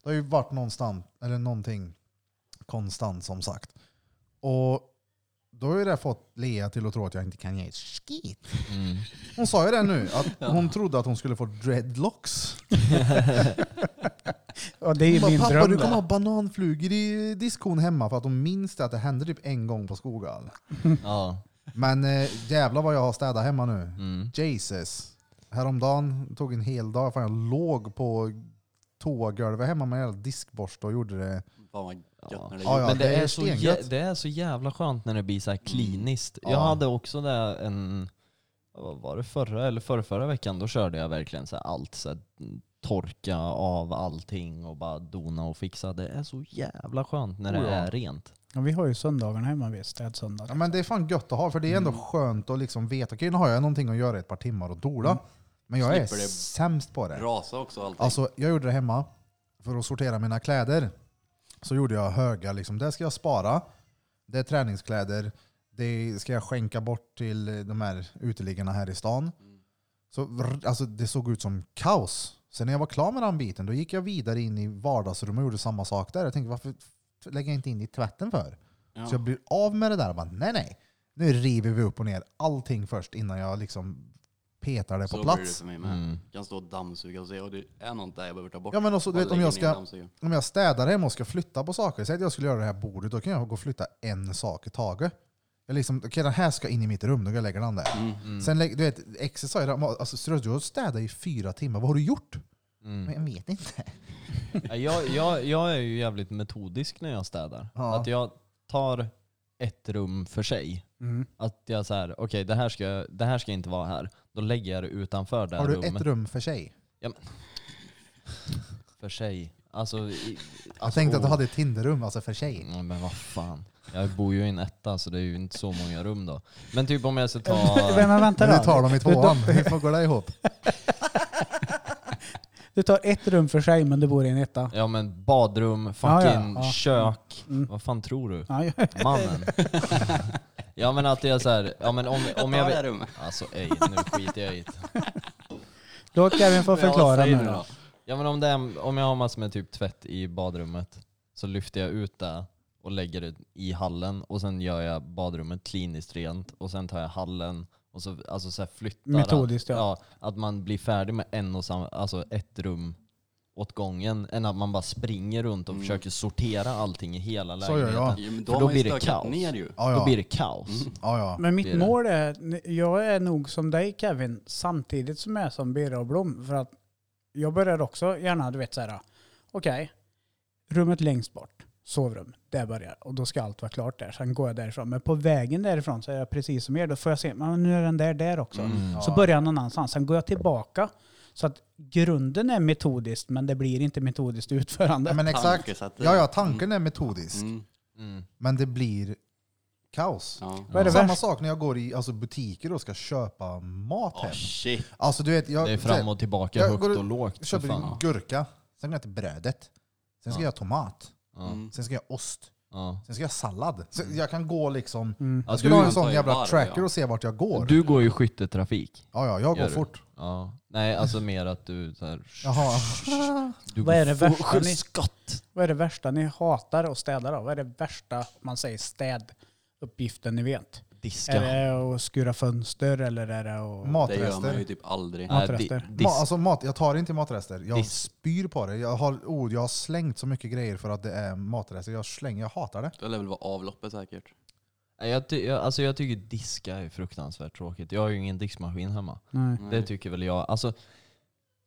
Det har ju varit någonstans, eller någonting konstant som sagt. Och då har ju det fått Lea till att tro att jag inte kan ge ett skit. mm. Hon sa ju det nu, att hon trodde att hon skulle få dreadlocks. Och det är ju Hon bara, min pappa dröm. du kommer det." ha bananflugor i diskon hemma för att hon minns det att det hände typ en gång på Skoghall. Ja. mm. Men eh, jävlar vad jag har städat hemma nu. Jesus. Häromdagen tog en hel dag, fan jag låg på toagolvet hemma med en jävla diskborste och gjorde det. Fan vad gött när det Ja, ja. Men det, det är är så stengött. jä, det är så jävla skönt när det blir så här Mm. kliniskt. Jag Ja. hade också det en, vad var det förra eller förra, förra veckan? Då körde jag verkligen så här allt. Så här, mm, torka av allting och bara dona och fixa. Det är så jävla skönt när det Oh ja. är rent. Ja, vi har ju söndagarna hemma vid Ja, städsöndagar. men det är fan gött att ha för det är ändå Mm. skönt att liksom veta, okej nu har jag någonting att göra i ett par timmar och dola. Men jag är Mm. Slipper det- sämst på det. Rasa också allting. Alltså, jag gjorde det hemma. För att sortera mina kläder så gjorde jag höga, liksom, det ska jag spara. Det är träningskläder. Det ska jag skänka bort till de här uteliggarna här i stan. Så, vrr, alltså, det såg ut som kaos. Sen när jag var klar med den biten, då gick jag vidare in i vardagsrummet och gjorde samma sak där. Jag tänkte, varför lägger jag inte in det i tvätten för? Ja. Så jag blir av med det där och bara nej nej. Nu river vi upp och ner allting först innan jag liksom petar det på Så blir det plats. Mm. för mig med. Mm. Jag kan stå och dammsuga och säga och det är något där jag behöver ta bort. Ja, men också, du Bara vet, om lägger jag ner ska- dammsugaren. Om jag städar hemma och ska flytta på saker, säg att jag skulle göra det här bordet, då kan jag gå och flytta en sak i taget. Jag liksom, okej den här ska in i mitt rum, då kan jag lägga den där. Mm, Sen lägg- du vet, exet sa ju det, alltså, så du har städat i fyra timmar, vad har du Mm. gjort? Men jag vet inte. Ja, Jag, jag, jag är ju jävligt metodisk när jag städar. Ja. Att jag tar ett rum för sig. Mm. Att jag så här, okej det, här ska- det här ska inte vara här. Då lägger jag det utanför det här Har du rummet. ett rum för sig? För sig. Alltså, oh. i, Jag tänkte att du hade ett Tinderrum, alltså för sig. Ja, men vad fan. Jag bor ju i en etta så det är ju inte så många rum då. Men typ om jag ska ta... Men, men vänta Men då. du tar dem i tvåan, hur fan går det ihop? Du tar ett rum för sig men du bor i en etta. Ja men badrum, Ja, ja, fucking ja. kök. Mm. Vad fan tror du? Ja, ja. Mannen. ja men att jag såhär, ja men om, om Ta jag... det här vill- rummet. Alltså ej, nu skiter jag i det. Låt Kevin få förklara säg nu då. Ja men om, det är, om jag har massor med typ tvätt i badrummet så lyfter jag ut det och lägger det i hallen och sen gör jag badrummet kliniskt rent och sen tar jag hallen och så, alltså så här flyttar Metodiskt, att, ja. Att man blir färdig med en och samma, alltså ett rum åt gången än att man bara springer runt och försöker sortera allting i hela Så gör jag. lägenheten. Ja, men För då har då man blir ju det stökat kaos. ner ju. Ja, Då ja. blir det kaos. ja, ja. Men mitt Det är det. mål är, jag är nog som dig Kevin, samtidigt som jag är som Birra och Blom. För att jag börjar också gärna, du vet så här, okej, rummet längst bort, sovrum, där börjar Och då ska allt vara klart där, sen går jag därifrån. Men på vägen därifrån så är jag precis som er, då får jag se, men nu är den där där också. Mm. Mm. Så börjar jag någon annanstans, sen går jag tillbaka. Så att grunden är metodiskt, men det blir inte metodiskt utförande. Ja, men exakt. Tankesättet. Ja, ja, tanken är metodisk, Mm. men det blir kaos. Ja. Vad är det Samma värst? sak när jag går i alltså, butiker och ska köpa mat Åh, hem. Ah, shit. Alltså du vet, jag, Det är fram och tillbaka, Jag högt går- och lågt. för jag köper fan. en gurka, sen går jag till brödet, sen ska jag ha tomat, Mm. sen ska jag ha ost, Ja. sen ska jag ha sallad. Så jag kan gå liksom... Ja, Jag skulle Mm. du- ha en sån tar ju jävla varv, tracker ja. och se vart jag går. Du går ju skytteltrafik. ja, ja, jag Gör går du? fort. Ja. Nej, alltså mer att du så här, Jaha. Du Vad går är det full värsta ni- skott. Vad är det värsta ni hatar att städa då? Vad är det värsta, om man säger städuppgiften ni vet? Diska. Är det att skura fönster eller är det att... Det gör man ju Matrester. typ aldrig. Nej, Matrester. di- Ma dis- alltså mat, jag tar inte matrester. Jag Dis- spyr på det. Jag har, oh, jag har slängt så mycket grejer för att det är matrester. Jag slänger, jag hatar det. Det lär väl vara avloppet säkert. Nej, jag, ty- jag, alltså jag tycker diska är fruktansvärt tråkigt. Jag har ju ingen diskmaskin hemma. Nej. Det Mm. typ- tycker väl jag. Alltså,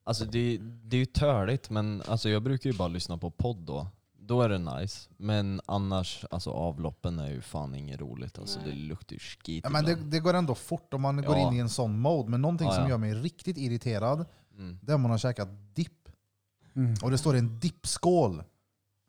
alltså det, det är ju törligt, men alltså jag brukar ju bara lyssna på podd då. Då är det nice. Men annars, alltså avloppen är ju fan inget roligt. Alltså det luktar ju skit. Ja, men det, ibland. det går ändå fort om man går Ja. in i en sån mode. Men någonting Ja, som ja. gör mig riktigt irriterad, Mm. det är om man har käkat dipp. Mm. Och det står en dippskål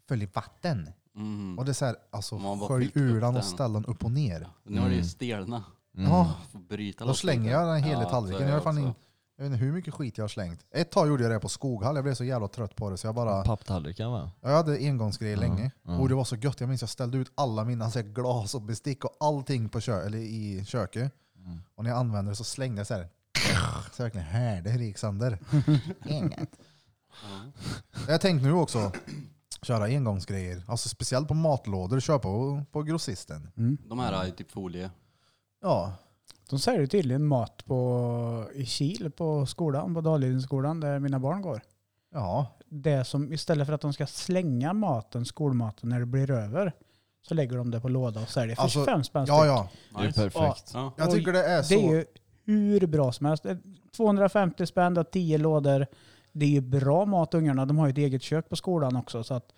följ vatten. Mm. Och det är så här, alltså Om man bara skölj fyllt upp ur den och den. ställ den upp och ner. Nu har det ju stelna. Mm. Ja, Får bryta då loss slänger lite. jag den hela Ja, så tallriken. är Jag, har fan också. in, jag vet inte hur mycket skit jag har slängt. Ett tag gjorde jag det på Skoghall, jag blev så jävla trött på det så jag bara... Mm. Papptallriken va? Jag hade engångsgrejer länge. mm. Och det var så gött, jag minns jag ställde ut alla mina så här, glas och bestick och allting på kö, eller i köket. Mm. Och när jag använde det så slängde jag så här. Så jag verkligen härde hur det gick sönder. Inget. Jag tänkte nu också köra engångsgrejer. Alltså speciellt på matlådor, köpa på, på grossisten. De här är ju typ folie. Ja, De säljer tydligen mat på, i Kil på skolan, på Dalidensskolan där mina barn går. ja. Det som istället för att de ska slänga maten, skolmaten, när det blir över så lägger de det på låda och säljer för Alltså, 25 spänn Ja, ja. Det är ju perfekt. Ja. Jag Oj, tycker det är så. Det är ju hur bra som helst. 250 spänn, du har 10 lådor. Det är ju bra mat ungarna. De har ju ett eget kök på skolan också. Så att,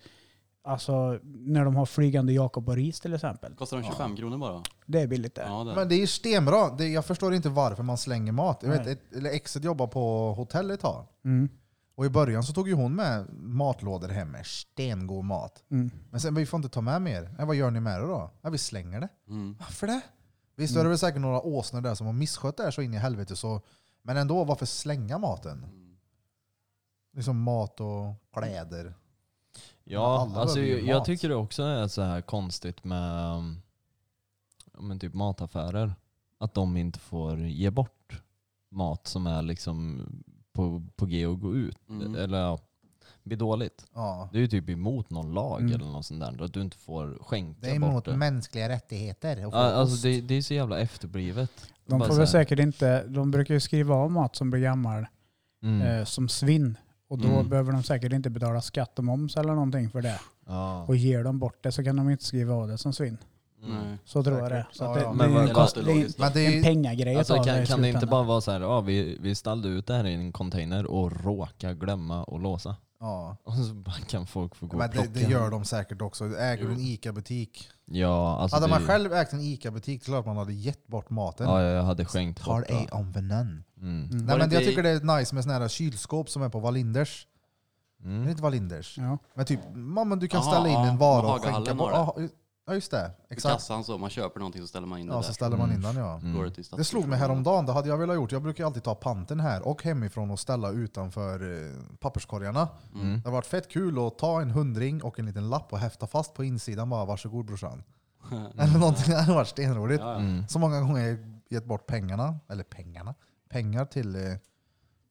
alltså, när de har flygande Jakob och ris till exempel. Kostar de 25 kronor bara? Det är billigt det. Ja, det. Men det är ju stenbra. Det, jag förstår inte varför man slänger mat. Jag vet, Nej. ett, eller exet jobbade på hotell ett tag. Mm. Och i början så tog ju hon med matlådor hem med stengod mat. Mm. Men sen, vi får inte ta med mer. Ja, vad gör ni med det då? Ja, vi slänger det. Mm. Varför det? Visst är det väl säkert några åsnor där som har misskött det här så in i helvete. Så, men ändå, varför slänga maten? Liksom mat och kläder. Ja, Alla alltså behöver jag, ju jag mat. tycker det också är så här konstigt med um, ja, men typ mataffärer. Att de inte får ge bort mat som är liksom på, på G att gå ut. Mm. Eller ja, blir dåligt. Ja. Du är ju typ emot någon lag Mm. eller något sånt där. Att du inte får skänka Det är bort emot det. mänskliga rättigheter. Och Ja, alltså det, det är så jävla efterblivet. De Bara får så här, väl säkert inte, de brukar ju skriva av mat som blir gammal mm, eh, som svinn. Och då Mm. behöver de säkert inte betala skatt och moms eller någonting för det. ja. Och ger de bort det så kan de inte skriva av det som svinn. Mm. Nej. Så tror jag det är. Säkert. Så att Ja, det, ja. det, Men är vad- ju en kost, det det är logiskt. men det en är, pengagrej Alltså, utav i kan, kan det inte slutändan. bara vara så här, ja, vi, vi ställde ut det här i en container och råkade glömma att låsa. ja. Och så bara kan folk få gå Men och det, plocka. det gör de säkert också. Äger du en ICA-butik? Ja, alltså Hade det, man själv ägt en ICA-butik så klart man hade gett bort maten. ja, jag hade skänkt Har bort ej det. om vännen. Mm. Nej, Var men det inte jag i- tycker det är nice med såna här kylskåp som är på Wallinders. Är det Mm. inte Wallinders? Ja. Men typ, ja, men du kan Aha, ställa in ja, en vara och Hagahallen skänka bort. var Ja, Ja just det, I exakt. kassan så, man köper någonting så ställer man in det Ja, där. så ställer man in Mm. den ja. Går det, Mm. till Det slog mig stadsmissionen. häromdagen, det hade jag velat gjort. Jag brukar ju alltid ta panten här och hemifrån och ställa utanför eh, papperskorgarna. Mm. Det har varit fett kul att ta en hundring och en liten lapp och häfta fast på insidan bara varsågod brorsan. Eller någonting, det hade varit stenroligt. Ja, ja. Mm. Så många gånger har jag gett bort pengarna, eller pengarna, pengar till eh,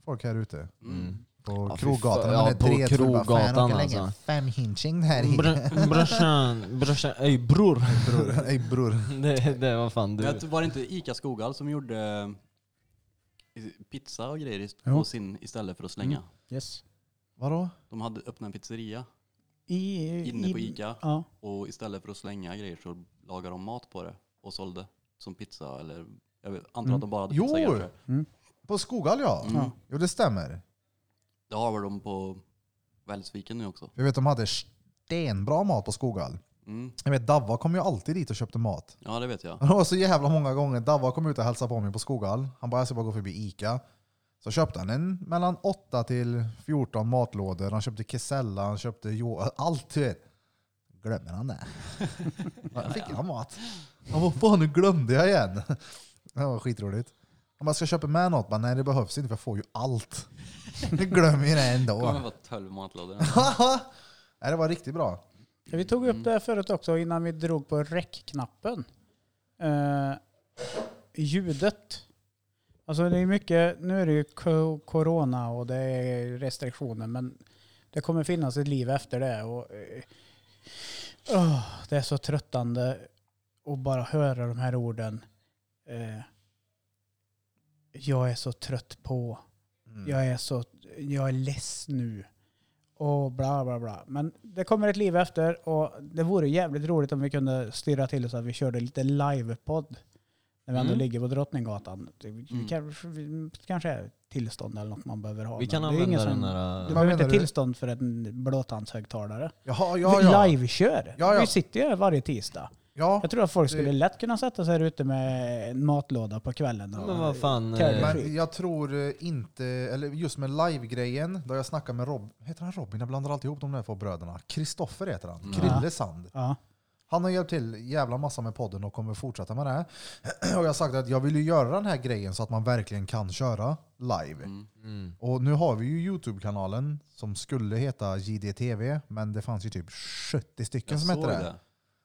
folk här ute. Mm. På Ja, fy kroggatan. fan. Man Ja, är på dret, så det bara, kroggatan, "Fan, jag kan lägga alltså." Fem hinching här i. Br- Mm. brorsan, brorsan, ey bror. Bror, ey bror. Det, det var fan du. Men jag- var det inte Ica Skogal som gjorde eh, pizza och grejer ist- Jo. på sin istället för att slänga? Mm. Yes. Vadå? De hade öppnat en pizzeria I, inne på i- Ica Ja. och istället för att slänga grejer så lagade de mat på det och sålde som pizza eller jag vet, antar att de bara hade Jo! pizza kanske. På Skoghall ja. Mm. Jo det stämmer. Det har väl de på Välsviken nu också. Jag vet de hade stenbra mat på Skoghall. Mm. Jag vet Davva kom ju alltid dit och köpte mat. Ja det vet jag. Det var så jävla många gånger Davva kom ut och hälsade på mig på Skoghall. Han bara jag ska bara gå förbi Ica. Så köpte han en mellan 8 till 14 matlådor. Han köpte kesella, han köpte jo, allt du vet. Glömmer han det? Då fick jag mat. Han bara fan nu glömde jag igen. Det var skitroligt. Han bara ska jag köpa med något? Bara, Nej det behövs inte för jag får ju allt. Du glömmer ju det ändå. Det kommer vara 12 matlådor. Nej, det var riktigt bra. Ja, Vi tog Mm. upp det här förut också innan vi drog på räckknappen. Eh, ljudet. Alltså det är mycket, nu är det ju co- corona och det är restriktioner men det kommer finnas ett liv efter det. Och, eh, åh, det är så tröttande att bara höra de här orden. Eh, jag är så trött på. Mm. Mm. Jag är så, jag är less nu. Och bla bla bla. Men det kommer ett liv efter och det vore jävligt roligt om vi kunde styra till så att vi körde lite livepodd. När vi ändå Mm. ligger på Drottninggatan. Det Mm. kanske, vi- kanske är tillstånd eller något man behöver ha. Vi men kan det är ingen använda som- den här... Du äh, Vad behöver inte menar du? tillstånd för en blåtandshögtalare. Jaha, ja, ja. Vi livekör. Ja, ja. Vi sitter ju här varje tisdag. ja. Jag tror att folk Det- skulle lätt kunna sätta sig här ute med en matlåda på kvällen. Ja, och- Men vad fan. Kan jag- eh, Men jag tror eh, inte, eller just med live-grejen, då har jag snackat med Rob, heter han Robin? Jag blandar alltid ihop de där två bröderna. Kristoffer heter han, Krille Sand. Ja. Han har hjälpt till jävla massa med podden och kommer fortsätta med det. här. Och jag har sagt att jag vill ju göra den här grejen så att man verkligen kan köra live. Mm. Och nu har vi ju Youtube-kanalen som skulle heta JDTV, men det fanns ju typ 70 stycken Jag som såg hette det. det.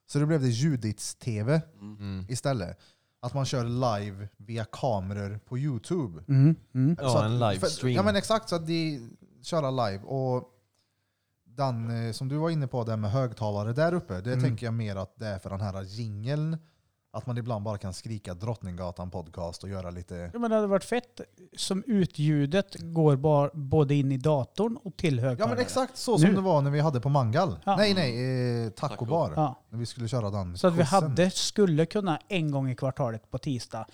Så då blev det Judits-TV Mm. istället. Att man kör live via kameror på Youtube. Mm, mm. Ja, Så att- en livestream. För, ja men exakt, så att de köra live. Och den eh, som du var inne på, det här med högtalare där uppe, Mm. det tänker jag mer att det är för den här jingeln. Att man ibland bara kan skrika Drottninggatan podcast och göra lite... Ja, men det hade varit fett som utljudet går bar, både in i datorn och till Ja högtalare. men exakt så som Nu. det var när vi hade på Mangal. Ja. Nej nej, eh, Taco. tacobar. Ja. När vi skulle köra den Så att vi quizen. hade, skulle kunna en gång i kvartalet på tisdag,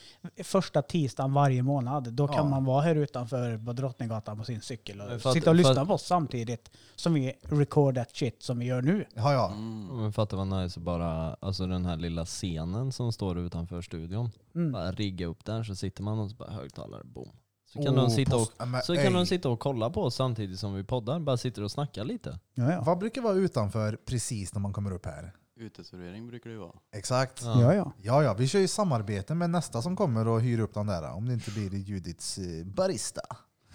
första tisdagen varje månad, då kan Ja. man vara här utanför på Drottninggatan på sin cykel Men och för att- sitta och för lyssna att- på oss samtidigt som vi record that shit som vi gör nu. Ja ja. Mm. Men fatta vad nice att bara, alltså den här lilla scenen som står utanför studion. Mm. Bara rigga upp där så sitter man och så bara högtalare, boom. Så kan, Åh, de, sitta och, post- Ja, men så kan ey. de sitta och kolla på oss samtidigt som vi poddar, bara sitter och snackar lite. Ja, ja. Vad brukar vara utanför precis när man kommer upp här? Uteservering brukar det ju vara. Exakt. ja, ja. Ja, ja, vi kör ju samarbete med nästa som kommer och hyr upp den där. Om det inte blir Judits eh, barista.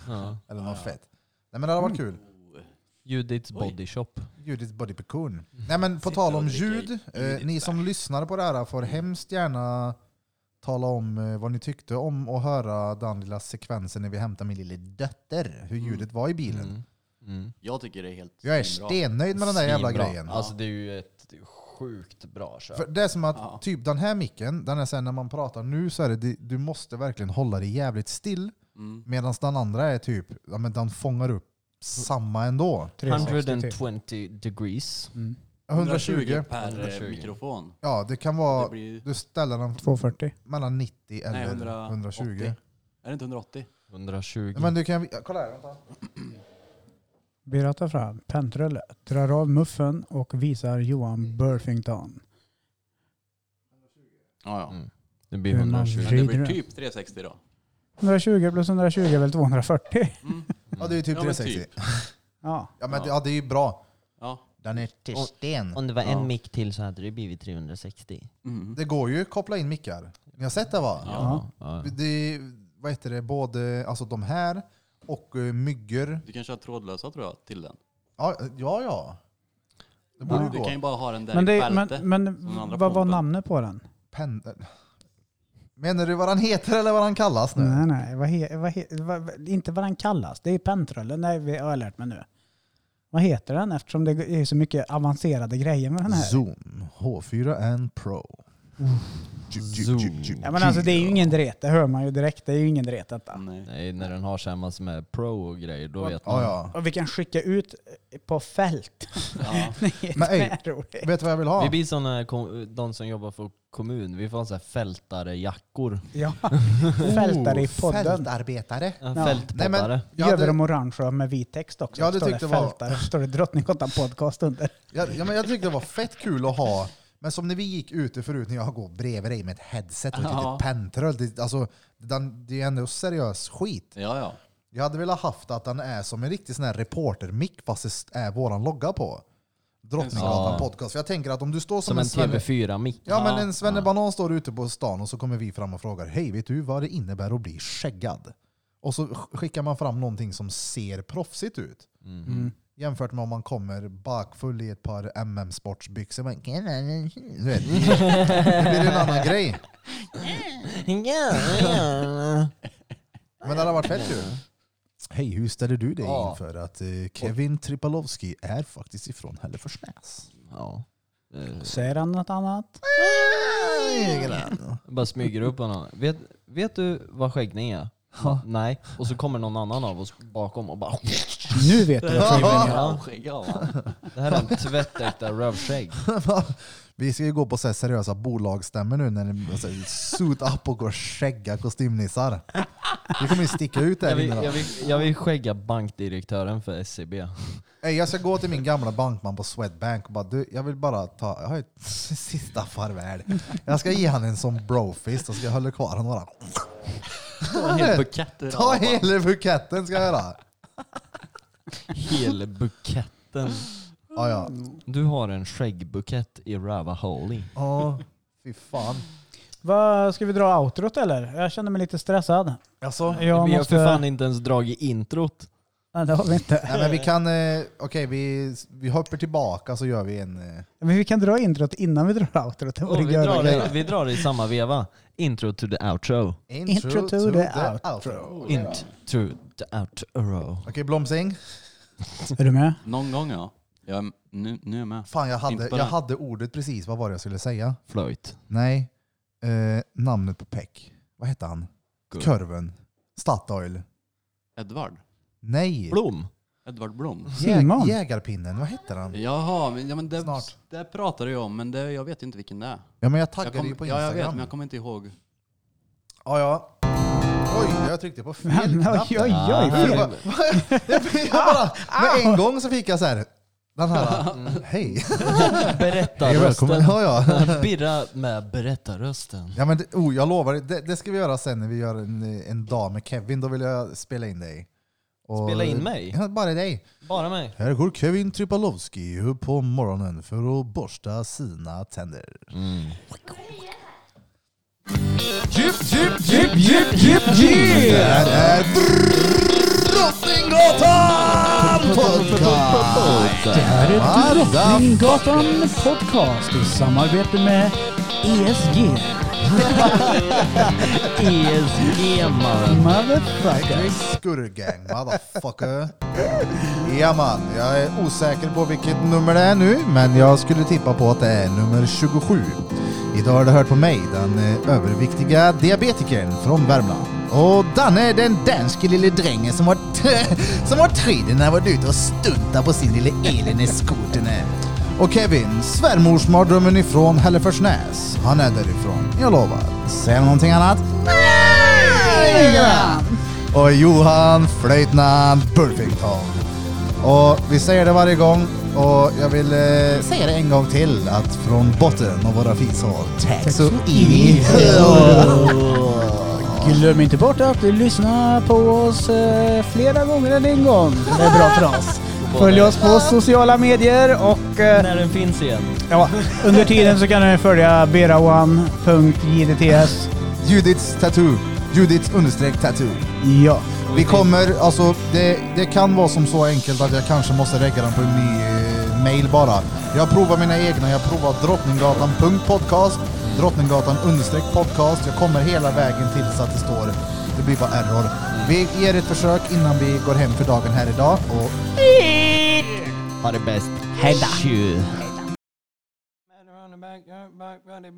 Ja. Eller något fett. Nej men det hade varit Mm. Oh, kul. Judiths body shop. Judits body pecoon. Nej men på tal om och dricka ljud. Eh, Judiths ni som lyssnar på det här får hemskt gärna tala om eh, vad ni tyckte om att höra den lilla sekvensen när vi hämtade min lille dotter. Hur ljudet var i bilen. Mm. Jag tycker det är helt Jag är svinbra. stennöjd med den där jävla Svinbra. grejen. Alltså det är ju ett sjukt bra köp. För det är som att Ja. typ den här micken, den är sen när man pratar nu så är det, di- du måste verkligen hålla dig jävligt still. Mm. Medan den andra är typ, ja men den fångar upp samma ändå. 360 typ. 120 degrees. Mm. 120. per eh, 120. mikrofon. Ja, det kan Det vara, blir, du ställer den 240. mellan 90 eller nej, 100, 120. Är det inte 180? 120. Men du kan, ja, kolla här, vänta. Birra tar fram pentrulle, drar av muffen och visar Johan Burfington. Ja, ja. Mm. Det blir Hur man 120. Men det Vrider blir du? typ 360 då. 120 plus 120 är väl 240? Mm. Ja det är ju typ Ja, men 360. typ. Ja. Ja men det- ja, det är ju bra. Ja. Den är till sten. Om det var Ja. en mick till så hade det blivit 360. Mm. Det går ju att koppla in mickar. Ni har sett det va? Ja. Ja. Det, vad heter det, både alltså de här och eh, myggor. Du kan köra trådlösa tror jag till den. Ja, ja. ja. Det borde Ja. Du gå. kan ju bara ha den där Men, i det, bältet. men, men den andra vad var pumpen. namnet på den? Pen... Menar du vad han heter eller vad han kallas nu? Nej, nej. Vad he, vad he, vad, inte vad den kallas. Det är pentrullen, det har jag lärt mig nu. Vad heter den eftersom det är så mycket avancerade grejer med den här? Zoom H4n Pro. Zoom. Typ. Ja, men alltså, det är ju ingen dret, det hör man ju direkt. Det är ju ingen dret detta. Nej. Nej, när den har samma med pro och grejer, då vet Ja, man. ja. Och vi kan skicka ut på fält. Ja. Det Men, ey. är roligt. Vet du vad jag vill Vi ha? blir såna, kom- de som jobbar för kommun, vi får ha så här fältarejackor. Ja. Oh, Fältare i podden. Fältarbetare. Ja. Ja. Nej, men Fältpoddare. jag, Gör vi hade, dem orangea med vit text också? Ja, det står det tyckte jag var- fältare, står det Drottninggatan podcast under. jag, ja, men jag tyckte det var fett kul att ha. Men som när vi gick ute förut, när jag går bredvid dig med ett headset och ett Ja. litet penntrull. Det, alltså, den, det är ändå seriös skit. Ja, ja. Jag hade velat haft att den är som en riktig sån här reportermick fast det är våran logga på. Drottninggatan Ja. podcast. För jag tänker att om du står som, Som en Svenne- TV4-mick. Ja, men Ja. en svennebanan står ute på stan och så kommer vi fram och frågar Hej, vet du vad det innebär att bli skäggad? Och så sk- skickar man fram någonting som ser proffsigt ut. Mm-hmm. Jämfört med om man kommer bakfull i ett par MM-sportsbyxor. Man- Du vet, Det blir en annan grej. Men det hade varit fett kul. Hej, hur ställer du dig Ja. inför att eh, Kevin Tripalowski är faktiskt ifrån Hälleforsnäs? Ja. Eh, Säger han något annat? Bara smyger upp honom. Vet, vet du vad skäggning är? Nej. Och så kommer någon annan av oss bakom och bara... Nu vet du vad filmen är. Ja. ja. Det här är en tvättäkta rövskägg. Vi ska ju gå på så här seriösa bolagsstämmor nu när ni alltså, suit up och går och skägga kostymnissar. Vi kommer ju sticka ut Jag där vill, inne. då. jag, vill, jag vill skägga bankdirektören för E SCB. Ey, Jag ska gå till min gamla bankman på Swedbank och bara du, jag vill bara ta, jag har ett sista farväl. Jag ska ge han en sån brofist och ska jag hålla kvar honom bara. Ta en hel bukett i Ta ramen. hela buketten ska jag göra. Hela buketten. Ja, ja. Du har en skäggbukett i Ravaholi. Ja, fy fan. Vad, ska vi dra outrot eller? Jag känner mig lite stressad. Alltså, Jag Vi har för fan måste... inte ens dragit introt. Nej, det har vi inte. nej, men vi kan, eh, okej vi, vi hoppar tillbaka så gör vi en... eh, Men vi kan dra introt innan vi drar outrot. Det vore Och vi, göra drar grejer. det, vi drar det i samma veva. Intro to the outro. Intro to the outro. Intro to the outro. Okej, Blomsing. Är du med? Någon gång ja. Jag är, nu, nu är jag med. Fan, jag hade, jag Imponent. hade ordet precis. Vad var det jag skulle säga? Flöjt. Nej, eh, namnet på Peck. Vad hette han? Good. Körven. Statoil. Edvard. Nej. Blom. Edvard Blom. Simon. Jägarpinnen. Vad hette han? Jaha, men, ja, men det, Snart. det pratade jag om, men det, jag vet inte vilken det är. Ja, men jag Jag taggade kom, ju på ja, jag Instagram. vet, men jag kommer inte ihåg. ja, ja. Oj, jag tryckte på fel Men, knapp. oj, oj, där. Ah, oj. fel. Ja, jag bara, med en gång så fick jag så här. Den här. Hej. Hej, välkommen. Berättarrösten. Ja, ja. Birra med berättarrösten. Ja, men det, oh, jag lovar, det, det ska vi göra sen när vi gör en, eh, en dag med Kevin. Då vill jag spela in dig. Och- Spela in mig? Ja, bara dig. Bara mig. Här går Kevin Tripalowski upp på morgonen för att borsta sina tänder. Det här är Drottninggatan podcast! Det här är E Drottninggatan Podcast i samarbete med ESG. E ESG-mannen. Motherfucker. Skurrgang, motherfucker. Ja man, jag är osäker på vilket nummer det är nu, men jag skulle tippa på att det är nummer 27. Idag har du hört på mig, den eh, överviktiga diabetikern från Värmland. Och Danne är den danske lille drängen som har, t- som har tiden har varit ute och stuntat på sin lille Elin-skoterne. Och Kevin, svärmorsmardrömmen ifrån Hälleforsnäs. Han är därifrån, jag lovar. Säger han någonting annat? Nej! Och Johan Flöjtnant Burfington. Och vi säger det varje gång och jag vill eh, säga det en gång till att från botten av våra fishål, tack så in i Glöm inte bort att lyssna på oss eh, flera gånger än en gång. Det är bra för oss. Följ oss på sociala medier och eh, När den finns igen. ja, under tiden så kan ni följa berawan.jdts. Judiths tattoo. Judiths understreck tattoo. Ja. Vi kommer, alltså det, det kan vara som så enkelt att jag kanske måste lägga den på en ny eh, mail bara. Jag provar mina egna, jag provar drottninggatan.podcast, drottninggatan understreck podcast. Jag kommer hela vägen tills att det står, det blir bara error. Vi ger ett försök innan vi går hem för dagen här idag och Ha det bäst. Hedda.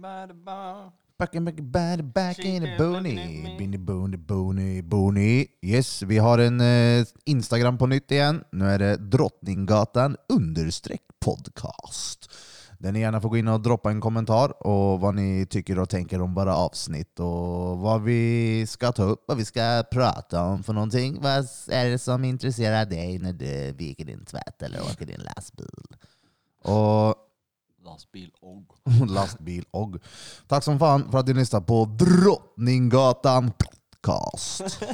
Back in, back, back, back in the boonie. Been the boonie, boonie, boonie. Yes, vi har en eh, Instagram på nytt igen. Nu är det Drottninggatan understreck podcast. Där ni gärna får gå in och droppa en kommentar och vad ni tycker och tänker om våra avsnitt och vad vi ska ta upp, vad vi ska prata om för någonting. Vad är det som intresserar dig när du viker din tvätt eller åker din lastbil? Och Lastbil och... lastbil och... Tack som fan för att ni lyssnade på Drottninggatan Podcast.